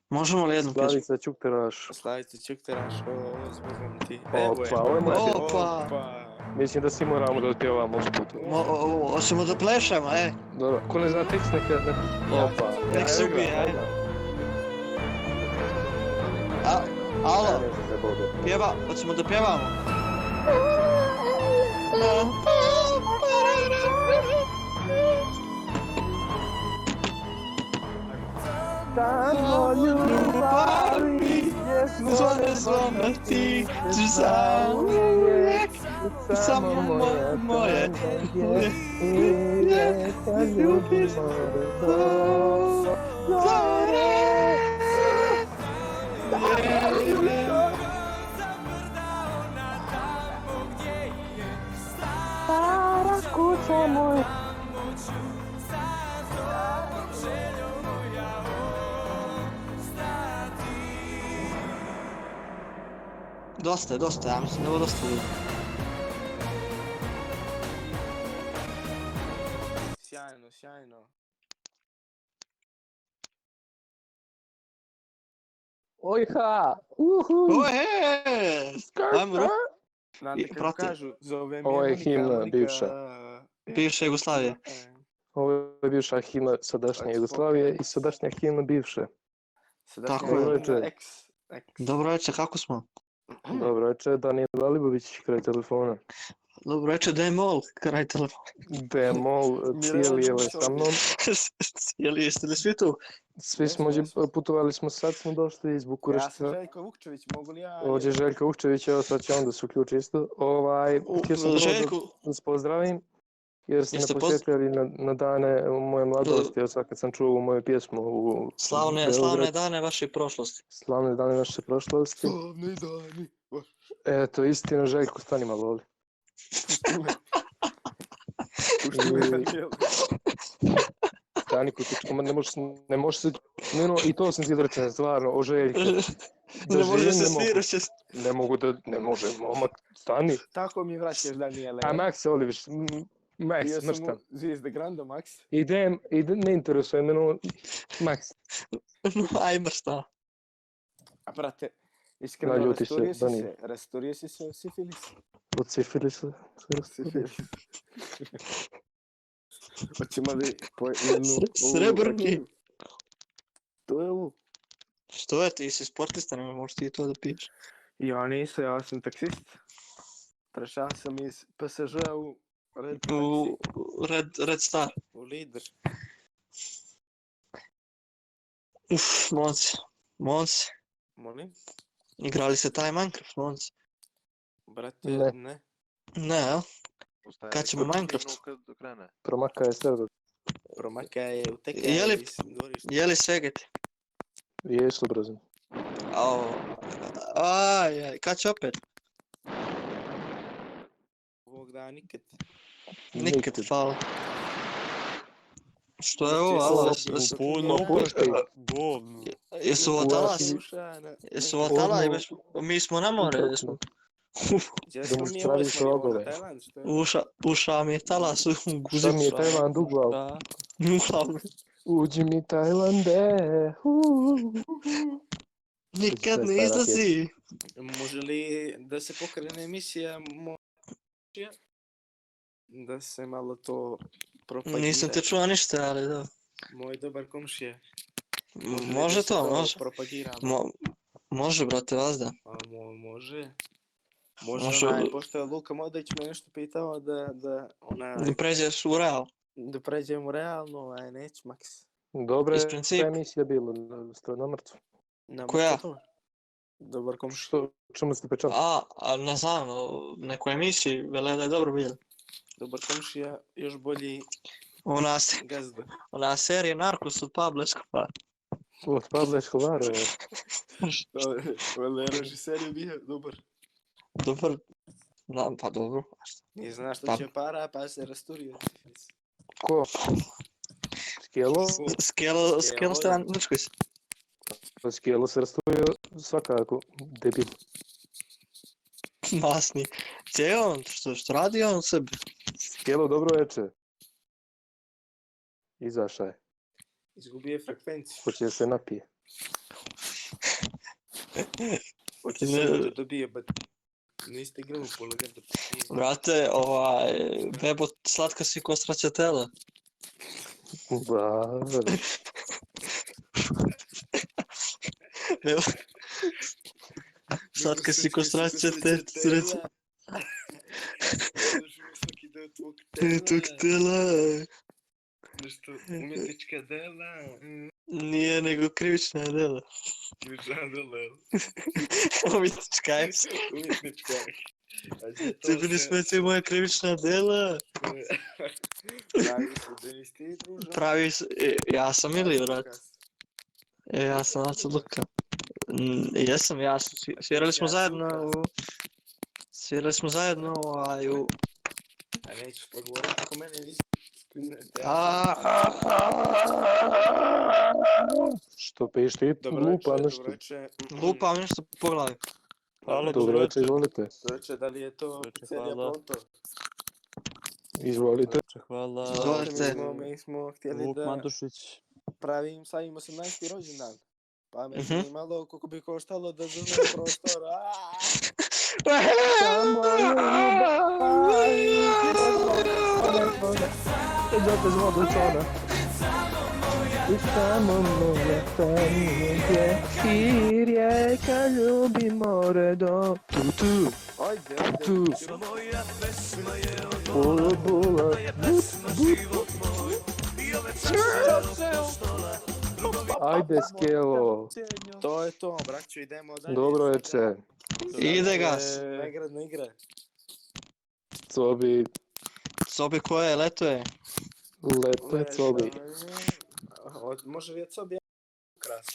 Speaker 1: možemo li jednu pjesmu?
Speaker 5: Slavica Čukteraš.
Speaker 4: Stavite Čukteraš, o, zbogom ti.
Speaker 5: Opa, ovo je moja
Speaker 1: Opa.
Speaker 5: pjesma. Mislim da svi moramo da otpjevamo ovu putu.
Speaker 1: Mo- o- o- Hoćemo da plešemo, e?
Speaker 5: Dobro, ko ne zna tekst, neka... neka-
Speaker 4: Ja
Speaker 5: Opa.
Speaker 4: ću-
Speaker 5: Ja,
Speaker 1: Nek se
Speaker 5: evo ga,
Speaker 1: ubije,
Speaker 5: evo
Speaker 1: ajde.
Speaker 5: ga.
Speaker 1: A, alo,
Speaker 5: Ne znam se Boga.
Speaker 1: pjeva, hoćemo da pjevamo?
Speaker 7: Thank
Speaker 1: Звони, звони, ти ж сам, як само моє, моє, моє, моє, любиш, зоре. Я люблю.
Speaker 7: Stara kuća moj
Speaker 1: Dosta je, dosta, je, ja mislim da je ovo dosta bilo.
Speaker 4: Sjajno, sjajno.
Speaker 5: Ojha! Uhu!
Speaker 1: Ohe! Ajmo, bro.
Speaker 4: Znate
Speaker 1: I
Speaker 4: kako
Speaker 1: prati.
Speaker 4: kažu, za ove
Speaker 5: Ovo je
Speaker 4: mjemonika,
Speaker 5: himna
Speaker 4: monika,
Speaker 5: bivša.
Speaker 4: e,
Speaker 1: Bivša Jugoslavija.
Speaker 4: e,
Speaker 5: Ovo je bivša himna sadašnje Jugoslavije i sadašnja himna bivše.
Speaker 4: sadašnja
Speaker 1: Tako je.
Speaker 4: himna
Speaker 5: Dobro večer.
Speaker 4: X, X.
Speaker 1: Dobro večer, kako smo?
Speaker 5: Dobro večer, Danijel Alibović kraj telefona.
Speaker 1: Dobro večer, Demol, kraj telefona.
Speaker 5: Demol cijeli je ovaj sa mnom.
Speaker 1: Jeli jeste li svi tu?
Speaker 5: Svi smo,
Speaker 4: Jesmo, jesmo.
Speaker 5: putovali smo, sad smo došli iz
Speaker 4: Ja sam
Speaker 5: Bukurešta.
Speaker 4: Željko Vukčević, mogu li ja...
Speaker 5: Ovdje je Željko Uhčević, evo sad će onda se uključi isto. Ovaj,
Speaker 1: U,
Speaker 5: htio sam prvo da-
Speaker 1: Željko,
Speaker 5: da vas pozdravim, jer ste me
Speaker 1: Jeste poz-
Speaker 5: posjetili na, na dane moje mladosti, od sad kad sam čuo ovu moju pjesmu u
Speaker 1: slavne,
Speaker 5: Beograd,
Speaker 1: slavne dane vaše prošlosti.
Speaker 5: slavne dane naše prošlosti.
Speaker 4: Slavni dani.
Speaker 5: Eto, istina, Željko, stani malo ovdje.
Speaker 4: Pušti me, Daniel.
Speaker 5: Stani kutičko, ma ne možeš, ne možeš se... Ne, no, i to sam ti izrečen, stvarno, o Željku. Da
Speaker 1: ne može
Speaker 5: živim
Speaker 1: se
Speaker 5: ne mogu.
Speaker 1: svirati. će se-
Speaker 5: Ne mogu da, ne može, momak, stani.
Speaker 4: Tako mi vraćaš, Daniele.
Speaker 5: A Max Oliviš, m,
Speaker 4: Bio
Speaker 5: Max,
Speaker 4: sam
Speaker 5: mrštan.
Speaker 4: u Zvijezde Granda, Max.
Speaker 5: Idem, idem, ne interesuje me, no, Max,
Speaker 1: No, ajmo šta.
Speaker 4: A brate, iskreno,
Speaker 5: Da, ljuti se,
Speaker 4: rasturio si
Speaker 5: No, Daniel.
Speaker 4: se, rasturio si se od sifilisa.
Speaker 5: od sifilisa.
Speaker 4: Sifilis. Hoćemo li po jednu...
Speaker 1: Sre-
Speaker 4: ovu
Speaker 1: srebrni.
Speaker 4: rakiju? To je ovo.
Speaker 1: Što je, ti si sportista, ne možeš ti to da piješ.
Speaker 4: Ja nisam, ja sam taksist. Prešao sam iz PSG u Red Taxi,
Speaker 1: U Red, Red Star.
Speaker 4: u Lider.
Speaker 1: Uf, momci, momci,
Speaker 4: Molim?
Speaker 1: igrali ste taj Minecraft, momci.
Speaker 4: Brate,
Speaker 5: Ne.
Speaker 4: ne.
Speaker 1: Ne, jel?
Speaker 3: Ostaje
Speaker 1: Kad
Speaker 3: mi
Speaker 1: ćemo
Speaker 3: koliko
Speaker 1: Minecraft?
Speaker 3: minuta Kad krene.
Speaker 5: Promaka je srdo.
Speaker 4: Promaka je u TK
Speaker 1: Je li-
Speaker 4: iz dvorišta.
Speaker 1: Jeli svegeti?
Speaker 5: Jesu, brzo.
Speaker 1: Au. Aj, aj, kad će opet?
Speaker 4: Ovog dana nikad.
Speaker 1: Nikad, hvala. Što je ovo,
Speaker 4: Često
Speaker 1: alo?
Speaker 4: se
Speaker 1: jesu-
Speaker 2: Puno
Speaker 5: Opuštaj.
Speaker 2: bolno.
Speaker 1: Jesu vatala,
Speaker 5: Ulaz-
Speaker 4: Sluša, na...
Speaker 1: jesu vatala,
Speaker 5: Ono-
Speaker 1: mi smo na more,
Speaker 5: Kako?
Speaker 1: jesmo.
Speaker 4: Gdje
Speaker 5: da
Speaker 4: smo
Speaker 5: mu
Speaker 4: mi
Speaker 5: spraviš
Speaker 4: ovo smo
Speaker 5: rogove.
Speaker 4: na Tajland, što je?
Speaker 1: Uša, uša mi je talas u guzicu.
Speaker 5: Šta mi je
Speaker 1: ono.
Speaker 5: Tajland u glavu?
Speaker 2: Da.
Speaker 1: Uglavnom,
Speaker 5: Uđi mi Tajlande, uuu.
Speaker 1: Nikad
Speaker 5: Sve
Speaker 1: ne
Speaker 5: stara
Speaker 1: izlazi.
Speaker 4: Može li da se pokrene emisija mo... Da se malo to propagira.
Speaker 1: Pa Nisam te čuo ništa, ali da.
Speaker 4: Moj dobar komšija. li da
Speaker 1: Može
Speaker 4: se
Speaker 1: to, može.
Speaker 4: Propagiramo.
Speaker 1: Mo- može, brate, vas da.
Speaker 4: A mo, može.
Speaker 1: Može,
Speaker 4: Može, može onaj,
Speaker 1: ali-
Speaker 4: pošto je Luka Modrić me nešto pitao da, da, ona,
Speaker 1: Da pređeš u real.
Speaker 4: da pređemo realno, a neću maks.
Speaker 5: Dobro
Speaker 1: Iz
Speaker 5: je
Speaker 1: principa.
Speaker 5: ta emisija bila, strana mrtva.
Speaker 4: Na
Speaker 1: Koja?
Speaker 4: Moskatovo. Dobar komšija.
Speaker 5: Što, čemu ste pečali?
Speaker 1: A, a ne znam, o nekoj emisiji, vele da je dobro bilo.
Speaker 4: Dobar komšija, još bolji
Speaker 1: Ona, se-
Speaker 4: gazda.
Speaker 1: ona serija Narcos od Pablo Escobar.
Speaker 5: Od Pabla Escobara.
Speaker 4: Vele, režiser je bio dobar.
Speaker 1: Dobar. Da, pa dobro.
Speaker 4: Nije zna
Speaker 1: Pa-
Speaker 4: što će para, pa se rasturio.
Speaker 5: Ko? Skijelo?
Speaker 1: Skelo,
Speaker 4: Skelo
Speaker 1: skelo
Speaker 4: je-
Speaker 1: ste na Grčkoj.
Speaker 5: Skijelo se rasturio svakako. Debil.
Speaker 1: Masni. Gdje je on? Što, što radi on sebi?
Speaker 5: Skijelo, dobro večer. Izaša je.
Speaker 4: Izgubio je frekvenciju.
Speaker 5: Hoće da se napije.
Speaker 4: Hoće
Speaker 1: Ne.
Speaker 4: se da dobije, but niste igrali u polugadu.
Speaker 1: Brate, ovaj, bebo, slatka si ko straćatela.
Speaker 5: Da,
Speaker 1: Slatka si ko straćatela.
Speaker 4: Slušamo svaki deo tvog
Speaker 1: Tog е.
Speaker 4: tela.
Speaker 1: tela.
Speaker 4: Nešto umjetnička dela,
Speaker 1: Nije nego krivična dela.
Speaker 4: krivična dela,
Speaker 1: Umjetnička je.
Speaker 4: umjetnička. A gdje to
Speaker 1: Ti bili
Speaker 4: se-
Speaker 1: smeti moja krivična dela.
Speaker 4: Pravi se, Denis, ti družak.
Speaker 1: Pravi s- e, ja sam ili vrat? E, ja sam Aco Luka. Mm, Jesam, ja sam, svi- svirali smo
Speaker 4: Ja sam
Speaker 1: zajedno
Speaker 4: Lukas.
Speaker 1: u... Svirali smo zajedno ovaj, u...
Speaker 4: A nećeš pogovoriti ako mene nisi.
Speaker 1: A, a,
Speaker 5: Što peš ti?
Speaker 4: Dobro večer,
Speaker 5: Lupa nešto.
Speaker 4: dobro večer.
Speaker 1: lupam nešto po glavi.
Speaker 2: Halo,
Speaker 5: Dobro
Speaker 2: dobro
Speaker 5: večer,
Speaker 2: večer.
Speaker 5: izvolite.
Speaker 4: Dobro večer, da li je to
Speaker 2: Dobro večer,
Speaker 4: pizzerija
Speaker 2: hvala.
Speaker 4: Ponto?
Speaker 5: Izvolite.
Speaker 2: Hvala.
Speaker 1: Izvolite.
Speaker 4: Mi smo, mi smo htjeli
Speaker 2: Vuk
Speaker 4: da
Speaker 2: Mandušić.
Speaker 4: pravim savim 18. rođendan. Pa me
Speaker 1: Mhm.
Speaker 4: zanimalo koliko bi koštalo da zove prostor. Aaaa!
Speaker 1: Samo
Speaker 4: Ajde,
Speaker 5: Tu.
Speaker 4: ajde.
Speaker 5: Bula, bula. Ajde, skelo.
Speaker 4: To je to, braćo, idemo dalje.
Speaker 5: Dobro
Speaker 4: Sada
Speaker 5: večer.
Speaker 1: Ide ga.
Speaker 4: Nagradna igra.
Speaker 5: Cobi,
Speaker 1: Sobi koje leto je?
Speaker 5: lepe cobi.
Speaker 4: Od- Može li je cobi kras?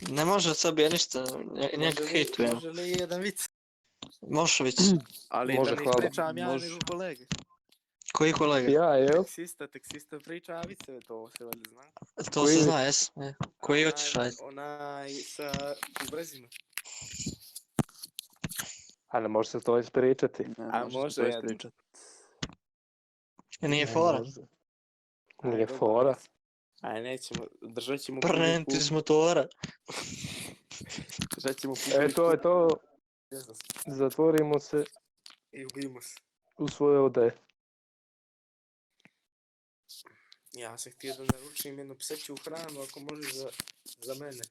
Speaker 1: Ne može sobi ja ništa, nje- njega
Speaker 4: Može li-
Speaker 1: hejtujem.
Speaker 4: Može li jedan vic?
Speaker 1: Mošović,
Speaker 4: Ali
Speaker 5: Može,
Speaker 4: da ne
Speaker 5: hvala.
Speaker 4: pričam ja
Speaker 2: Može.
Speaker 4: nego kolege.
Speaker 1: koji kolega?
Speaker 5: Ja, jel?
Speaker 4: Taksista, taksista priča, a viceve to se valjda zna.
Speaker 1: To
Speaker 5: Koji?
Speaker 1: se zna, jes? E, Koji
Speaker 4: Onaj-
Speaker 1: hoćeš raditi?
Speaker 4: Onaj sa u Brezima.
Speaker 5: A ne može se to ispričati.
Speaker 4: A može ja-
Speaker 2: ispričati.
Speaker 1: Nije
Speaker 5: Ne
Speaker 1: fora.
Speaker 5: može. Nije fora.
Speaker 4: Aj, nećemo, držat ćemo
Speaker 1: Prnenti
Speaker 4: publiku,
Speaker 1: iz motora.
Speaker 4: držat ćemo
Speaker 5: E,
Speaker 4: publiku.
Speaker 5: to je to.
Speaker 4: ne znam,
Speaker 5: Zatvorimo se
Speaker 4: I ubijemo se.
Speaker 5: u svoje ode.
Speaker 4: Ja sam htio da naručim jednu pseću hranu, ako može za, za mene.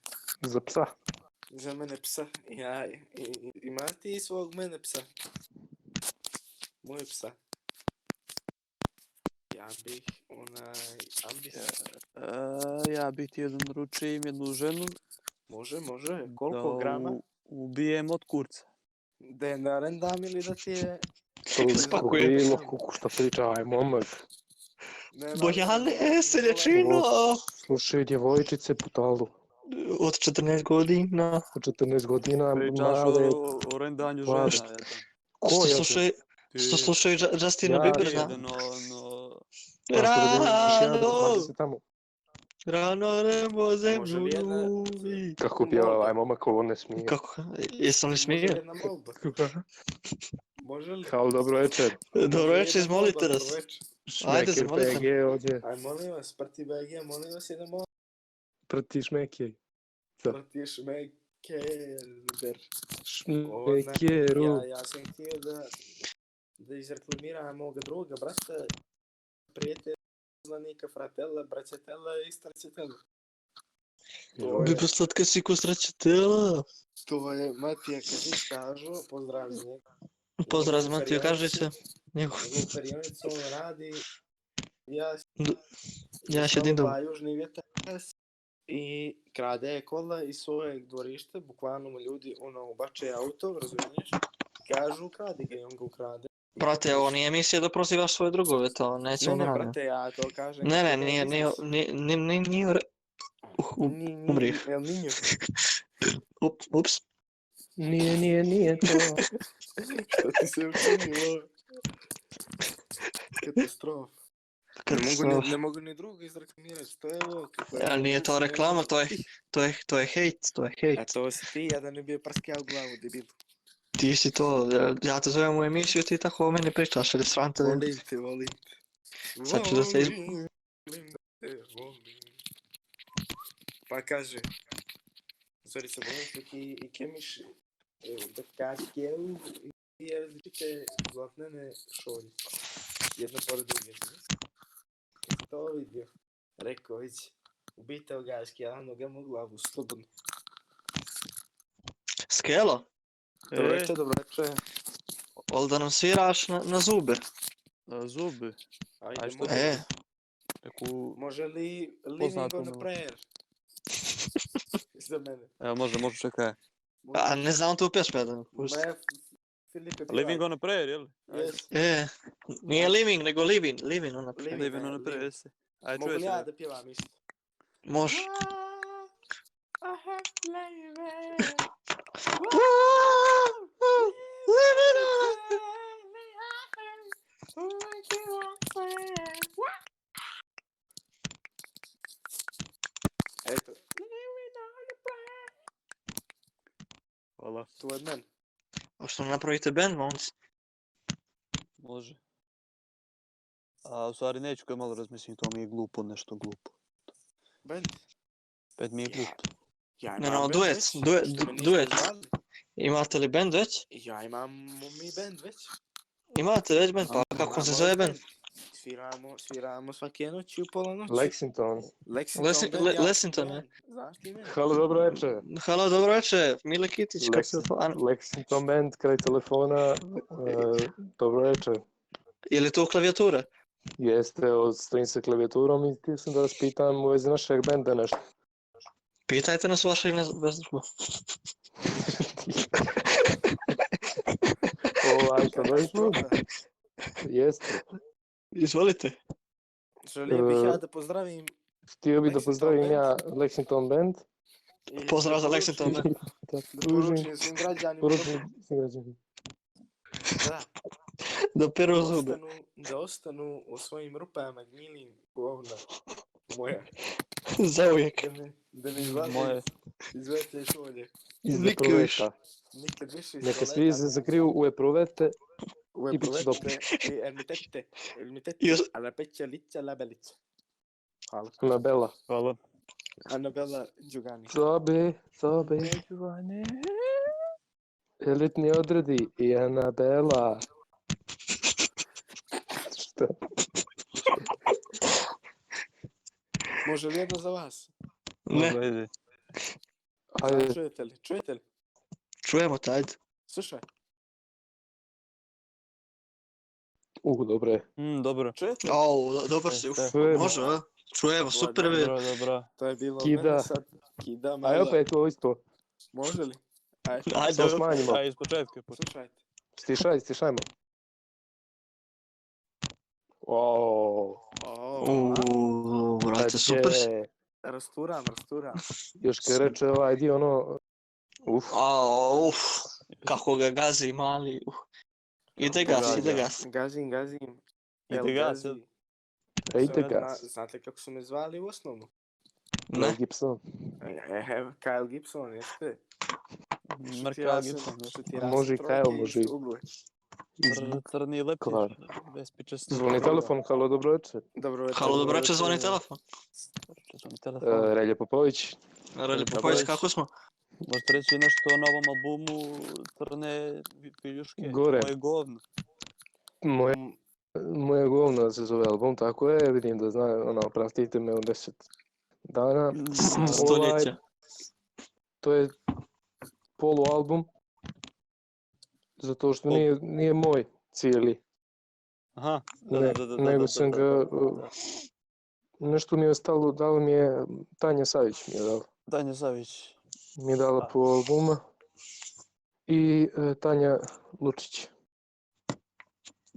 Speaker 5: Za psa.
Speaker 4: Za mene psa. Ja, i, i, ima ti svog mene psa. Moje psa. Ja bih onaj ambis.
Speaker 2: E, ja bih ti jedan ručim jednu ženu.
Speaker 4: Može, može. Koliko
Speaker 2: da
Speaker 4: grama?
Speaker 2: u- Ubijem od kurca.
Speaker 4: Denaren dam ili da ti je...
Speaker 1: Spakuje.
Speaker 5: Bilo kuku što priča, aj momak.
Speaker 4: Ne,
Speaker 1: Bojane, seljačino!
Speaker 5: Slušaj, djevojčice putalu.
Speaker 1: Od 14 godina.
Speaker 5: Od 14 godina
Speaker 2: Pričaš
Speaker 5: male.
Speaker 2: o, o rendanju žena.
Speaker 5: Male.
Speaker 2: jedan.
Speaker 5: Ko
Speaker 1: Što
Speaker 5: je to?
Speaker 1: slušaj,
Speaker 2: Ti-
Speaker 1: što slušaj Ju- Justina
Speaker 5: Ja,
Speaker 1: Bieber,
Speaker 2: jedan,
Speaker 1: da?
Speaker 2: no, no,
Speaker 1: Rano,
Speaker 5: Tamo.
Speaker 1: rano nebo zemlju
Speaker 4: li jedna-
Speaker 1: ljubi.
Speaker 5: Kako pjeva ovaj momak, ovo ne smije.
Speaker 1: Kako? Jesam li
Speaker 4: Može
Speaker 1: smio?
Speaker 4: jedna molba. Može li?
Speaker 5: Kao dobro večer.
Speaker 1: Dobro
Speaker 4: Može
Speaker 1: večer,
Speaker 4: jedna
Speaker 1: izvolite
Speaker 4: molba,
Speaker 1: nas.
Speaker 4: dobro večer.
Speaker 1: Ajde,
Speaker 5: Šmeker
Speaker 1: zamolite.
Speaker 5: PG ovdje.
Speaker 4: Aj, molim vas, prti BG, molim vas jedna molba.
Speaker 5: Prti šmekej. Da.
Speaker 4: Prti šmeker.
Speaker 5: Šmekeru.
Speaker 4: Ja, ja sam htio da, da izreklamiram moga druga brata, prijatelja, poznanika, fratela, braćatela i starcetela.
Speaker 1: Bi poslatka si ko sreće tela.
Speaker 4: To je Matija Kazić kažu, pozdrav za njega.
Speaker 1: Pozdrav za
Speaker 4: Njegov
Speaker 1: Matiju
Speaker 4: perionik-
Speaker 1: Kažića. Njegov-
Speaker 4: Njegov perionik, on radi, ja
Speaker 1: Ja še
Speaker 4: sam
Speaker 1: din dom.
Speaker 4: pa južni vjetar jes, i krade je kola iz svojeg dvorišta, bukvalno mu ljudi ono bače auto, razumiješ? Kažu ukradi ga i on ga ukrade.
Speaker 1: Brate, ovo nije emisija da prozivaš svoje drugove, to nećemo
Speaker 4: Ne, ne,
Speaker 1: naravno.
Speaker 4: brate, ja to kažem.
Speaker 1: Ne, ne,
Speaker 4: to
Speaker 1: nije,
Speaker 4: biznis.
Speaker 1: nije, nije, nije, nije, nije, u re- Uh, uh,
Speaker 4: Ni- ni-
Speaker 1: umri.
Speaker 4: Jel ninjo?
Speaker 1: up- ups.
Speaker 5: Nije, nije, nije to.
Speaker 4: Što ti se učinilo? Katastrofa.
Speaker 1: Kad
Speaker 4: Ne mogu,
Speaker 1: smo-
Speaker 4: ni, ne mogu ni drugo izreklamirati, to je ovo. kako je
Speaker 1: Ali nije to
Speaker 4: moguće,
Speaker 1: reklama, to je, to je, to je hejt, to je hejt.
Speaker 4: A to si ti, ja da ne bi je prskao glavu, debil.
Speaker 1: Ti si to, ja- ja te zovem u emisiju, ti tako o meni pričaš, ili srante.
Speaker 4: Volim te, volim te.
Speaker 1: Sad ću da se iz-
Speaker 4: Volim te, volim. Pa kaže. Sorry, se volim što ti i kemiš. evo, Da kak je u... I je različite zlatnene šolje. Jedna pored druge. Kad sam To vidio. Rekao, vidi. Ubitao ga, skjelano ga mu glavu, slobodno.
Speaker 1: Skelo,
Speaker 4: Dobro
Speaker 2: e,
Speaker 4: večer, dobro večer.
Speaker 1: ali da nam sviraš na, na zube.
Speaker 2: no, a, zubi.
Speaker 4: Ajde,
Speaker 2: što
Speaker 4: molim.
Speaker 1: E,
Speaker 2: neku...
Speaker 4: Može li Living
Speaker 2: Poznato
Speaker 4: on a
Speaker 2: novo.
Speaker 4: Prayer? Za mene.
Speaker 2: Evo, može, može, čekaj.
Speaker 4: Može.
Speaker 1: A ne znam tu pjesmu, jedan.
Speaker 4: Ma ja, Filipe, pjevaj.
Speaker 2: Living on a prayer, jel? Ajde.
Speaker 4: Yes.
Speaker 1: E, nije living, nego living, living ona.
Speaker 4: Living,
Speaker 2: Living on
Speaker 4: evo,
Speaker 2: a prayer,
Speaker 4: Living.
Speaker 2: jesi. Ajde,
Speaker 4: Mogu
Speaker 2: čuješ
Speaker 4: li
Speaker 2: se.
Speaker 4: ja da pjevam isto?
Speaker 1: Može.
Speaker 7: Ah, I have flavor.
Speaker 1: Ah, Living on
Speaker 4: Eto,
Speaker 2: Hvala.
Speaker 4: to je od mene.
Speaker 1: a... Što napravite band, no. momci?
Speaker 2: Može. A u stvari neću kad malo razmislim, to mi je glupo, nešto glupo.
Speaker 4: Bend.
Speaker 2: Pet mi je
Speaker 4: Ja,
Speaker 2: glupo.
Speaker 4: Ja
Speaker 1: Ne,
Speaker 4: imam
Speaker 1: no,
Speaker 4: bend
Speaker 1: duet,
Speaker 4: već,
Speaker 1: duet,
Speaker 4: što
Speaker 1: du-
Speaker 4: me niste
Speaker 1: duet.
Speaker 4: zvali.
Speaker 1: Imate li band već?
Speaker 4: Ja imam mi bend već.
Speaker 1: Imate već band, pa kako se
Speaker 4: Imamo
Speaker 1: zove
Speaker 4: i
Speaker 1: band?
Speaker 4: Sviramo, sviramo svake noći u pola noći.
Speaker 5: Lexington.
Speaker 4: Lexington.
Speaker 1: Lesi-
Speaker 4: band,
Speaker 1: Le-
Speaker 4: ja sam
Speaker 1: Lexington,
Speaker 4: Milan. Znaš ti mene?
Speaker 5: Halo, dobro večer.
Speaker 1: Halo, dobro večer, Mile Kitić, kako se
Speaker 5: Lexi-
Speaker 1: zove?
Speaker 5: Lexington band kraj telefona. E, dobro večer.
Speaker 1: Je li to klavijatura?
Speaker 5: Jeste, od- stojim sa klavijaturom i htio sam da vas pitam u vezi našeg benda nešto.
Speaker 1: Pitajte nas vaše ime bez
Speaker 5: Ovaj, što došlo?
Speaker 4: Katastrofa.
Speaker 5: Jeste.
Speaker 1: Izvolite.
Speaker 4: Želio bih ja
Speaker 5: E,
Speaker 4: da pozdravim...
Speaker 5: Htio bih da
Speaker 4: Lexington
Speaker 5: pozdravim
Speaker 4: band.
Speaker 5: ja Lexington band.
Speaker 4: i
Speaker 1: Pozdrav za
Speaker 4: da
Speaker 1: Lexington.
Speaker 4: poručim-
Speaker 1: band.
Speaker 5: Da
Speaker 4: Da
Speaker 5: pružim,
Speaker 4: poručim svim građanima
Speaker 5: poručim svim građanima.
Speaker 4: da,
Speaker 1: Da
Speaker 4: da,
Speaker 1: peru zube.
Speaker 4: ostanu, da ostanu u svojim rupama gnjili govna moja.
Speaker 1: Zauvijek.
Speaker 4: Da me, da me izvate,
Speaker 2: Moje.
Speaker 4: izvate iz ovdje.
Speaker 5: Iz
Speaker 1: Nikad više.
Speaker 5: Eproveta.
Speaker 4: Nikad više iz
Speaker 5: Neka svi
Speaker 4: toaleta.
Speaker 5: se zakriju u Eprovete.
Speaker 4: Ue,
Speaker 5: i bit će dobro.
Speaker 4: provete, i ermitete, ermitete,
Speaker 1: I os-
Speaker 4: ala peća lića labelića. Hvala.
Speaker 5: Anabela.
Speaker 2: Hvala.
Speaker 4: Anabela Đugani.
Speaker 5: Sobe, sobe, čuvane. Elitni odredi i Anabela. Šta?
Speaker 4: Može li jedno za vas?
Speaker 1: Ne,
Speaker 2: Može, ajde.
Speaker 5: Ajde,
Speaker 4: Čujete li? Čujete li?
Speaker 1: čujemo te, ajde.
Speaker 4: Slušaj,
Speaker 5: uh, dobro je.
Speaker 2: Mm, dobro.
Speaker 4: čujete?
Speaker 1: Au, do- dobar si, uf,
Speaker 5: Čujemo.
Speaker 1: može, a? Čujemo, super
Speaker 4: Dobro,
Speaker 1: vi.
Speaker 2: Dobro, dobro.
Speaker 4: To je bilo od
Speaker 5: Kida.
Speaker 4: mene sad. Kida
Speaker 5: Aj
Speaker 4: malo.
Speaker 5: opet ovo isto.
Speaker 4: Može li? Ajde,
Speaker 1: Ajde,
Speaker 5: Samo smanjimo.
Speaker 2: Ajde, iz početka.
Speaker 4: slušajte.
Speaker 5: Stišaj, stišajmo. Wow.
Speaker 4: O,
Speaker 1: Uuu, brate, super si.
Speaker 4: rasturam, rasturam.
Speaker 5: Još kad reče ovaj dio ono... Uf,
Speaker 1: Au, uf, kako ga gazi mali. Uf. Ide
Speaker 4: No,
Speaker 1: gas, ide gas.
Speaker 4: Gazim, gazim.
Speaker 2: Ide
Speaker 4: El
Speaker 2: gas,
Speaker 4: Gazi.
Speaker 2: jel?
Speaker 5: ejte
Speaker 4: Zna-
Speaker 5: ga.
Speaker 4: Znate kako su me zvali u osnovnu?
Speaker 1: Ne,
Speaker 5: Gibson.
Speaker 4: Ehe, Kyle Gibson, jeste?
Speaker 2: Marka Gibson.
Speaker 5: Može i Kyle, može i- Iz
Speaker 2: Cr- Crni leptir.
Speaker 5: Kvar.
Speaker 2: Bespičasti.
Speaker 5: Zvoni telefon, halo, dobro večer.
Speaker 4: Dobro večer.
Speaker 1: halo, dobro večer, zvoni
Speaker 4: večer.
Speaker 1: telefon.
Speaker 2: Zvoni telefon.
Speaker 5: E, Relje Popović.
Speaker 1: Reli
Speaker 2: Dobro
Speaker 1: Popović,
Speaker 2: večer.
Speaker 1: kako smo?
Speaker 2: Možete reći nešto o novom albumu Crne vi- viljuške?
Speaker 5: Gore.
Speaker 2: Moje govno.
Speaker 5: Moje, moje govno se zove album, tako je, vidim da zna, ono, pratite me u 10 dana.
Speaker 1: S-
Speaker 5: Ovaj-
Speaker 1: Stoljeća.
Speaker 5: To je polualbum, zato što nije, nije moj cijeli,
Speaker 2: Aha. Da,
Speaker 5: ne,
Speaker 2: da, da, da, da,
Speaker 5: nego
Speaker 2: da,
Speaker 5: sam
Speaker 2: da,
Speaker 5: ga,
Speaker 2: da,
Speaker 5: uh, nešto mi je ostalo, dalo mi je, Tanja Savić mi je dala.
Speaker 2: Danja Savić.
Speaker 5: mi je dala
Speaker 2: Pa.
Speaker 5: po albuma i e, Tanja Lučić,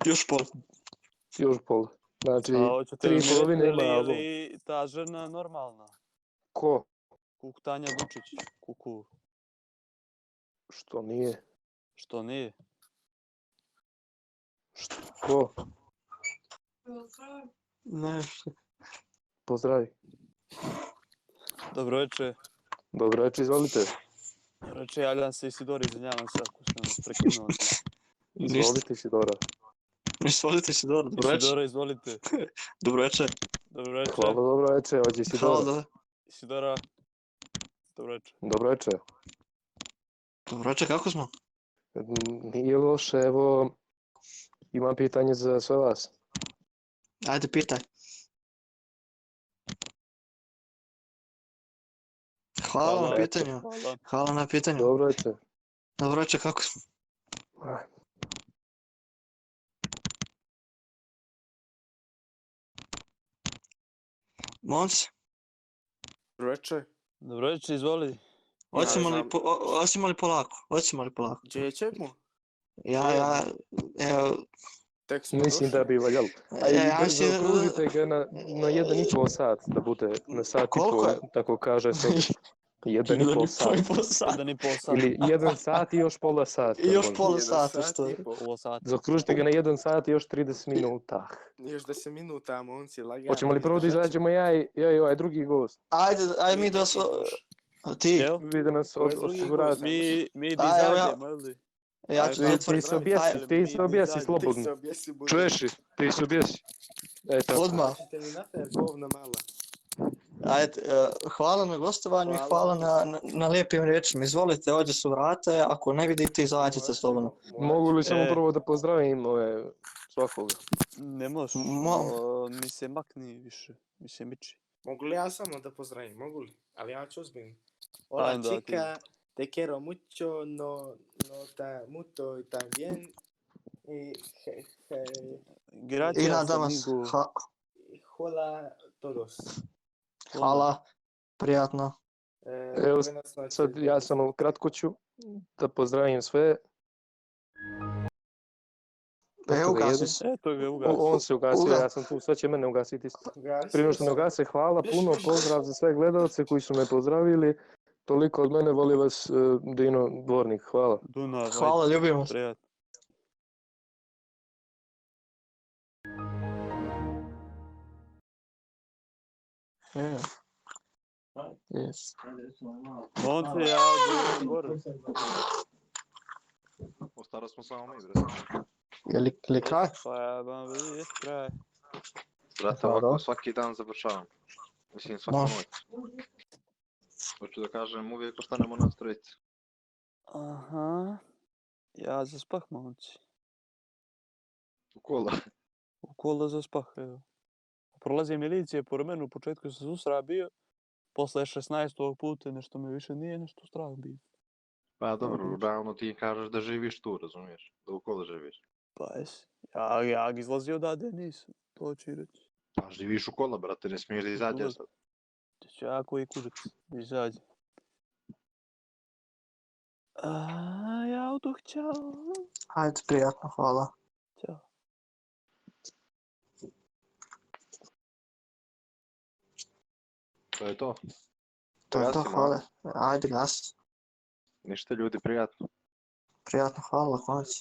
Speaker 1: Još pol.
Speaker 5: još pol. Znači,
Speaker 2: A hoćete
Speaker 5: tri
Speaker 2: li mi
Speaker 5: polovine
Speaker 2: reći
Speaker 5: ima
Speaker 2: li je ta žena normalna?
Speaker 5: ko?
Speaker 2: Kuk Tanja Vučić. Kuku.
Speaker 5: Što nije?
Speaker 2: Što nije?
Speaker 5: Ko?
Speaker 1: Ne,
Speaker 5: Pozdravi.
Speaker 2: Dobro večer.
Speaker 5: Dobro večer, izvolite.
Speaker 2: Reče, javljam se Isidori, izvinjavam se ako sam vas prekinuo.
Speaker 1: ništa.
Speaker 5: Izvolite, Sidora.
Speaker 1: Izvolite se, dobro, dobro večer.
Speaker 2: Isidora, izvolite.
Speaker 1: Dobro večer.
Speaker 2: Dobro večer.
Speaker 5: Hvala, dobro večer, ođe
Speaker 1: Halo,
Speaker 5: Sidora.
Speaker 1: dobro.
Speaker 2: Isidora. Dobro večer.
Speaker 5: Dobro večer.
Speaker 1: Dobro večer, kako smo?
Speaker 5: Mm, Nije loše, evo, imam pitanje za sve vas.
Speaker 1: Ajde, pitaj. Hvala,
Speaker 2: Hvala,
Speaker 1: na
Speaker 2: eto.
Speaker 1: pitanju.
Speaker 2: Hvala.
Speaker 1: Hvala na pitanju.
Speaker 5: Dobro večer.
Speaker 1: Dobro večer, kako smo?
Speaker 5: Ah,
Speaker 1: Momci,
Speaker 4: Reče,
Speaker 2: Dobro večer, izvoli.
Speaker 1: hoćemo li,
Speaker 4: znam.
Speaker 1: po, o- hoćemo li polako? Hoćemo li polako?
Speaker 4: gdje ćemo?
Speaker 1: Ja, ja, evo,
Speaker 4: Tek smo
Speaker 5: Mislim da
Speaker 4: došli.
Speaker 5: bi valjalo. A i
Speaker 1: ja, ja
Speaker 5: brzo
Speaker 1: mislim,
Speaker 5: okružite ga na, na jedan i pol sat, da bude na sat i
Speaker 1: Koliko
Speaker 5: pol,
Speaker 1: je?
Speaker 5: tako kaže se. Jedan i
Speaker 1: Jedan i
Speaker 5: pol
Speaker 1: pol
Speaker 5: sat.
Speaker 1: i pol sat.
Speaker 2: Jedan i pol sat.
Speaker 5: Ili jedan sat i još pola sata.
Speaker 1: I još
Speaker 5: možda.
Speaker 1: pola
Speaker 4: Jedan
Speaker 1: sata,
Speaker 4: sat
Speaker 1: što
Speaker 4: i
Speaker 1: je.
Speaker 4: po.
Speaker 2: Pola sata.
Speaker 5: Zakružite ga na jedan sat i još 30 minuta.
Speaker 4: Još da se minuta, momci, lagano.
Speaker 5: Hoćemo li prvo da
Speaker 4: izdržat ćemo.
Speaker 5: izađemo ja i, ja i ovaj drugi gost?
Speaker 1: Ajde, ajde mi
Speaker 4: Nije
Speaker 1: da
Speaker 4: to
Speaker 1: se...
Speaker 4: slušaj.
Speaker 1: Ti,
Speaker 2: Evo,
Speaker 5: Vide nas
Speaker 4: Ovaj
Speaker 5: od,
Speaker 4: drugi gost,
Speaker 5: osigurati.
Speaker 2: mi, mi
Speaker 1: A, evo ja-
Speaker 2: dizađemo, jel' li?
Speaker 1: ja
Speaker 4: ajde,
Speaker 1: ću
Speaker 4: ajde,
Speaker 1: ti
Speaker 5: Ti, ti
Speaker 1: otvoriti.
Speaker 5: se objesi,
Speaker 1: Aj,
Speaker 5: ti se objesi
Speaker 2: Ti se
Speaker 4: Ti se
Speaker 5: slobodno.
Speaker 4: objesi, bude.
Speaker 5: Čuješ li? Ti se objesi. Eto.
Speaker 1: Odmah.
Speaker 4: Hoćete mi napraviti govna mala?
Speaker 1: Ajde, e, hvala na gostovanju i
Speaker 4: Hvala.
Speaker 1: hvala na, na, na lijepim riječima. Izvolite, ovdje su vrate, ako ne vidite, izađite slobodno.
Speaker 5: Mogu li samo
Speaker 2: E.
Speaker 5: prvo da pozdravim ove svakoga?
Speaker 2: Ne možeš.
Speaker 1: Mo-
Speaker 2: O, mi se makni više. Mi se miči.
Speaker 4: Mogu li ja samo da pozdravim? Mogu li? Ali ja ću ozbiljno. Hola
Speaker 2: Ajde, da, ti.
Speaker 4: chica, te quiero mucho, no, no ta, mucho y también. Y, je, je,
Speaker 2: Gracias,
Speaker 1: I nadam vas,
Speaker 2: amigo.
Speaker 1: ha,
Speaker 4: hola todos.
Speaker 1: hvala, prijatno.
Speaker 4: Eh,
Speaker 5: Evo,
Speaker 4: buenas noches.
Speaker 5: Sad ja samo kratko ću da pozdravim sve.
Speaker 1: Evo,
Speaker 5: Tako da
Speaker 1: gasi
Speaker 5: jedan-
Speaker 1: se.
Speaker 2: Eto E, ga
Speaker 5: O-
Speaker 2: ugasio.
Speaker 5: On se ugasio,
Speaker 1: Uga-
Speaker 5: ja sam tu, sad će mene ugasiti isto.
Speaker 4: Ugasio
Speaker 5: Prije nego što me
Speaker 4: sam.
Speaker 5: ugase, hvala puno, pozdrav za sve gledalce koji su me pozdravili. Toliko od mene, voli vas eh, Dino Dvornik, hvala.
Speaker 2: Dunav, ajde,
Speaker 1: Hvala, ljubim vas.
Speaker 2: prijatno.
Speaker 1: Yes.
Speaker 2: Monte, ja odgovorim gore.
Speaker 3: Ostalo smo samo mi, brate.
Speaker 1: Je li, li kraj?
Speaker 2: Pa ja vam vidim, jes kraj.
Speaker 3: Brate,
Speaker 1: Dobro.
Speaker 3: ovako svaki dan završavam. Mislim, svaki
Speaker 1: Može.
Speaker 3: noć. Hoću da kažem, uvijek ostanemo nas trojica.
Speaker 2: Aha. Ja za spah, momci.
Speaker 3: U kola.
Speaker 2: U kola za spah, evo. Prolazi milicija po mene, u početku sam susra bio, posle 16. puta nešto me više nije, nešto strah bio.
Speaker 3: Pa dobro, ravno ti kažeš da živiš tu, razumiješ? Da u kola živiš.
Speaker 2: Pa jes, ja, ja izlazio odade nisam, to ću i reći.
Speaker 3: Pa živiš u kola, brate, ne smiješ da
Speaker 2: kola.
Speaker 3: izađeš sad.
Speaker 2: Ti ću ja koji kužac, izađe. A, ja odoh, ćao.
Speaker 1: Ajde, prijatno, hvala.
Speaker 2: Ćao.
Speaker 3: To je to.
Speaker 1: To je to,
Speaker 3: Gasi, Marko.
Speaker 1: hvala. Ajde, gas.
Speaker 3: Ništa ljudi, prijatno.
Speaker 1: Prijatno, hvala, konac.